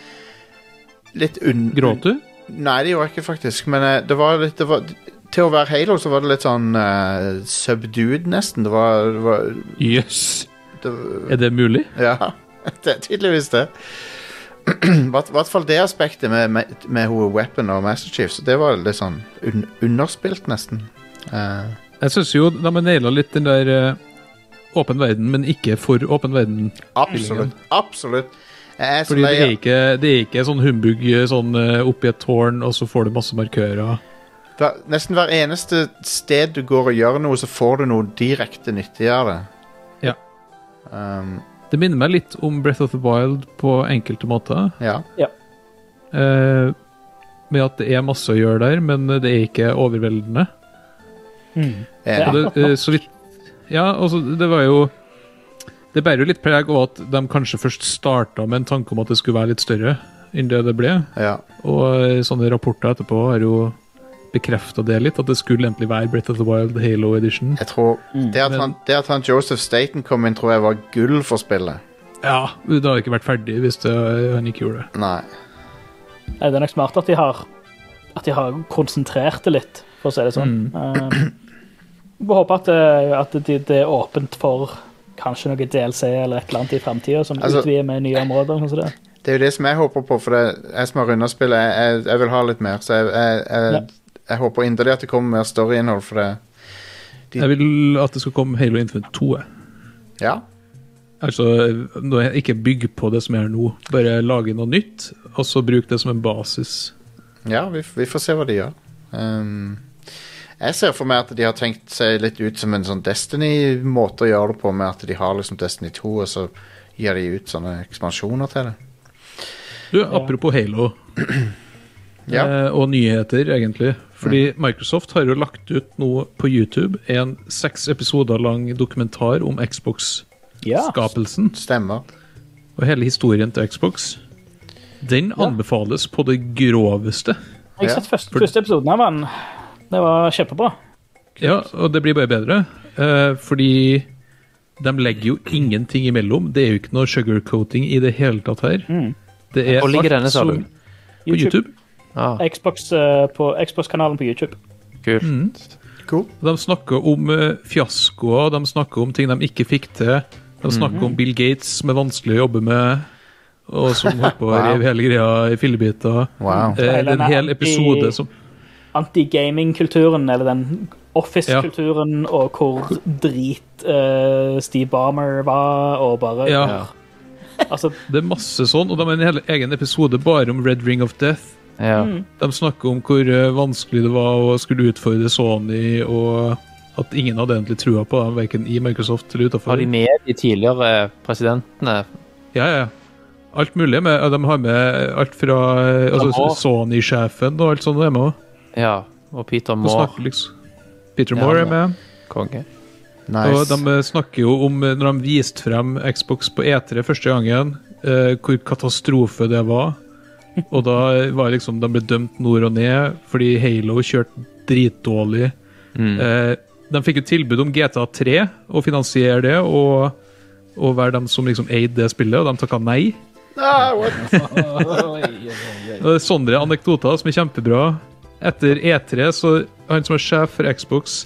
litt un...
Gråt du?
Nei, det gjorde jeg ikke, faktisk. Men eh, det var litt det var, Til å være Halo så var det litt sånn eh, subdued, nesten. Det var, det var,
Jøss!
det var
Er det mulig?
Ja. Det er tydeligvis det. I hvert hvert fall det aspektet med, med, med hun Weapon og Master Chief. Så det var litt sånn un, underspilt, nesten. Eh,
Jeg syns jo de har naila litt den der eh, åpen verden, men ikke for åpen verden.
absolutt. Absolutt. Jeg er så
Fordi det er
lei
ikke, det er ikke sånn humbug eh, sånn eh, oppi et tårn, og så får du masse markører.
Hver, nesten hver eneste sted du går og gjør noe, så får du noe direkte nyttig av det.
Ja.
Um,
Det minner meg litt om Breath of the Wild på enkelte måter.
ja.
Eh, med at det er masse å gjøre der, men det er ikke overveldende.
Enig.
Og det, eh, så vidt Ja, altså, det var jo Det bærer jo litt preg av at de kanskje først starta med en tanke om at det skulle være litt større enn det det ble.
Ja.
Og eh, sånne rapporter etterpå har jo bekrefta det litt, at det skulle egentlig være Breath of the Wild Halo Edition.
Jeg tror det, at han, det at han Joseph Staten kom inn, tror jeg var gull for spillet.
Ja, det hadde ikke vært ferdig hvis det, eh, han ikke gjorde det.
Nei.
Nei, det er nok smart at de har At de har konsentrert det litt, for å si det sånn. Eh, Vi håper at, eh, at det, det er åpent for kanskje noe DLC eller et eller annet i framtida som
Altså-
utvider med nye områder. og Sånn som det.
Det er jo det som jeg håper på, for det, jeg som har runda spillet, jeg, jeg, jeg vil ha litt mer. Så jeg, jeg, jeg, jeg håper inderlig at det kommer mer storyinnhold, for det De-
Jeg vil at det skal komme Halo Infinite 2. jeg.
Ja.
Altså, nå er- ikke bygg på det som er nå, bare lage noe nytt, og så bruk det som en basis.
Ja, vi, f- vi får se hva de gjør. Ehm, jeg ser for meg at de har tenkt seg litt ut som en sånn Destiny-måte å gjøre det på, med at de har liksom Destiny 2, og så gir de ut sånne ekspansjoner til det.
Du, apropos Halo,
Ja.
eh, og nyheter, egentlig. Fordi Microsoft har jo lagt ut nå på YouTube en seks episoder lang dokumentar om Xbox-skapelsen.
Stemmer.
Og hele historien til Xbox. Den anbefales på det groveste.
Jeg
Ja.
har sett første, første episoden av den. Det var kjempebra.
Ja, og det blir bare bedre. eh, fordi de legger jo ingenting imellom. Det er jo ikke noe sugarcoating i det hele tatt her. Det er
Hvor
alt
ligger denne, sa
som-
du?
På YouTube.
Ah,
Xbox, eh, på Xbox-kanalen på YouTube.
kult.
Cool.
Mm. De snakker om eh, fiaskoer, de snakker om ting de ikke fikk til. De snakker om Bill Gates, som er vanskelig å jobbe med, og som holdt på å rive hele greia i fillebiter.
Wow.
Eh, det er en hel episode som
Anti-gaming-kulturen, eller den office-kulturen, og hvor drit eh, Steve Barmer var, og bare
Ja,
Altså,
det er masse sånn. Og de har en hel egen episode bare om Red Ring of Death.
Ja.
De snakker om hvor eh, vanskelig det var å skulle utfordre Sony, og at ingen hadde egentlig trua på dem, verken i Microsoft eller
Var
utenfor.
de med de tidligere eh, presidentene?
Ja, ja. Alt mulig. Med, de har med alt fra eh, altså,
Moore.
Sony-sjefen og alt sånt. er med også.
Ja. Og Peter
De
Moore,
snakker liksom Peter
Ja,
Moore er
ja.
med.
konge.
Nice.
Og de eh, snakker jo om eh, når de viste frem Xbox på E3 første gangen, eh, hvor katastrofe det var. Og da var liksom de ble dømt nord og ned fordi Halo kjørte dritdårlig. Eh, de fikk jo tilbud om GTA3 og finansiere det, og, og være dem som liksom eide det spillet, og de takka nei.
Ah, what?
Og det er sånne anekdoter som er kjempebra. Etter E3 så han som er sjef for Xbox,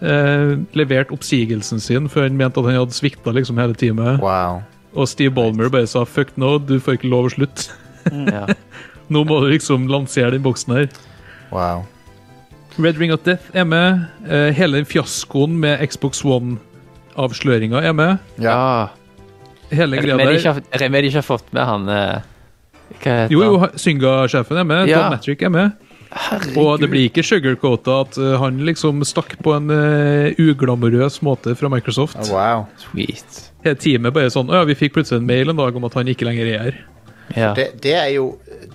eh, leverte oppsigelsen sin, for han mente at han hadde svikta liksom hele teamet.
Wow.
Og Steve Ballmer bare sa 'fuck no, du får ikke lov å slutte'.
Ja.
Nå må du liksom lansere den boksen her.
Wow.
Red Ring of Death er med. Eh, hele den fiaskoen med Xbox One-avsløringa er med.
Ja.
Hele
Jeg
greia
regner med de ikke
der.
har- jeg regner med de ikke har fått med han eh, Hva heter
Jo, jo,
han?
ha- Synga-sjefen er med.
Ja.
Don Matrick er med. Og det blir ikke sugarcoata at eh, han liksom stakk på en eh, uglamorøs måte fra Microsoft.
Oh, wow.
Sweet.
Hele teamet bare sånn «Å Ja, vi fikk plutselig en mail en dag om at han ikke lenger er her.
Ja.
Det, det, er jo,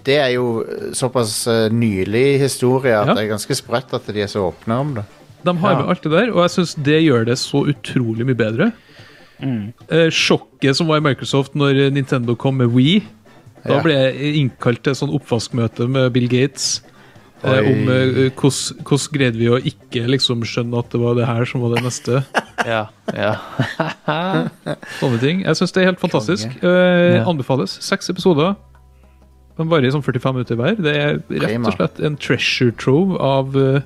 det er jo såpass eh, nylig historie at
Ja.
det er ganske spredt at de er så åpne om det.
De har med alt det der, og jeg syns det gjør det så utrolig mye bedre.
Mm.
Eh, sjokket som var i Microsoft når eh, Nintendo kom med Wii Da
Ja.
ble jeg innkalt til et sånn oppvaskmøte med Bill Gates. Eh,
Oi.
om eh, hvordan hvordan greide vi å ikke liksom skjønne at det var det her som var det neste.
ja, ja.
Sånne ting. Jeg syns det er helt fantastisk. Eh, Anbefales. Seks episoder. De varer i sånn 45 minutter hver. Det er rett
Prima.
og slett en treasure trove av eh,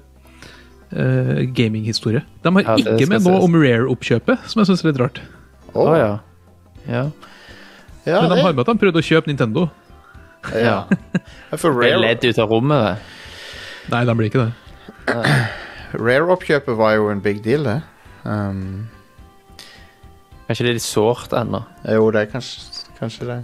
eh, gaminghistorie. De har
Ja, det
ikke
skal
med noe
ses.
om Rare-oppkjøpet, som jeg syns er litt rart.
Å,
Å, ja. Ja.
ja,
Men de
det,
har med at de prøvde å kjøpe Nintendo.
ja.
ja, for
Ble
Rare-
ledd ut av rommet, det.
Nei, de blir ikke det.
Rare-oppkjøpet var jo en big deal, det. Um,
Kanskje det er litt sårt ennå.
jo, det er kanskje, kanskje det.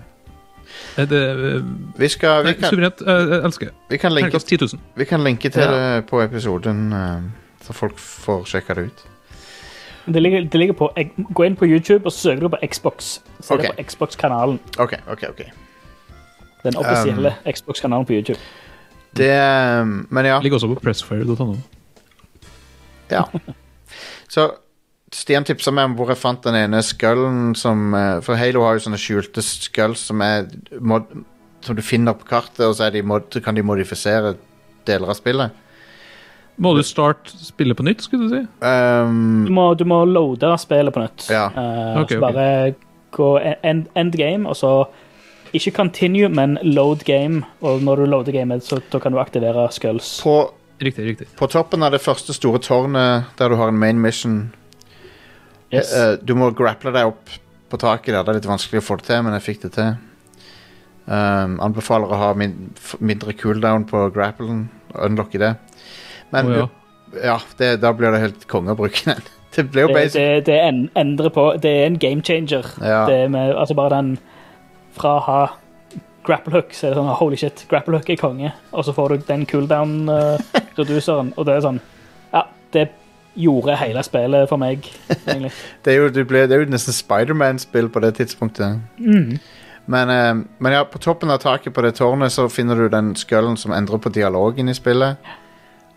Eh, Det eh,
Vi, skal, vi,
nei,
kan,
Suverent. eh, Jeg elsker det.
vi, kan linke,
Terningkast 10 000.
vi kan linke til
Ja.
det på episoden, eh, så folk får sjekka det ut.
Det ligger, det ligger på Gå inn på YouTube og søker du på Xbox. Se
Ok.
det på Xbox-kanalen.
OK, OK. ok
Den offisielle
Um.
Xbox-kanalen på YouTube.
Det eh, Men ja.
Ligger også på pressfire.no.
ja. Så Stian tipsa meg om hvor jeg fant den ene skullen som eh, For Halo har jo sånne skjulte skulls som er mod, Som du finner på kartet, og så, er de mod, så kan de modifisere deler av spillet.
Må du starte spillet på nytt, skulle du si?
Um,
Du må, du må loade spillet på nytt.
Ja.
Eh,
Ok,
så
ok.
bare gå e, end, end game, og så ikke continue, men load game. Og når du loader gamet, så da kan du aktivere skulls.
på
Riktig, riktig.
På toppen av det første store tårnet, der du har en main mission
Yes.
eh, Du må grapple deg opp på taket der. Det er litt vanskelig å få det til, men jeg fikk det til. Um, anbefaler å ha min, f- mindre cooldown på grapplen. og Unlocke det. Men
Å, ja.
du, ja, det, da blir det helt konge å bruke den. Det blir jo
Det,
basic.
det, det en- endrer på Det er en game changer.
Ja.
Det med, altså bare den Fra å ha grapple hook, så er det sånn Holy shit, grapple hook er konge. Og så får du den eh, cooldown-reduceren, og det er sånn Ja, det gjorde hele spillet for meg, egentlig.
Det er jo, du ble, det er jo nesten Spiderman-spill på det tidspunktet.
Mm.
Men, eh, men ja, på toppen av taket på det tårnet så finner du den skullen som endrer på dialogen i spillet.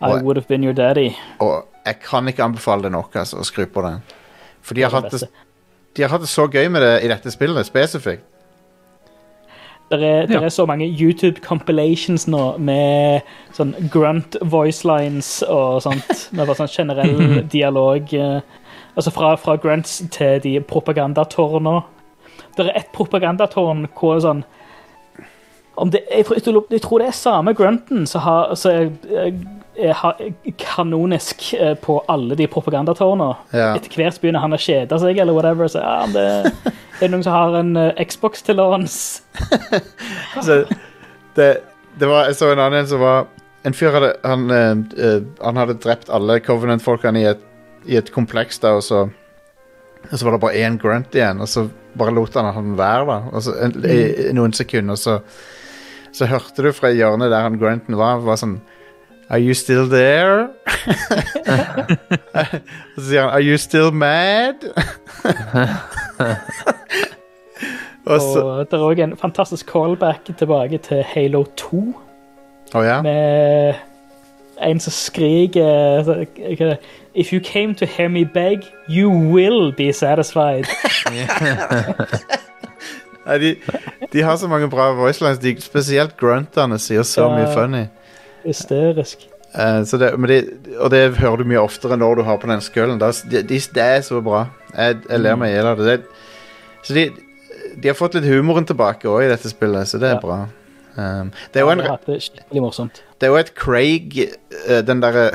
I would have been your daddy.
Og jeg kan ikke anbefale det nok altså, å skru på den. For de har,
Det er det
hatt det, de har hatt det så gøy med det i dette spillet, spesifikt.
Det er, der
Ja.
er så mange YouTube compilations nå med sånn grunt voice lines og sånt. Med bare sånn generell dialog. eh, Altså fra, fra grunts til de propagandatårna. Det er et propagandatårn hvor sånn om det, jeg, tror- jeg, tror- jeg tror det er samme grunten som har, som er, er, har- er kanonisk eh, på alle de propagandatårna.
Ja.
Etter hvert begynner han å kjede seg, eller whatever. Så ja, det er det noen som har en eh, Xbox til låns.
Så Altså, det, det var, jeg så en annen som var En fyr hadde Han, eh, eh, han hadde drept alle Covenant-folkene i, et- i et kompleks, da, og så og så var det bare én grunt igjen, og så bare lot han han være, da. Og så, en, i, i noen sekunder, så Så hørte du fra hjørnet der han grunten var, var sånn Are you still there? Og så sier han Are you still mad? og så Å
Og det er òg en fantastisk callback tilbake til Halo 2,
ja.
med en som skriker så- hva er det? If you came to hear me beg, you will be satisfied.
Nei, de, de har så mange bra voicelines. De, spesielt gruntene sier så
Ja.
mye funny.
Hysterisk.
Eh, så det, men de, og det hører du mye oftere når du har på den skullen. Da, de, de, det er så bra. Jeg, jeg ler meg i hjel av det. det. Så de, de har fått litt humoren tilbake òg i dette spillet, så det er
Ja.
bra. Um, det, er jo en,
Jeg hadde det skikkelig morsomt.
det er jo et Craig eh, Den derre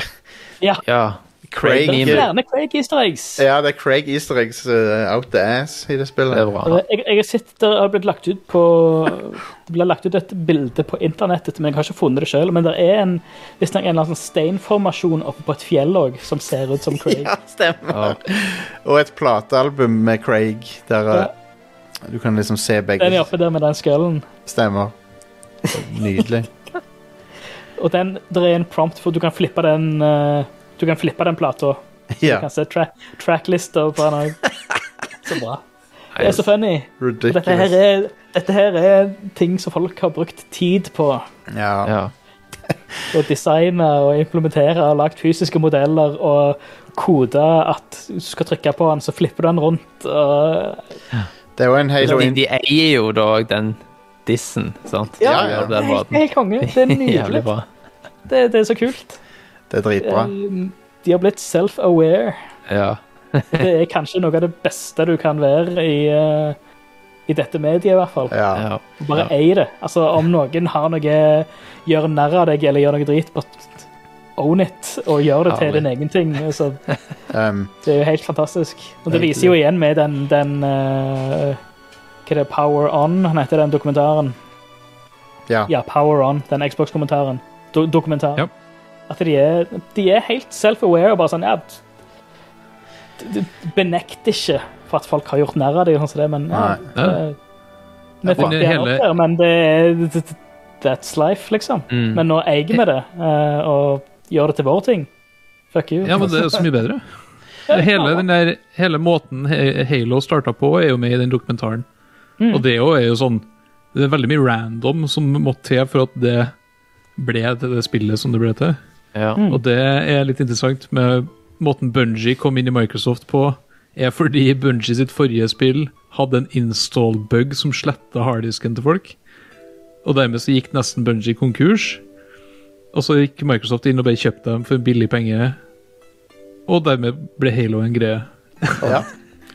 Ja.
Ja.
Craig
Det er
Meme.
flere Craig Easter eggs.
Ja, det er Craig Easter eggs eh, out the ass i det
Det er
spillet.
bra.
Jeg, jeg har sett det har blitt lagt ut på Det ble lagt ut et bilde på internettet, men jeg har ikke funnet det sjøl. Men det er en, hvis det er en eller annen sånn steinformasjon oppe på et fjell òg som ser ut som Craig.
Ja, stemmer. Og et platealbum med Craig der eh, du kan liksom se
Den er
begge
oppe der med den skallen.
stemmer. Nydelig.
Og den, der er en prompt for du kan flippe den eh, Du kan flippe den plata. Du
Ja,
kan se tra tracklister på den òg. Så bra. Det er så funny. Og dette her,
ridiculous.
er, dette her er ting som folk har brukt tid på
Ja.
Ja.
å designe og implementere. og Lagt fysiske modeller og kode at du skal trykke på den, så flipper du den rundt. Og
Det er jo en Halo
De,
in
de eier jo da òg den dissen, sant?
Ja,
ja.
Det er
helt, helt konge. Det er
Jævlig
nydelig.
bra.
Det, det er så kult.
Det er dritbra.
Eh, De har blitt self-aware.
Ja.
Det er kanskje noe av det beste du kan være i, eh, i dette mediet, i hvert fall.
Ja.
ja.
Bare ei det. Altså, om noen har noe gjør narr av deg eller gjør noe drit, bare own it og gjør det til
Ærlig.
din egen ting. Altså,
Um,
det er jo helt fantastisk. Og det viser jo igjen med den, den eh, Hva er det? Power On? Han heter den dokumentaren.
ja.
Ja, Power On. Den Xbox-kommentaren. Do dokumentaren.
Ja.
At de er, de er helt self-aware og bare sånn ja, d- d- Benekt ikke for at folk har gjort narr av deg, og sånn som det, men ja,
Nei.
det, Vi
for
fikk det
hele-
opp her, men det er That's life, liksom.
Mm.
Men nå eier vi det, eh, og gjør det til vår ting. Fuck you.
Ja, men det er jo så mye bedre. Hele, den der, hele måten He- Halo starta på, er jo med i den dokumentaren. Og det jo er jo sånn Det er veldig mye random som måtte til for at det ble til det spillet som det ble til.
Ja.
Og det er litt interessant med måten Bunji kom inn i Microsoft på, er fordi Bunji sitt forrige spill hadde en install-bug som sletta harddisken til folk. Og dermed så gikk nesten Bunji konkurs. Og så gikk Microsoft inn og bare kjøpte dem for en billig penge. Og dermed ble Halo en greie.
Ja.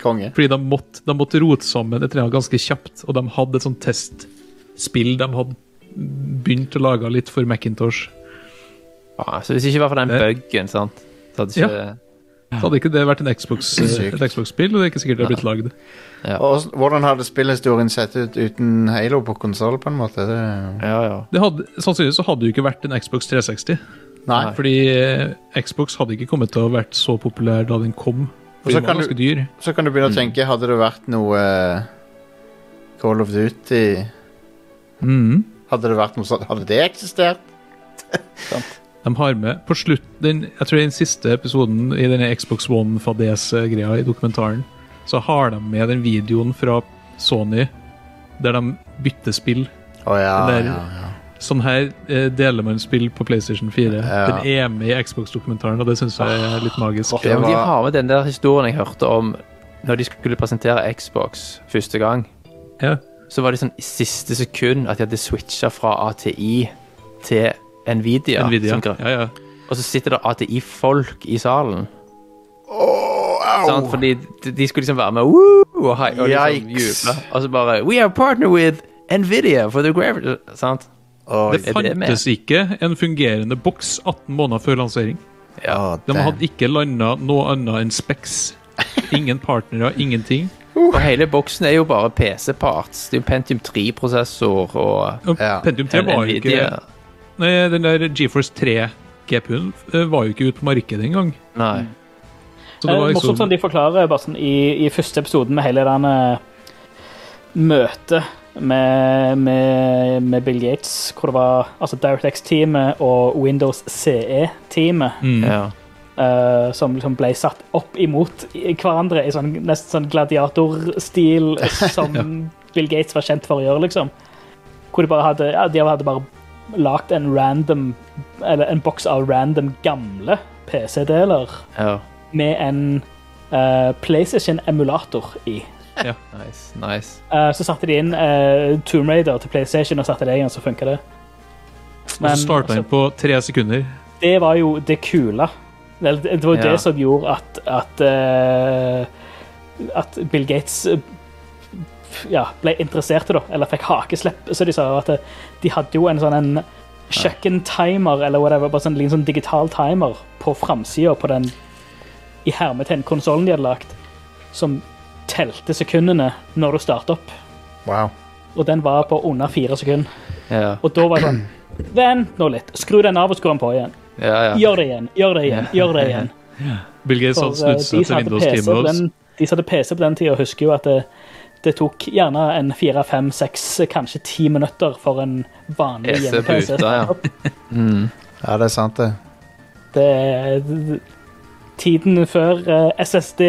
Konge.
Fordi de måtte, de måtte rote sammen et eller annet ganske kjapt, og de hadde et sånt testspill de hadde begynt å lage litt for Macintosh.
Ja, Ah, så hvis ikke det var for
Eh.
den buggen, sant så hadde ikke
Så hadde ikke det vært en Xbox,
Sykt.
et Xbox-spill, og det er ikke sikkert det har blitt lagd.
Og åssen- hvordan hadde spillhistorien sett ut uten Halo på konsoll, på en måte? Det...
Ja, ja.
Det hadde, sannsynligvis så hadde det jo ikke vært en Xbox 360.
Nei.
Fordi eh, Xbox hadde ikke kommet til å ha vært så populær da den kom.
Og
For
så
den var
kan du-
ganske dyr.
Så kan du begynne å tenke, hadde det vært noe eh, Call of Duty
Mhm.
Hadde det vært noe sånt, hadde det eksistert?
De har med på slutt den, Jeg tror det er den siste episoden i denne Xbox One-fadese-greia i dokumentaren. Så har de med den videoen fra Sony der de bytter spill.
Å ja,
Eller-
Ah, ja, ja.
Sånn her eh, deler man spill på PlayStation 4.
Ja.
Den er med i Xbox-dokumentaren, og det syns jeg er litt magisk.
Det
Men De
var,
har med den der historien jeg hørte om når de skulle presentere Xbox første gang.
Ja.
Så var det sånn i siste sekund at de hadde switcha fra ATI til Nvidia.
Nvidia.
som gra-
Ja, ja.
Og så sitter det ATI-folk i salen. Oh, sant? Fordi de, de skulle liksom være med Woo! og, hei, og liksom
Yikes.
juble. Og så bare We are partner with Nvidia for the gravity Sant?
Oi.
Det
er det med?
fantes ikke en fungerende boks 18 måneder før lansering.
Å,
De
damn.
hadde ikke landa noe annet enn Specs. Ingen partnere, ingenting.
Og hele boksen er jo bare PC-parts. Det er jo Pentium 3-prosessor og
Og
Ja.
Pentium 3 var jo ikke
Nvidia.
Nei, Den der GeForce 3 GPU-en eh, var jo ikke ute på markedet engang.
Nei.
Så det var
Eh, Morsomt
liksom
sånn de forklarer bare sånn, i, i første episoden med hele den eh, møtet med, med, med Bill Gates, hvor det var altså DirectX-teamet og Windows CE-teamet
mm.
Ja.
eh, som liksom ble satt opp imot i- hverandre i sånn, nesten sånn gladiatorstil som Bill Gates var kjent for å gjøre, liksom. Hvor de bare hadde, ja, de hadde bare lagt en random, eller en boks av random gamle PC-deler
ja.
med en eh, PlayStation-emulator i.
Nice, nice.
Eh, så satte de inn eh, Tomb Raider til PlayStation og satte det igjen, så funka det.
Og så starta den
altså,
på tre sekunder.
det var jo det kule. Vel, Det det var jo
Ja.
det som gjorde at at, eh, at Bill Gates eh, f- ja, ble interessert i det, eller fikk hakeslepp, så de sa. at eh, De hadde jo en sånn en kjøkkentimer, eller whatever, bare sånn, en sånn digital timer på framsida på den i hermetegn konsollen de hadde lagt, som telte sekundene når du startet opp.
Wow.
Og den var på under fire sekunder.
Ja,
Og da var det sånn Vent nå litt. Skru den av og skru den på igjen.
ja. ja.
Gjør det igjen, gjør det igjen, gjør det igjen.
Bill Gates
For,
sånn
hadde snudd
eh, de
seg til
som hadde PC på
Windows-teamet.
den- De som hadde PC på den tida, husker jo at det, det tok gjerne en fire, fem, seks, kanskje ti minutter for en vanlig
PC på
hjemme-PC.
uta, ja.
Ja, det er sant, det.
Det er- Tiden før eh, SSD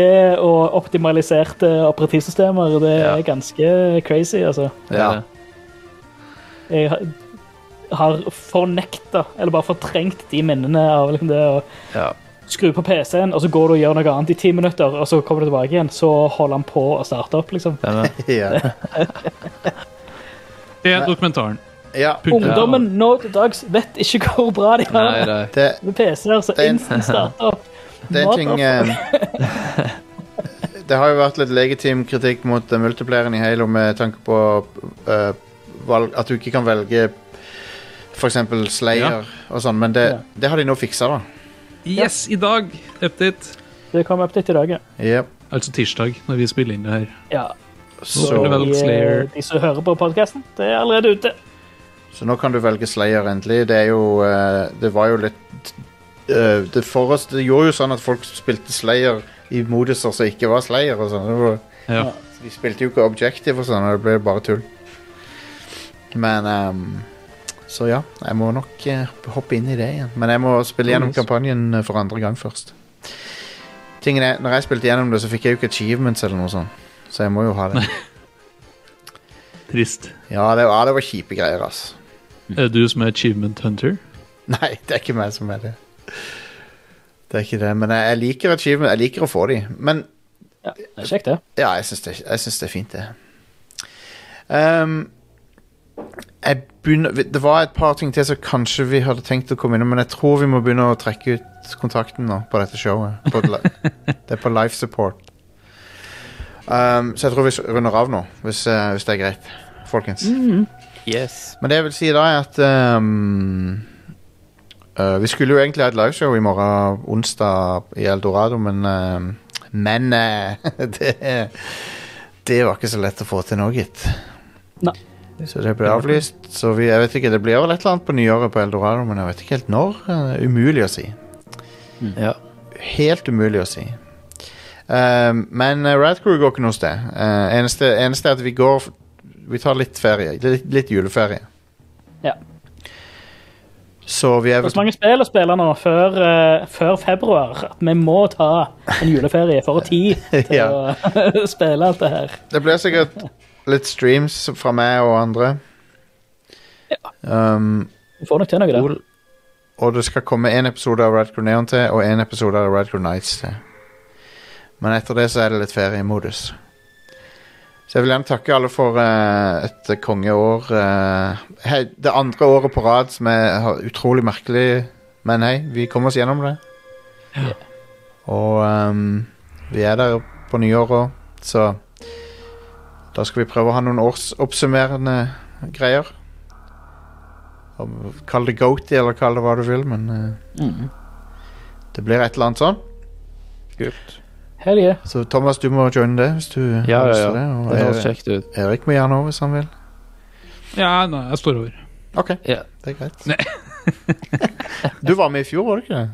og optimaliserte operativsystemer, det er
Ja.
ganske crazy, altså.
Det er det.
jeg har- har fornekta, eller bare fortrengt, de minnene av liksom det å
Ja.
skru på PC-en, og så går du og gjør noe annet i ti minutter, og så kommer du tilbake igjen, så holder han på å starte opp, liksom.
Stemmer.
Ja.
Det er dokumentaren.
ja.
Punktum.
Ungdommen nå til dags vet ikke hvor bra de
Nei,
har det
det
Det,
med PC-er, så
Det er en-
instant starter opp.
det er en ting eh, Det har jo vært litt legitim kritikk mot eh, multiplayeren i Halo med tanke på eh, valg, at du ikke kan velge f.eks. Slayer og sånn, men det,
Ja.
det har de nå fiksa, da.
Yes, i dag! Update.
Det kom opp litt i dag, ja.
Yep.
Altså tirsdag, når vi spiller inn det her.
ja.
Så,
er det vel-
de,
Slayer.
de som hører på podkasten, det er allerede ute.
så nå kan du velge Slayer endelig. Det er jo eh, Det var jo litt eh, det, for oss, det gjorde jo sånn at folk spilte Slayer i moduser som ikke var Slayer og sånn. Det var-
Ja.
De spilte jo ikke Objective og sånn, og det ble bare tull. Men ehm, Så ja, jeg må nok eh, hoppe inn i det igjen. Men jeg må spille gjennom
Nice.
kampanjen eh, for andre gang først. Tingen er, når jeg spilte gjennom det, så fikk jeg jo ikke achievements eller noe sånt. Så jeg må jo ha det.
Trist.
Ja, det var, det var kjipe greier, ass.
Er det du som er achievement hunter?
Nei, det er ikke meg som er det. Det er ikke det, men jeg, jeg liker achievement. Jeg liker å få de. Men
Det er kjekt, det.
Ja, jeg syns det, jeg synes det er fint, det. Ehm, jeg begynner, det var et par ting til som kanskje vi hadde tenkt å komme innom, men jeg tror vi må begynne å trekke ut kontakten nå på dette showet. På, et li- det er på life support. Ehm, så jeg tror vi s- runder av nå, hvis, eh, hvis det er greit, folkens.
Yes.
Men det jeg vil si da, er at ehm, eh, Vi skulle jo egentlig ha et liveshow i morgen, onsdag, i Eldorado, men ehm, Men eh, det, det var ikke så lett å få til nå, gitt.
Nei.
Så det ble avlyst. Så vi, jeg vet ikke, det blir vel et eller annet på nyåret på Eldorado, men jeg vet ikke helt når. Eh, umulig å si.
Mm.
Ja.
Helt umulig å si. Ehm, men eh, Rad Crew går ikke noe sted. Eh, eneste, eneste er at vi går f- Vi tar litt ferie. Litt, litt juleferie.
Ja.
Så vi er
Det er
vel
så mange spill å spille nå før, eh, før februar at vi må ta en juleferie for å ha tid til
Ja.
å spille alt det her.
Det blir sikkert litt streams fra meg og andre. Um,
Vi får nok til noe der.
Ol- og det skal komme én episode av Radcrow Neon til og én episode av Radcrow Nights til. Men etter det så er det litt feriemodus. Så jeg vil gjerne takke alle for eh, et kongeår. eh, hei, det andre året på rad som er har- utrolig merkelig, men hei, vi kom oss gjennom det. Og ehm, vi er der på nyåret, så da skal vi prøve å ha noen årsoppsummerende greier. Om- Kall det goaty, eller kall det hva du vil, men eh, det blir et eller annet sånn.
Hell yeah.
Så Thomas, du må joine det hvis du
Ja,
har
ja,
lyst
ja.
til det. Og
Det høres
Erik-
kjekt ut.
Erik må gjerne over hvis han vil.
Ja, nei, jeg står over.
Ok,
Ja.
det er greit. du var med i fjor, var du ikke det?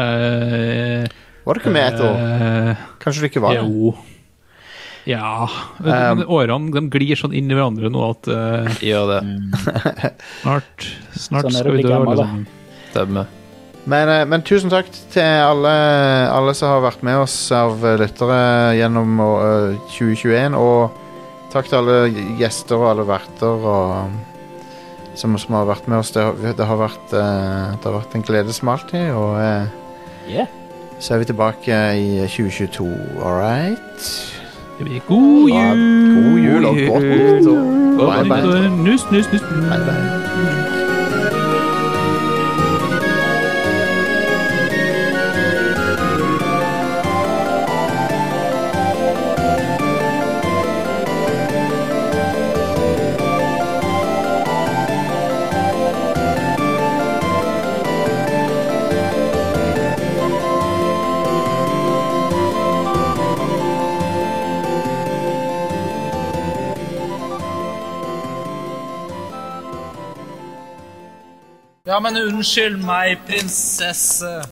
Eh,
Var du ikke med et år?
eh,
Kanskje du ikke var det?
Jo. Ja.
Eh,
Men men årene de glir sånn inn i hverandre nå at eh,
Gjør det.
snart, snart
Sånn er det å
skal vi
bli
dø.
gammel, da.
Liksom.
Stemmer.
Men, eh, men tusen takk til alle, alle som har vært med oss av eh, lyttere gjennom eh, 2021. Og takk til alle gjester og alle verter og, eh, som, som har vært med oss. Det, har- det, har, vært, eh, det har vært en glede som alltid. Og eh,
Yeah.
så er vi tilbake i 2022, all right?
Det blir god
Ha
jul!
God jul og godt nyttår.
Godt
Bye, bye.
nyttår. Nuss, nuss, nuss.
Bye, bye.
Ja, men unnskyld meg, prinsesse.